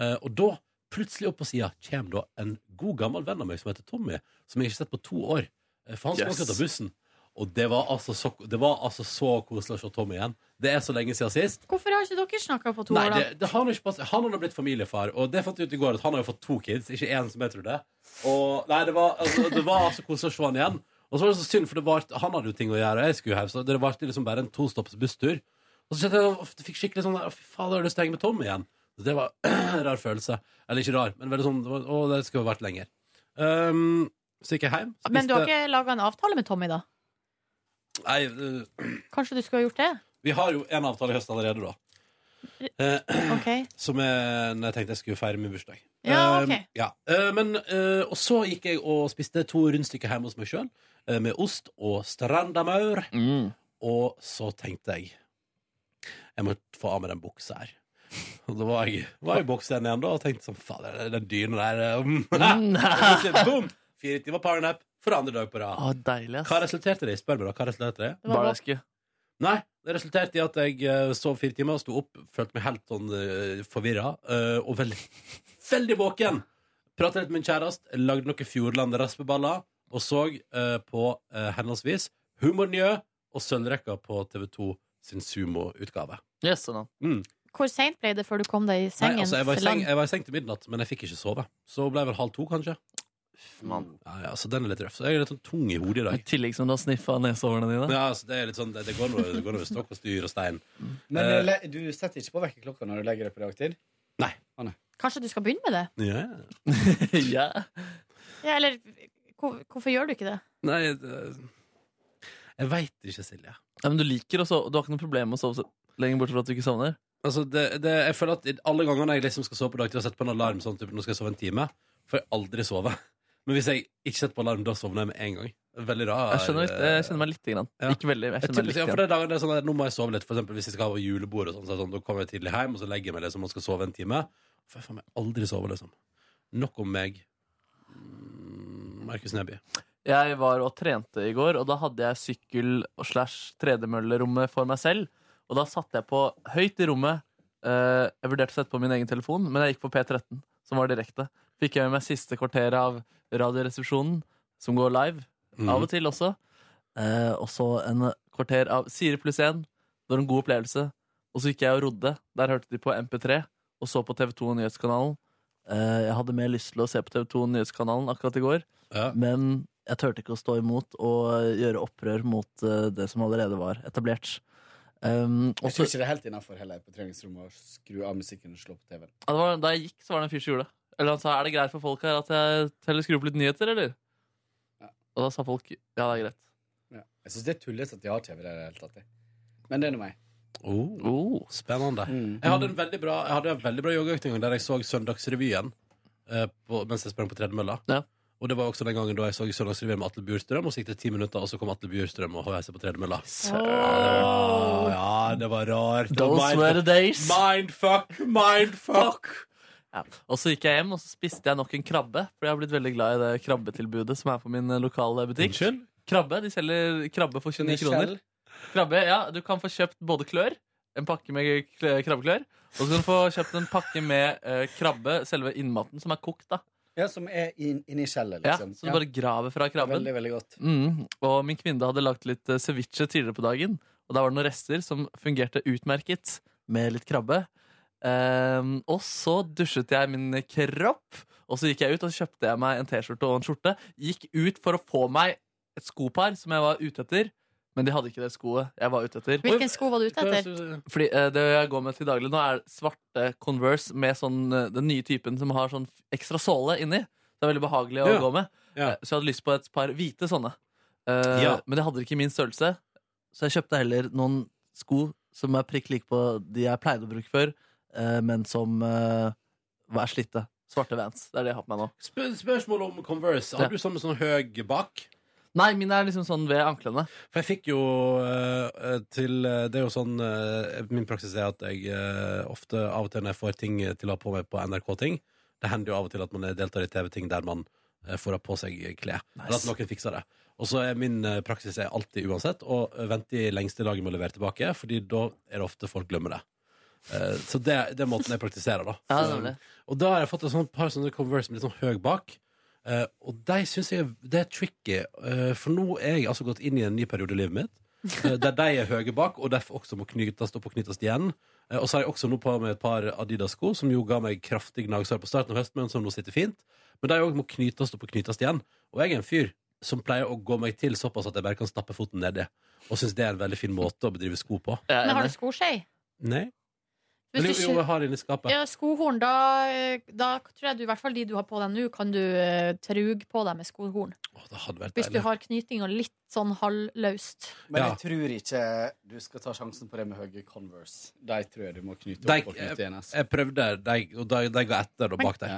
Eh, og da, plutselig opp på sida, kommer da en god gammel venn av meg som heter Tommy, som jeg ikke har sett på to år. Eh, for han skulle
Yes.
akkurat ta bussen. Og det var, altså så, det var altså så koselig å se Tommy igjen. Det er så lenge siden sist.
Hvorfor har ikke dere snakka på to
Nei,
år, da?
det, det har han ikke passet. Han har nå blitt familiefar, og det fant jeg ut i går at han har jo fått to kids, ikke én som jeg trodde. Og nei, det var, altså, det var altså koselig å se han igjen. Og så var det så synd, for det var, han hadde jo ting å gjøre, jeg skulle hjem, så det var liksom bare en tostopps busstur. Og så kjente jeg at jeg fikk skikkelig sånn der, «Å, fy faen, da har jeg lyst til å henge med Tom igjen. Så det var en rar følelse. Eller ikke rar, men veldig sånn det var, Å, det skulle vært lenger. Um, så gikk jeg hjem. Spiste,
Men du har ikke laga en avtale med Tommy, da?
Nei, øh,
Kanskje du skulle ha gjort det?
vi har jo en avtale i høst allerede, da. Eh,
Ok.
Som jeg, når jeg tenkte jeg skulle feire min bursdag.
Ja,
Eh,
ok.
ja. Eh, men, eh, og så gikk jeg og spiste to rundstykker hjemme hos meg sjøl, med ost og strandamaur.
Mm.
Og så tenkte jeg jeg må få av meg den buksa her. Og da var jeg, var jeg i boksen igjen da og tenkte sånn Fader, den dyna der um,
Mm.
Boom! Fire timer powernap for andre dag på rad.
Å, deilig, ass.
Hva resulterte det i? Spør meg, da. Hva resulterte det i?
Det var Barneske.
Nei. Det resulterte i at jeg eh, sov fire timer, sto opp, følte meg helt sånn uh, forvirra eh, og veldig, veldig våken. Prata litt med min kjæreste, lagde noen Fjordland-raspeballer og så eh, på eh, henholdsvis Humor Njø og Sølvrekka på TV2 sin sumo-utgave.
Yes, sånn.
Mm.
Hvor seint ble det før du kom deg i
Nei,
sengen?
altså, jeg, var i seng,
Lang-
jeg var i seng til midnatt, men jeg fikk ikke sove. Så ble jeg vel halv to, kanskje. Ja, ja, så den er litt røff. Så jeg er litt sånn tung i hodet i dag.
I tillegg som du har sniffa nesehårene dine.
Ja, så det er litt sånn Det, det går noe det går noe stokk og styr og stein.
Mm.
Men
Eh,
du le- du setter ikke på vekkerklokka når du legger deg på dagtid?
Kanskje du skal begynne med det?
ja.
ja.
Ja, eller hvor, hvorfor gjør du ikke det?
Nei, det- jeg veit ikke, Silje.
Nei, men du liker å sove. Du har ikke noe problem med å sove så lenge bortsett fra at du ikke sovner.
Altså, det, det, jeg føler at alle gangene jeg liksom skal sove på dagtid og setter på en alarm sånn typ, Nå skal jeg sove en time, får jeg aldri sove. Men hvis jeg ikke setter på alarm, da sovner jeg med en gang. Veldig rar.
Jeg skjønner, litt- jeg kjenner meg lite grann. Ikke veldig, men jeg
Jeg
kjenner meg
typisk,
lite
ja, for
grann.
det er dager det er sånn at Nå må jeg sove litt, for eksempel hvis jeg skal ha julebord. Og sånn, så er det sånn, da kommer jeg tidlig hjem og så legger jeg meg liksom, og skal sove en time. For jeg faen meg aldri sove, liksom. Nok om meg. Mm, Markus Neby.
Jeg var og trente i går, og da hadde jeg sykkel- og slash tredemøllerommet for meg selv. Og da satte jeg på høyt i rommet. Eh, jeg vurderte å sette på min egen telefon, men jeg gikk på P13, som var direkte. Fikk jeg med meg siste kvarteret av Radioresepsjonen, som går live
Mhm.
av og til også. Eh, og så en kvarter av Siri pluss 1. Det var en god opplevelse. Og så gikk jeg og rodde. Der hørte de på MP3, og så på TV2 Nyhetskanalen. Eh, Jeg hadde mer lyst til å se på TV2 Nyhetskanalen akkurat i går, men jeg turte ikke å stå imot og gjøre opprør mot eh, det som allerede var etablert. Um, og
Jeg
så-
tror ikke det er helt innafor heller på treningsrommet å skru av musikken og slå på TV-en.
Ja, det var, da jeg gikk, så var det en fyr som gjorde det. Eller han sa er det greit for folk her at jeg teller skrur opp litt nyheter, eller? Og da sa folk ja, det er greit.
Ja. Jeg syns det er tullete at de har TV der i det hele tatt. jeg. Men det er nå meg. Mm.
Oh,
Spennende. Jeg hadde en veldig bra, jeg hadde en veldig bra yogaøkning der jeg så Søndagsrevyen eh, på, mens jeg sprang på tredemølla. Og det var også den gangen da jeg så Søndagsrevyen med Atle Bjurstrøm, og så gikk det ti minutter, og så kom Atle Bjurstrøm og heisa på tredemølla. Ja, det var- ja, det var rart. Det var
Those
mindfuck.
were the days.
Mindfuck, mindfuck.
Ja. Og så gikk jeg hjem og så spiste jeg nok en krabbe, for jeg har blitt veldig glad i det krabbetilbudet som er på min eh, lokale butikk. Krabbe, De selger krabbe for 29 kroner.
Skjell?
Krabbe, ja, Du kan få kjøpt både klør, en pakke med kl- krabbeklør, og så kan du få kjøpt en pakke med eh, krabbe, selve innmaten, som er kokt. da
Ja, som er inn- inni skjellet,
Ja,
liksom.
Så du bare graver fra krabben.
Veldig, veldig godt.
Mm, og min kvinne hadde lagt litt eh, ceviche tidligere på dagen, og der var det noen rester som fungerte utmerket med litt krabbe. Ehm, og så dusjet jeg min kropp, og så gikk jeg ut og så kjøpte jeg meg en T-skjorte og en skjorte. Gikk ut for å få meg et skopar som jeg var ute etter, men de hadde ikke det skoet jeg var ute etter.
Hvilken sko var du ute etter?
Fordi eh, det jeg går med til daglig nå er svarte Converse med sånn, eh, den nye typen som har sånn ekstra såle inni. Det er veldig behagelig å
Ja.
gå med. Eh, Så jeg hadde lyst på et par hvite sånne. Eh,
Ja.
Men jeg hadde ikke min størrelse, så jeg kjøpte heller noen sko som er prikk like på de jeg pleide å bruke før, eh, men som eh, var slitte. Svarte Vans. Det er det jeg har på meg nå.
Spør- spørsmål om Converse.
Ja.
Har du sånn med sånn høy bak?
Nei, mine er liksom sånn ved anklene.
For jeg fikk jo eh, til eh, Det er jo sånn eh, Min praksis er at jeg eh, ofte av og til når jeg får ting eh, til å ha på meg på NRK-ting Det hender jo av og til at man eh, deltar i TV-ting der man eh, får ha på seg klær. Eller at noen fikser det. Og så er min eh, praksis er alltid uansett å eh, vente i lengste laget med å levere tilbake, Fordi da er det ofte folk glemmer det. Eh, så det, det er måten jeg praktiserer, da.
Ja,
Så-
nemlig.
og da har jeg fått et sånt par sånne Converse med litt sånn høy bak. Eh, og de syns jeg det er tricky, eh, for nå er jeg altså gått inn i en ny periode i livet mitt. eh, der de er høye bak, og derfor også må knytes opp og knyttes igjen. Eh, og så har jeg også nå på meg et par Adidas-sko, som jo ga meg kraftig gnagsår på starten av høsten, men som nå sitter fint. Men de òg må knytes opp og knytes igjen. Og jeg er en fyr som pleier å gå meg til såpass at jeg bare kan stappe foten nedi. Og syns det er en veldig fin måte å bedrive sko på.
Men har du skoskje?
Nei. Men jo,
Hvis du
jo,
ikke-
jeg har inni skapet.
Ja, skohorn, da, eh, da tror jeg du, i hvert fall de du har på deg nå, kan du eh, truge på deg med skohorn.
Det hadde vært
Hvis du
deilig.
har knytinga litt sånn halvløst.
Men jeg tror ikke du skal ta sjansen på det med høye Converse. De tror jeg du må knyte
De,
opp og
jeg,
knyte igjen. ass.
jeg prøvde, de, og de, de ga etter og bak deg.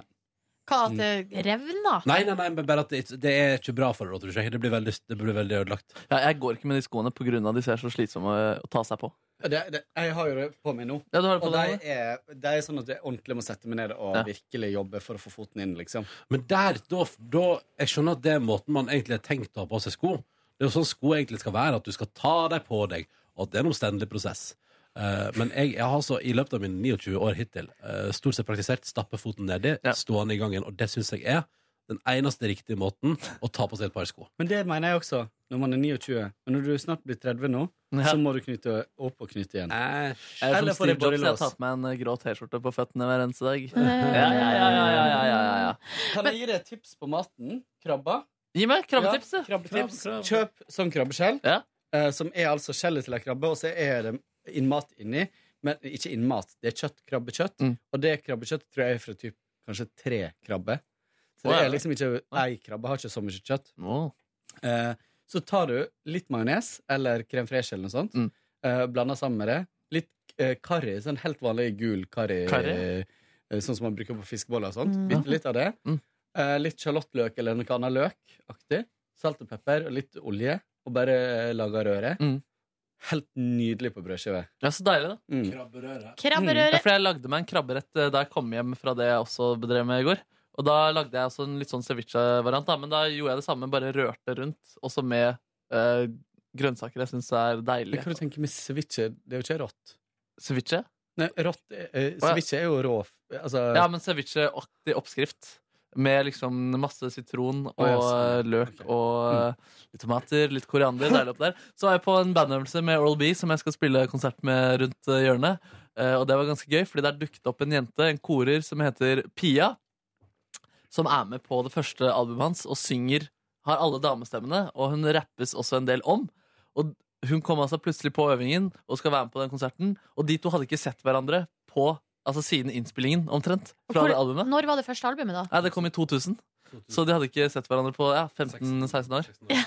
Hva,
Mm.
at det revner?
Nei, nei, nei, men bare at det, det er ikke bra for deg, da, tror jeg. Det blir veldig, det blir veldig ødelagt.
Ja, jeg går ikke med de skoene pga. de ser så slitsomme eh, å ta seg på.
Ja, eh, Det, det, jeg har jo det på meg nå.
Ja, du har det på
og
deg
de er, de er sånn at jeg ordentlig må sette meg ned og
Ja.
virkelig jobbe for å få foten inn, liksom.
Men der, da, da Jeg skjønner at det er måten man egentlig har tenkt å ha på seg sko. Det er jo sånn sko egentlig skal være, at du skal ta dem på deg, og at det er en omstendelig prosess. Eh, men jeg, jeg har så i løpet av mine 29 år hittil eh, stort sett praktisert stappe foten nedi, stående i gangen, og det syns jeg er den eneste riktige måten å ta på seg et par sko.
Men det mener jeg også, når man er 29. Men når du snart blir 30 nå,
Ja.
så må du knyte opp og knyte igjen.
Jeg er som
Eller får
Steve
jeg
Jobs, jeg har
borrelås?
tatt meg en eh, grå T-skjorte på føttene hver eneste dag. Ja, ja, ja, ja, ja, ja, ja, ja.
Kan jeg gi deg et tips på maten? Krabba?
Gi meg krabbetips,
ja, krabbetips. Kjøp sånn krabbeskjell, eh, som er altså skjellet til ei krabbe, og så er det innmat inni. Men ikke innmat, det er kjøtt, krabbekjøtt.
Mm.
Og det krabbekjøttet tror jeg er fra typ, kanskje tre krabber. Så det
Å, ja.
er liksom ikke ei krabbe, har ikke så mye kjøtt. Eh, så tar du litt majones eller crème fraîche eller noe sånt,
Mm.
eh, blander sammen med det. Litt eh, karri, sånn helt vanlig gul karri,
Karri?
eh, sånn som man bruker på fiskeboller og sånt.
Mm.
Bitte litt av det. Eh, litt sjalottløk eller noe annet løkaktig. Salt og pepper og litt olje, og bare eh, lager røre. Helt nydelig på brødskive.
Ja, så deilig, da.
Mm.
Krabberøre.
Krabberøre.
Mm. Ja, for jeg lagde meg en krabberett eh, da jeg kom hjem fra det jeg også bedrev med i går. Og da lagde jeg også en litt sånn ceviche-variant, da, men da gjorde jeg det samme, bare rørte rundt, også med eh, grønnsaker jeg syns er
Men
deilig.
hva du tenker med ceviche? Det er jo ikke rått.
Ceviche?
Nei, rått eh, eh,
Å, ja.
Ceviche er jo rå f- altså,
Ja, men ceviche-aktig oppskrift. Med liksom masse sitron og
Å, ja, Mm. sånn,
løk og eh, litt tomater, litt koriander. Deilig oppi der. Så var jeg på en bandøvelse med Oral B, som jeg skal spille konsert med rundt eh, hjørnet. Eh, Og det var ganske gøy, fordi der dukket opp en jente, en korer, som heter Pia. Som er med på det første albumet hans og synger Har alle damestemmene, og hun rappes også en del om. Og hun kom altså plutselig på øvingen og skal være med på den konserten. Og de to hadde ikke sett hverandre på Altså siden innspillingen, omtrent. Fra
Hvor-
det albumet.
Når var det første albumet, da?
Nei, det kom i 2000. Så de hadde ikke sett hverandre på ja, 15-16 år.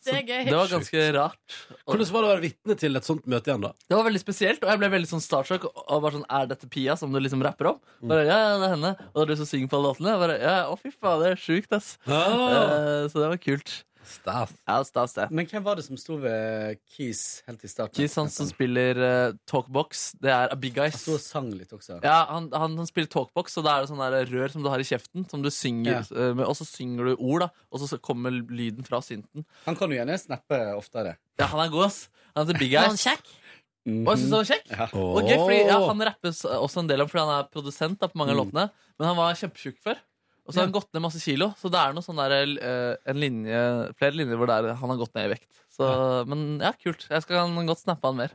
Det er gøy.
Det var ganske rart.
Hvordan var det å være vitne til et sånt møte igjen, da?
Det var veldig spesielt, og jeg ble veldig sånn starstruck. Og bare sånn, Er dette Pia som du liksom rapper om?
Mm.
Bare, ja, ja, det er henne. Og det er du som synger på alle låtene. Jeg Bare, ja, Å, fy faen, det er sjukt, ass.
Ah.
Eh, så det var kult.
Stas.
Ja, stas, det.
Men hvem var det som sto ved Keys helt i starten?
Keys, han som spiller eh, Talkbox, det er A Big Guys.
Han sto og sang litt også.
Ja, han, han, han spiller talkbox, og da er det sånn der rør som du har i kjeften, som du synger eh, med, og så synger du ord, da, og så kommer lyden fra synten.
Han kan jo gjerne snappe oftere.
Ja, han er god, ass. Han heter Big
Var
Eyes.
han kjekk?
Å, jeg synes han var kjekk?
Ja.
Og gøy, fordi, ja, han rappes også en del om, fordi han er produsent da, på mange av
Mm.
låtene, men han var kjempetjukk før. Og så har han gått ned masse kilo, så det er noe sånn der, eh, en linje, flere linjer hvor det er, han har gått ned i vekt. Så, Men ja, kult. Jeg skal godt snappe han mer.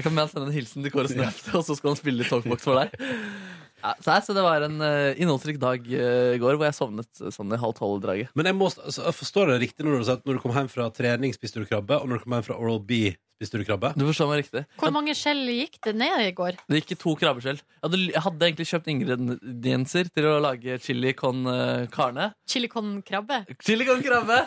Jeg kan sende en hilsen til Kåre Snøft, og så skal han spille talkbox for deg. Ja, så, her, så det var en eh, innholdsrik dag eh, i går, hvor jeg sovnet eh, sånn i halv tolv-draget.
Men jeg, må, altså, jeg forstår det riktig når du sa at når du kom hjem fra trening, spiste du krabbe, og når du kom hjem fra Oral B, spiste du krabbe?
Du forstår meg riktig.
Hvor mange skjell gikk det ned i går?
Det gikk i to krabbeskjell. Jeg hadde, jeg hadde egentlig kjøpt ingredienser til å lage chili con eh, carne.
Chili con krabbe?
Chili con krabbe!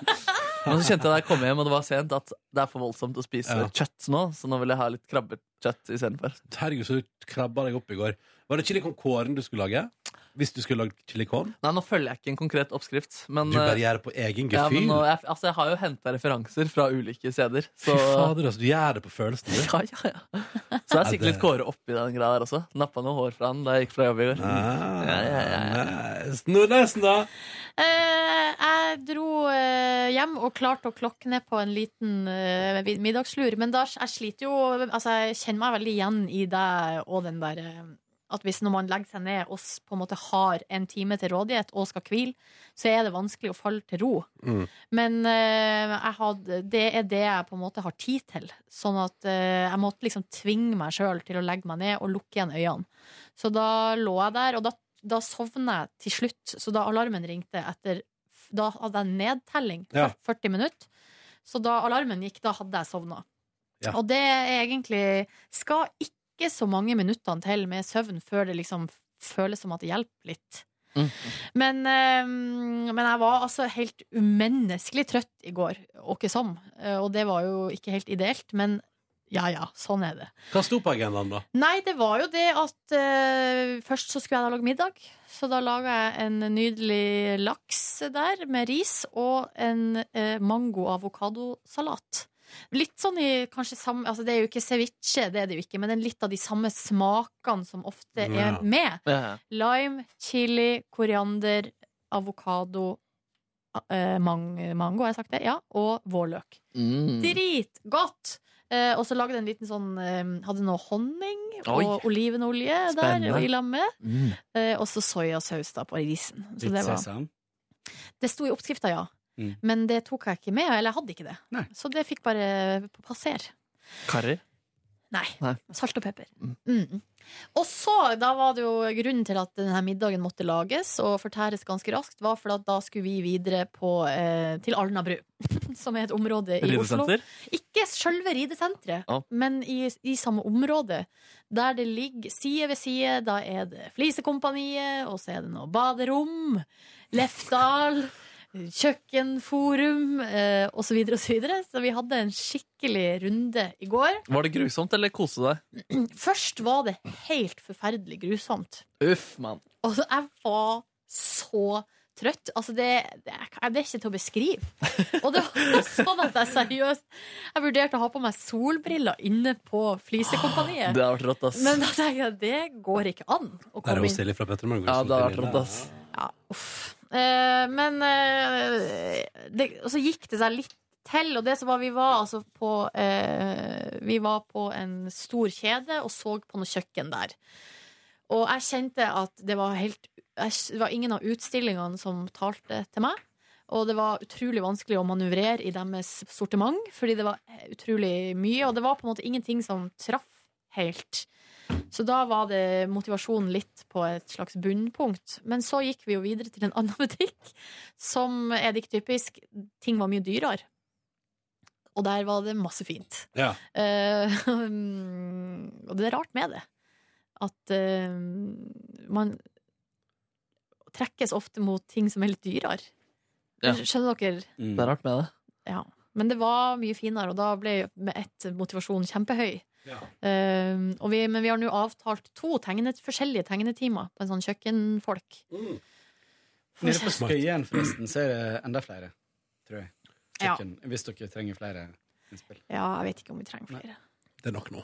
Men så kjente jeg da jeg kom hjem og det var sent, at det er for voldsomt å spise
Ja.
kjøtt nå, så nå vil jeg ha litt krabbekjøtt istedenfor.
Herregud, så du krabba deg opp i går. Var det chili con corn du skulle lage? Hvis du skulle lagd chili con?
Nei, nå følger jeg ikke en konkret oppskrift. Men,
Du bare
eh,
gjør det på egen
ja, men
gefühl?
nå, jeg, altså, jeg har jo henta referanser fra ulike steder, så,
Fy fader, altså. Du gjør det på følelsen din.
Ja, ja, så jeg er sikkert litt Kåre oppi den greia der også. Nappa noe hår fra han da jeg gikk fra jobb i går. Ja, ja,
ja. Nordnesen, Ah, da?
Eh, jeg dro eh, hjem og klarte å klokke ned på en liten eh, vid- middagslur. Men da, jeg sliter jo Altså, jeg kjenner meg veldig igjen i deg og den der eh, At hvis når man legger seg ned og s- på en måte har en time til rådighet og skal hvile, så er det vanskelig å falle til ro. Men eh, jeg hadde, det er det jeg på en måte har tid til. Sånn at eh, jeg måtte liksom tvinge meg sjøl til å legge meg ned og lukke igjen øynene. Så da lå jeg der, og da, da sovna jeg til slutt. Så da alarmen ringte etter f- Da hadde jeg nedtelling.
Ja.
40 minutter. Så da alarmen gikk, da hadde jeg sovna.
Ja.
Og det er egentlig Skal ikke ikke så mange minuttene til med søvn før det liksom føles som at det hjelper litt.
Mm.
Men, eh, men jeg var altså helt umenneskelig trøtt i går, åkke som. Eh, Og det var jo ikke helt ideelt, men ja ja, sånn er det.
Hva sto på agendaen, da?
Nei, det var jo det at eh, først så skulle jeg da lage middag. Så da laga jeg en nydelig laks der med ris og en eh, mango-avokadosalat. Litt sånn i kanskje samme Altså det er jo ikke ceviche, det er det jo ikke, men det er litt av de samme smakene som ofte
Ja.
er med.
Ja.
Lime, chili, koriander, avokado, eh, mang mango, har jeg sagt det? Ja. Og vårløk.
Mm.
Mm. Dritgodt! Eh, og så lagde jeg en liten sånn eh, Hadde noe honning
Oi.
og olivenolje der
Spennende.
og i lammet.
Mm.
Eh, og så soyasaus da på risen. Så
Litt
det, var,
sesam.
det sto i oppskrifta, ja.
Mm.
Men det tok jeg ikke med, eller jeg hadde ikke det. Så det fikk bare passere.
Karri?
Nei.
Nei.
Salt og pepper. Mm. Og så, da var det jo grunnen til at denne middagen måtte lages og fortæres ganske raskt, var for at da skulle vi videre på, eh, til Alnabru, som er et område i Oslo.
Ridesenter?
Ikke selve ridesenteret,
Ja.
men i, i samme område. Der det ligger side ved side, da er det Flisekompaniet, og så er det noe baderom, Lefdal, kjøkkenforum, eh, og så videre og så videre. Så vi hadde en skikkelig runde i går.
Var det grusomt, eller kose deg?
Først var det helt forferdelig grusomt.
Uff, mann.
Altså, jeg var så trøtt. Altså, det, det, er- det er ikke til å beskrive. Og det var sånn at jeg seriøst Jeg vurderte å ha på meg solbriller inne på Flisekompaniet.
Det har vært rått, ass.
Men da tenkte jeg det går ikke an
Der er
å komme
hun
inn.
Silje fra Petter Morgen.
Ja, det har vært rått, ass.
Eh, men eh, det, Og så gikk det seg litt til, og det som var Vi var altså på eh, Vi var på en stor kjede og så på noe kjøkken der. Og jeg kjente at det var helt jeg, Det var ingen av utstillingene som talte til meg. Og det var utrolig vanskelig å manøvrere i deres sortiment, fordi det var eh, utrolig mye. Og det var på en måte ingenting som traff helt. Så da var det motivasjonen litt på et slags bunnpunkt. Men så gikk vi jo videre til en annen butikk, som er det ikke typisk. Ting var mye dyrere. Og der var det masse fint.
Ja.
Eh, mm, og det er rart med det. At eh, man trekkes ofte mot ting som er litt dyrere.
Ja.
Skjønner dere?
Det er rart med det.
Ja. Men det var mye finere, og da ble med ett motivasjonen kjempehøy. Eh, og vi, men vi har nå avtalt to tegnet, forskjellige tegnetimer på en sånn kjøkkenfolk.
Nede på Skøyen, forresten, så er det enda flere, tror jeg.
Ja.
Kjøkken, Hvis dere trenger flere innspill.
Ja, jeg vet ikke om vi trenger flere.
Det er nok nå.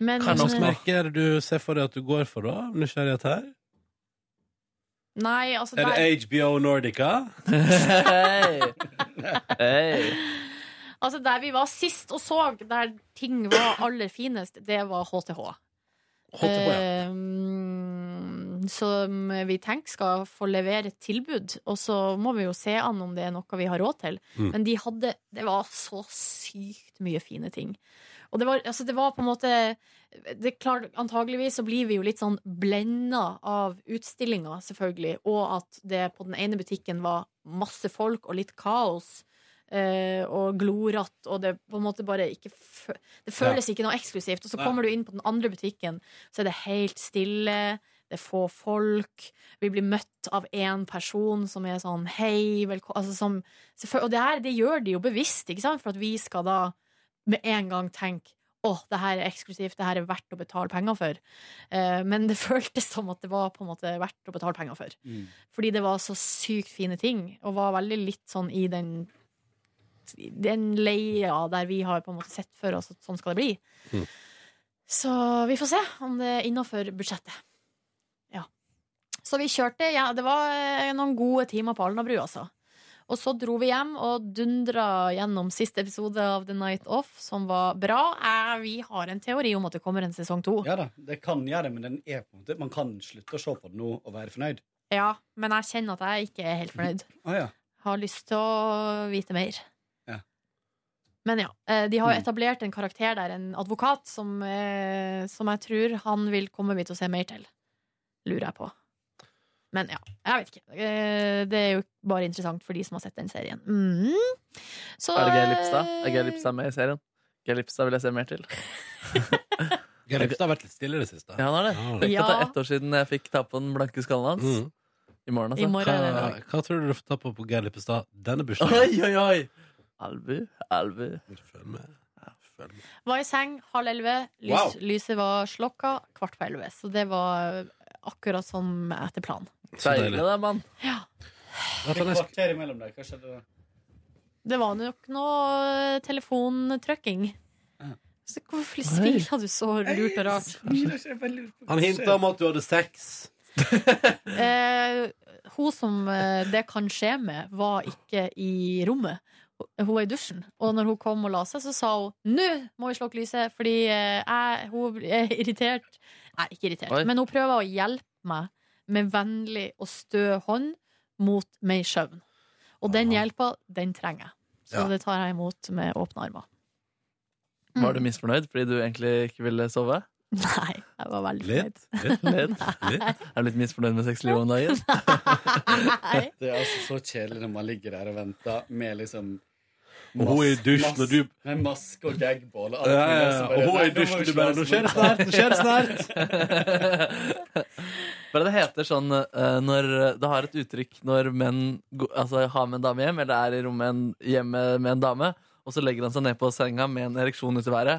Men,
Hva slags merke er det du ser for deg at du går for, da? Nysgjerrighet her?
Nei, altså
Er
der,
det HBO Nordica?
Altså der vi var sist og så, der ting var aller finest, det var HTH.
HTH, ja.
Ehm, som vi tenker skal få levere et tilbud, og så må vi jo se an om det er noe vi har råd til.
Mm.
Men de hadde Det var så sykt mye fine ting. Og det var, altså det var på en måte det er klart, Antageligvis så blir vi jo litt sånn blenda av utstillinga, selvfølgelig, og at det på den ene butikken var masse folk og litt kaos. eh, og gloratt, og det på en måte bare ikke fø Det føles
Ja.
ikke noe eksklusivt. Og så
Nei.
kommer du inn på den andre butikken, så er det helt stille, det er få folk. Vi blir møtt av én person som er sånn 'hei, velkommen' altså, som- selvføl- Og det her det gjør de jo bevisst, ikke sant? for at vi skal da med en gang tenke å, det her er eksklusivt, det her er verdt å betale penger for. Eh, men det føltes som at det var på en måte verdt å betale penger for.
Mm.
Fordi det var så sykt fine ting, og var veldig litt sånn i den den leia der vi har på en måte sett for oss at sånn skal det bli.
Mm.
Så vi får se om det er innafor budsjettet. Ja. Så vi kjørte. Ja, det var eh, noen gode timer på Alnabru, altså. Og så dro vi hjem og dundra gjennom siste episode av The Night Off, som var bra. Eh, vi har en teori om at det kommer en sesong to.
Ja da, det kan gjøre det, men den er på en måte Man kan slutte å se på den nå og være fornøyd.
Ja, men jeg kjenner at jeg ikke er helt fornøyd.
Å ja.
Har lyst til å vite mer.
Ja. Mm.
Men ja, eh, de har jo etablert en karakter der, en advokat, som, eh, som jeg tror han vil komme vi til å se mer til. Lurer jeg på. Men ja, jeg vet ikke. Eh, Det er jo bare interessant for de som har sett den serien. Mm. Så,
er det Geir Lipstad?
eh,
Er Geir Lipstad med i serien? Geir Lipstad vil jeg se mer til.
Geir Ropstad har vært litt stille i det siste.
Ja, Mm. han har det. Tenk at det er ett år siden jeg fikk ta på den blanke skallen hans. I morgen, altså.
I morgen er det i dag. Hva tror du du får ta på på Geir Lippestad denne bursdagen?
Oi, oi, oi! Albu, albu.
eh, Var i seng halv elleve. Lys,
Wow.
Lyset var slokka kvart på elleve. Så det var eh, akkurat som etter planen.
Så deilig. Deilig da,
mann.
Ja.
Et kvarter imellom der. Hva skjedde da?
Det var nok noe telefontrykking. Så hvorfor smiler du så lurt og rart?
Han hinta om at du hadde sex.
Eh, hun som eh, det kan skje med, var ikke i rommet. Hun var i dusjen. Og når hun kom og la seg, så sa hun Nå må vi slukke lyset, fordi eh, jeg, hun er irritert. Nei, ikke irritert,
Oi.
men hun prøver å hjelpe meg med vennlig og stø hånd mot meg i søvn. Og den hjelpa, den trenger jeg. Så
Ja.
det tar jeg imot med åpne armer.
Var du misfornøyd fordi du egentlig ikke ville sove?
Nei, jeg var veldig fornøyd.
Litt? Litt? Er du litt misfornøyd med sexlivet om dagen?
Det er altså så kjedelig når man ligger der og venter med liksom
Og hun er i dusjen, og du-
Med maske og gagball og alt
Ja, ja,
mulig,
ja.
så
Og hun er i
nei, nå må
dusjen,
vi
du
ikke
bare,
la oss
nå skjer det
vente.
snart, nå skjer det snart.
Hva er det det heter sånn eh, når Det har et uttrykk når menn go- altså, har med en dame hjem, eller er i rommet en, hjemme med en dame, og så legger han seg ned på senga med en ereksjon ut i været.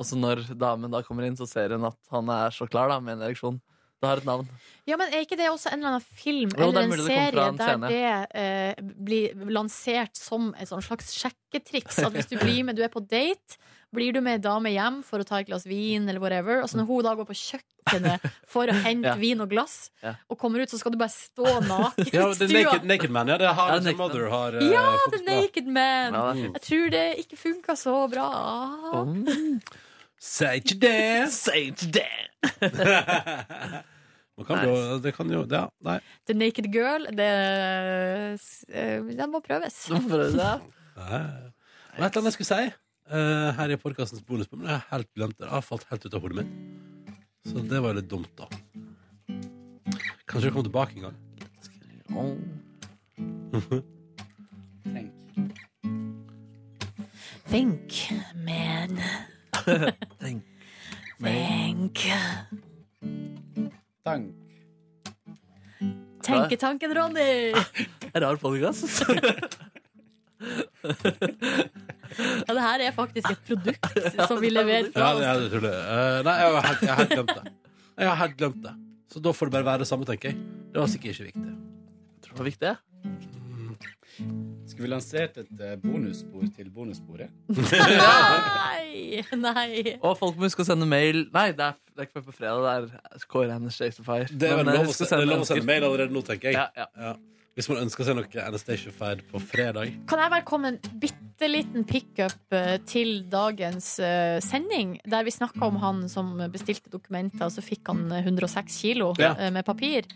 Og så når damen da kommer inn, så ser hun at han er så klar da, med en ereksjon. Det har et navn.
Ja, men Er ikke det også en eller annen film
Jo, det
eller
er
en
mulig det kommer
serie
fra en
der
scene.
det eh, blir lansert som et sånn slags sjekketriks? At hvis du blir med, du er på date, blir du med ei dame hjem for å ta et glass vin, eller whatever, og så når hun da går på kjøkkenet for å hente
Ja.
vin og glass,
Ja.
og kommer ut, så skal du bare stå naken
Ja, det er
i stua.
naked, naked Man. Ja, det har
Ja,
How
Naked
Mother
Man.
har eh,
Ja,
fått
The
bra.
Naked Man!
Ja, det er fint.
Jeg tror det ikke funka så bra.
Si ikke det! Si ikke det! Man kan jo, det kan jo ja, Nei.
The Naked Girl, det eh, Den må prøves.
Den må prøves, ja.
Nei. Det var et eller annet jeg skulle si eh, her i podkastens bonusbom, men jeg har helt glemt det. Jeg har falt helt ut av hodet mitt. Så det var jo litt dumt, da. Kanskje det kommer tilbake en gang.
Think, man.
Tenk.
Tenk.
Tank.
Tenketanken, Ronny!
Rar podkast.
Ja, det her er faktisk et produkt som vi leverer
Ja,
fra
det, ja,
oss.
det tror jeg. Eh, nei, jeg har helt- jeg har helt glemt det. Jeg har helt glemt det. Så da får det bare være det samme, tenker jeg. Det var sikkert ikke viktig.
tror det var viktig.
Skulle vi lansert et eh, bonusspor til bonussporet?
Nei! Nei.
Og folk må huske å sende mail Nei, det er, det er ikke før på fredag. Det er Kåre Hennes Jason Fire.
Det er vel
Men, eh,
lov å
husk å
se- det er lov å sende
ønsker.
mail allerede nå, tenker jeg.
Ja,
Ja. Hvis man ønsker seg noe Anastacia Fide på fredag.
Kan jeg bare komme en bitte liten pickup eh, til dagens eh, sending? Der vi snakka om han som bestilte dokumenter, og så fikk han eh, 106 kilo
Ja.
eh, med papir.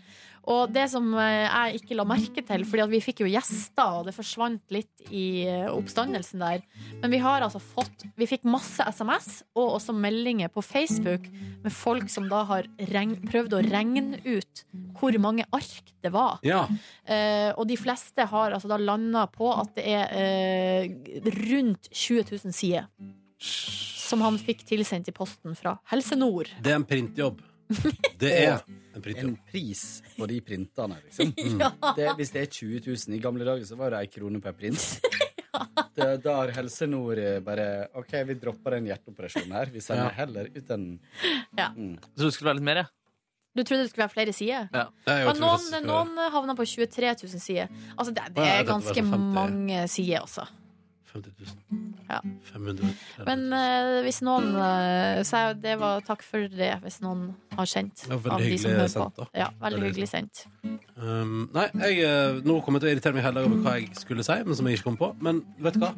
Og det som eh, jeg ikke la merke til, fordi at vi fikk jo gjester, og det forsvant litt i eh, oppstandelsen der. Men vi har altså fått Vi fikk masse SMS og også meldinger på Facebook med folk som da har regn, prøvd å regne ut hvor mange ark det var.
Ja.
Eh, og de fleste har altså da landa på at det er eh, rundt 20 000 sider. Som han fikk tilsendt i posten fra Helse Nord.
Det er en printjobb. Det er en printjobb.
pris på de printene, liksom.
Mm.
det, hvis det er 20 000 I gamle dager så var det ei krone per print. Det, da har Helse Nord eh, bare OK, vi dropper den hjerteoperasjonen her. Vi sender
Ja.
heller ut en mm.
Ja.
Jeg trodde det skulle være litt mer, jeg.
Du trodde det skulle være flere sider?
Ja.
Men noen, noen havna på 23 000 sider. Altså, det, det
Ja,
er
jeg tenkte det
ganske
var sånn 50.
mange sider, altså.
50 000.
Ja.
500
Men eh, hvis noen eh, Så jeg, det var takk for det, hvis noen har sendt.
Ja, veldig
av de som
hyggelig
hører
sendt,
på.
da.
Ja, veldig,
Veldig
hyggelig sendt.
Um, nei, jeg, eh, nå kommer jeg til å irritere meg hele dagen over hva jeg skulle si, men som jeg ikke kom på. Men vet du hva?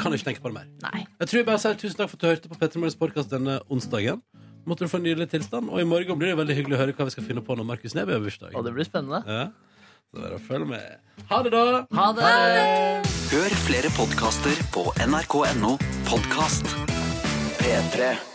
Kan ikke tenke på det mer.
Nei.
Jeg tror jeg bare sier tusen takk for at du hørte på Petter Morgens podkast denne onsdagen. Måtte du få en nydelig tilstand. Og i morgen blir det veldig hyggelig å høre hva vi skal finne på når Markus Neby har bursdag.
Og det blir spennende.
Ja. Så det er bare å følge med. Ha det, da!
Ha det!
Hør flere podkaster på nrk.no podkast. P3.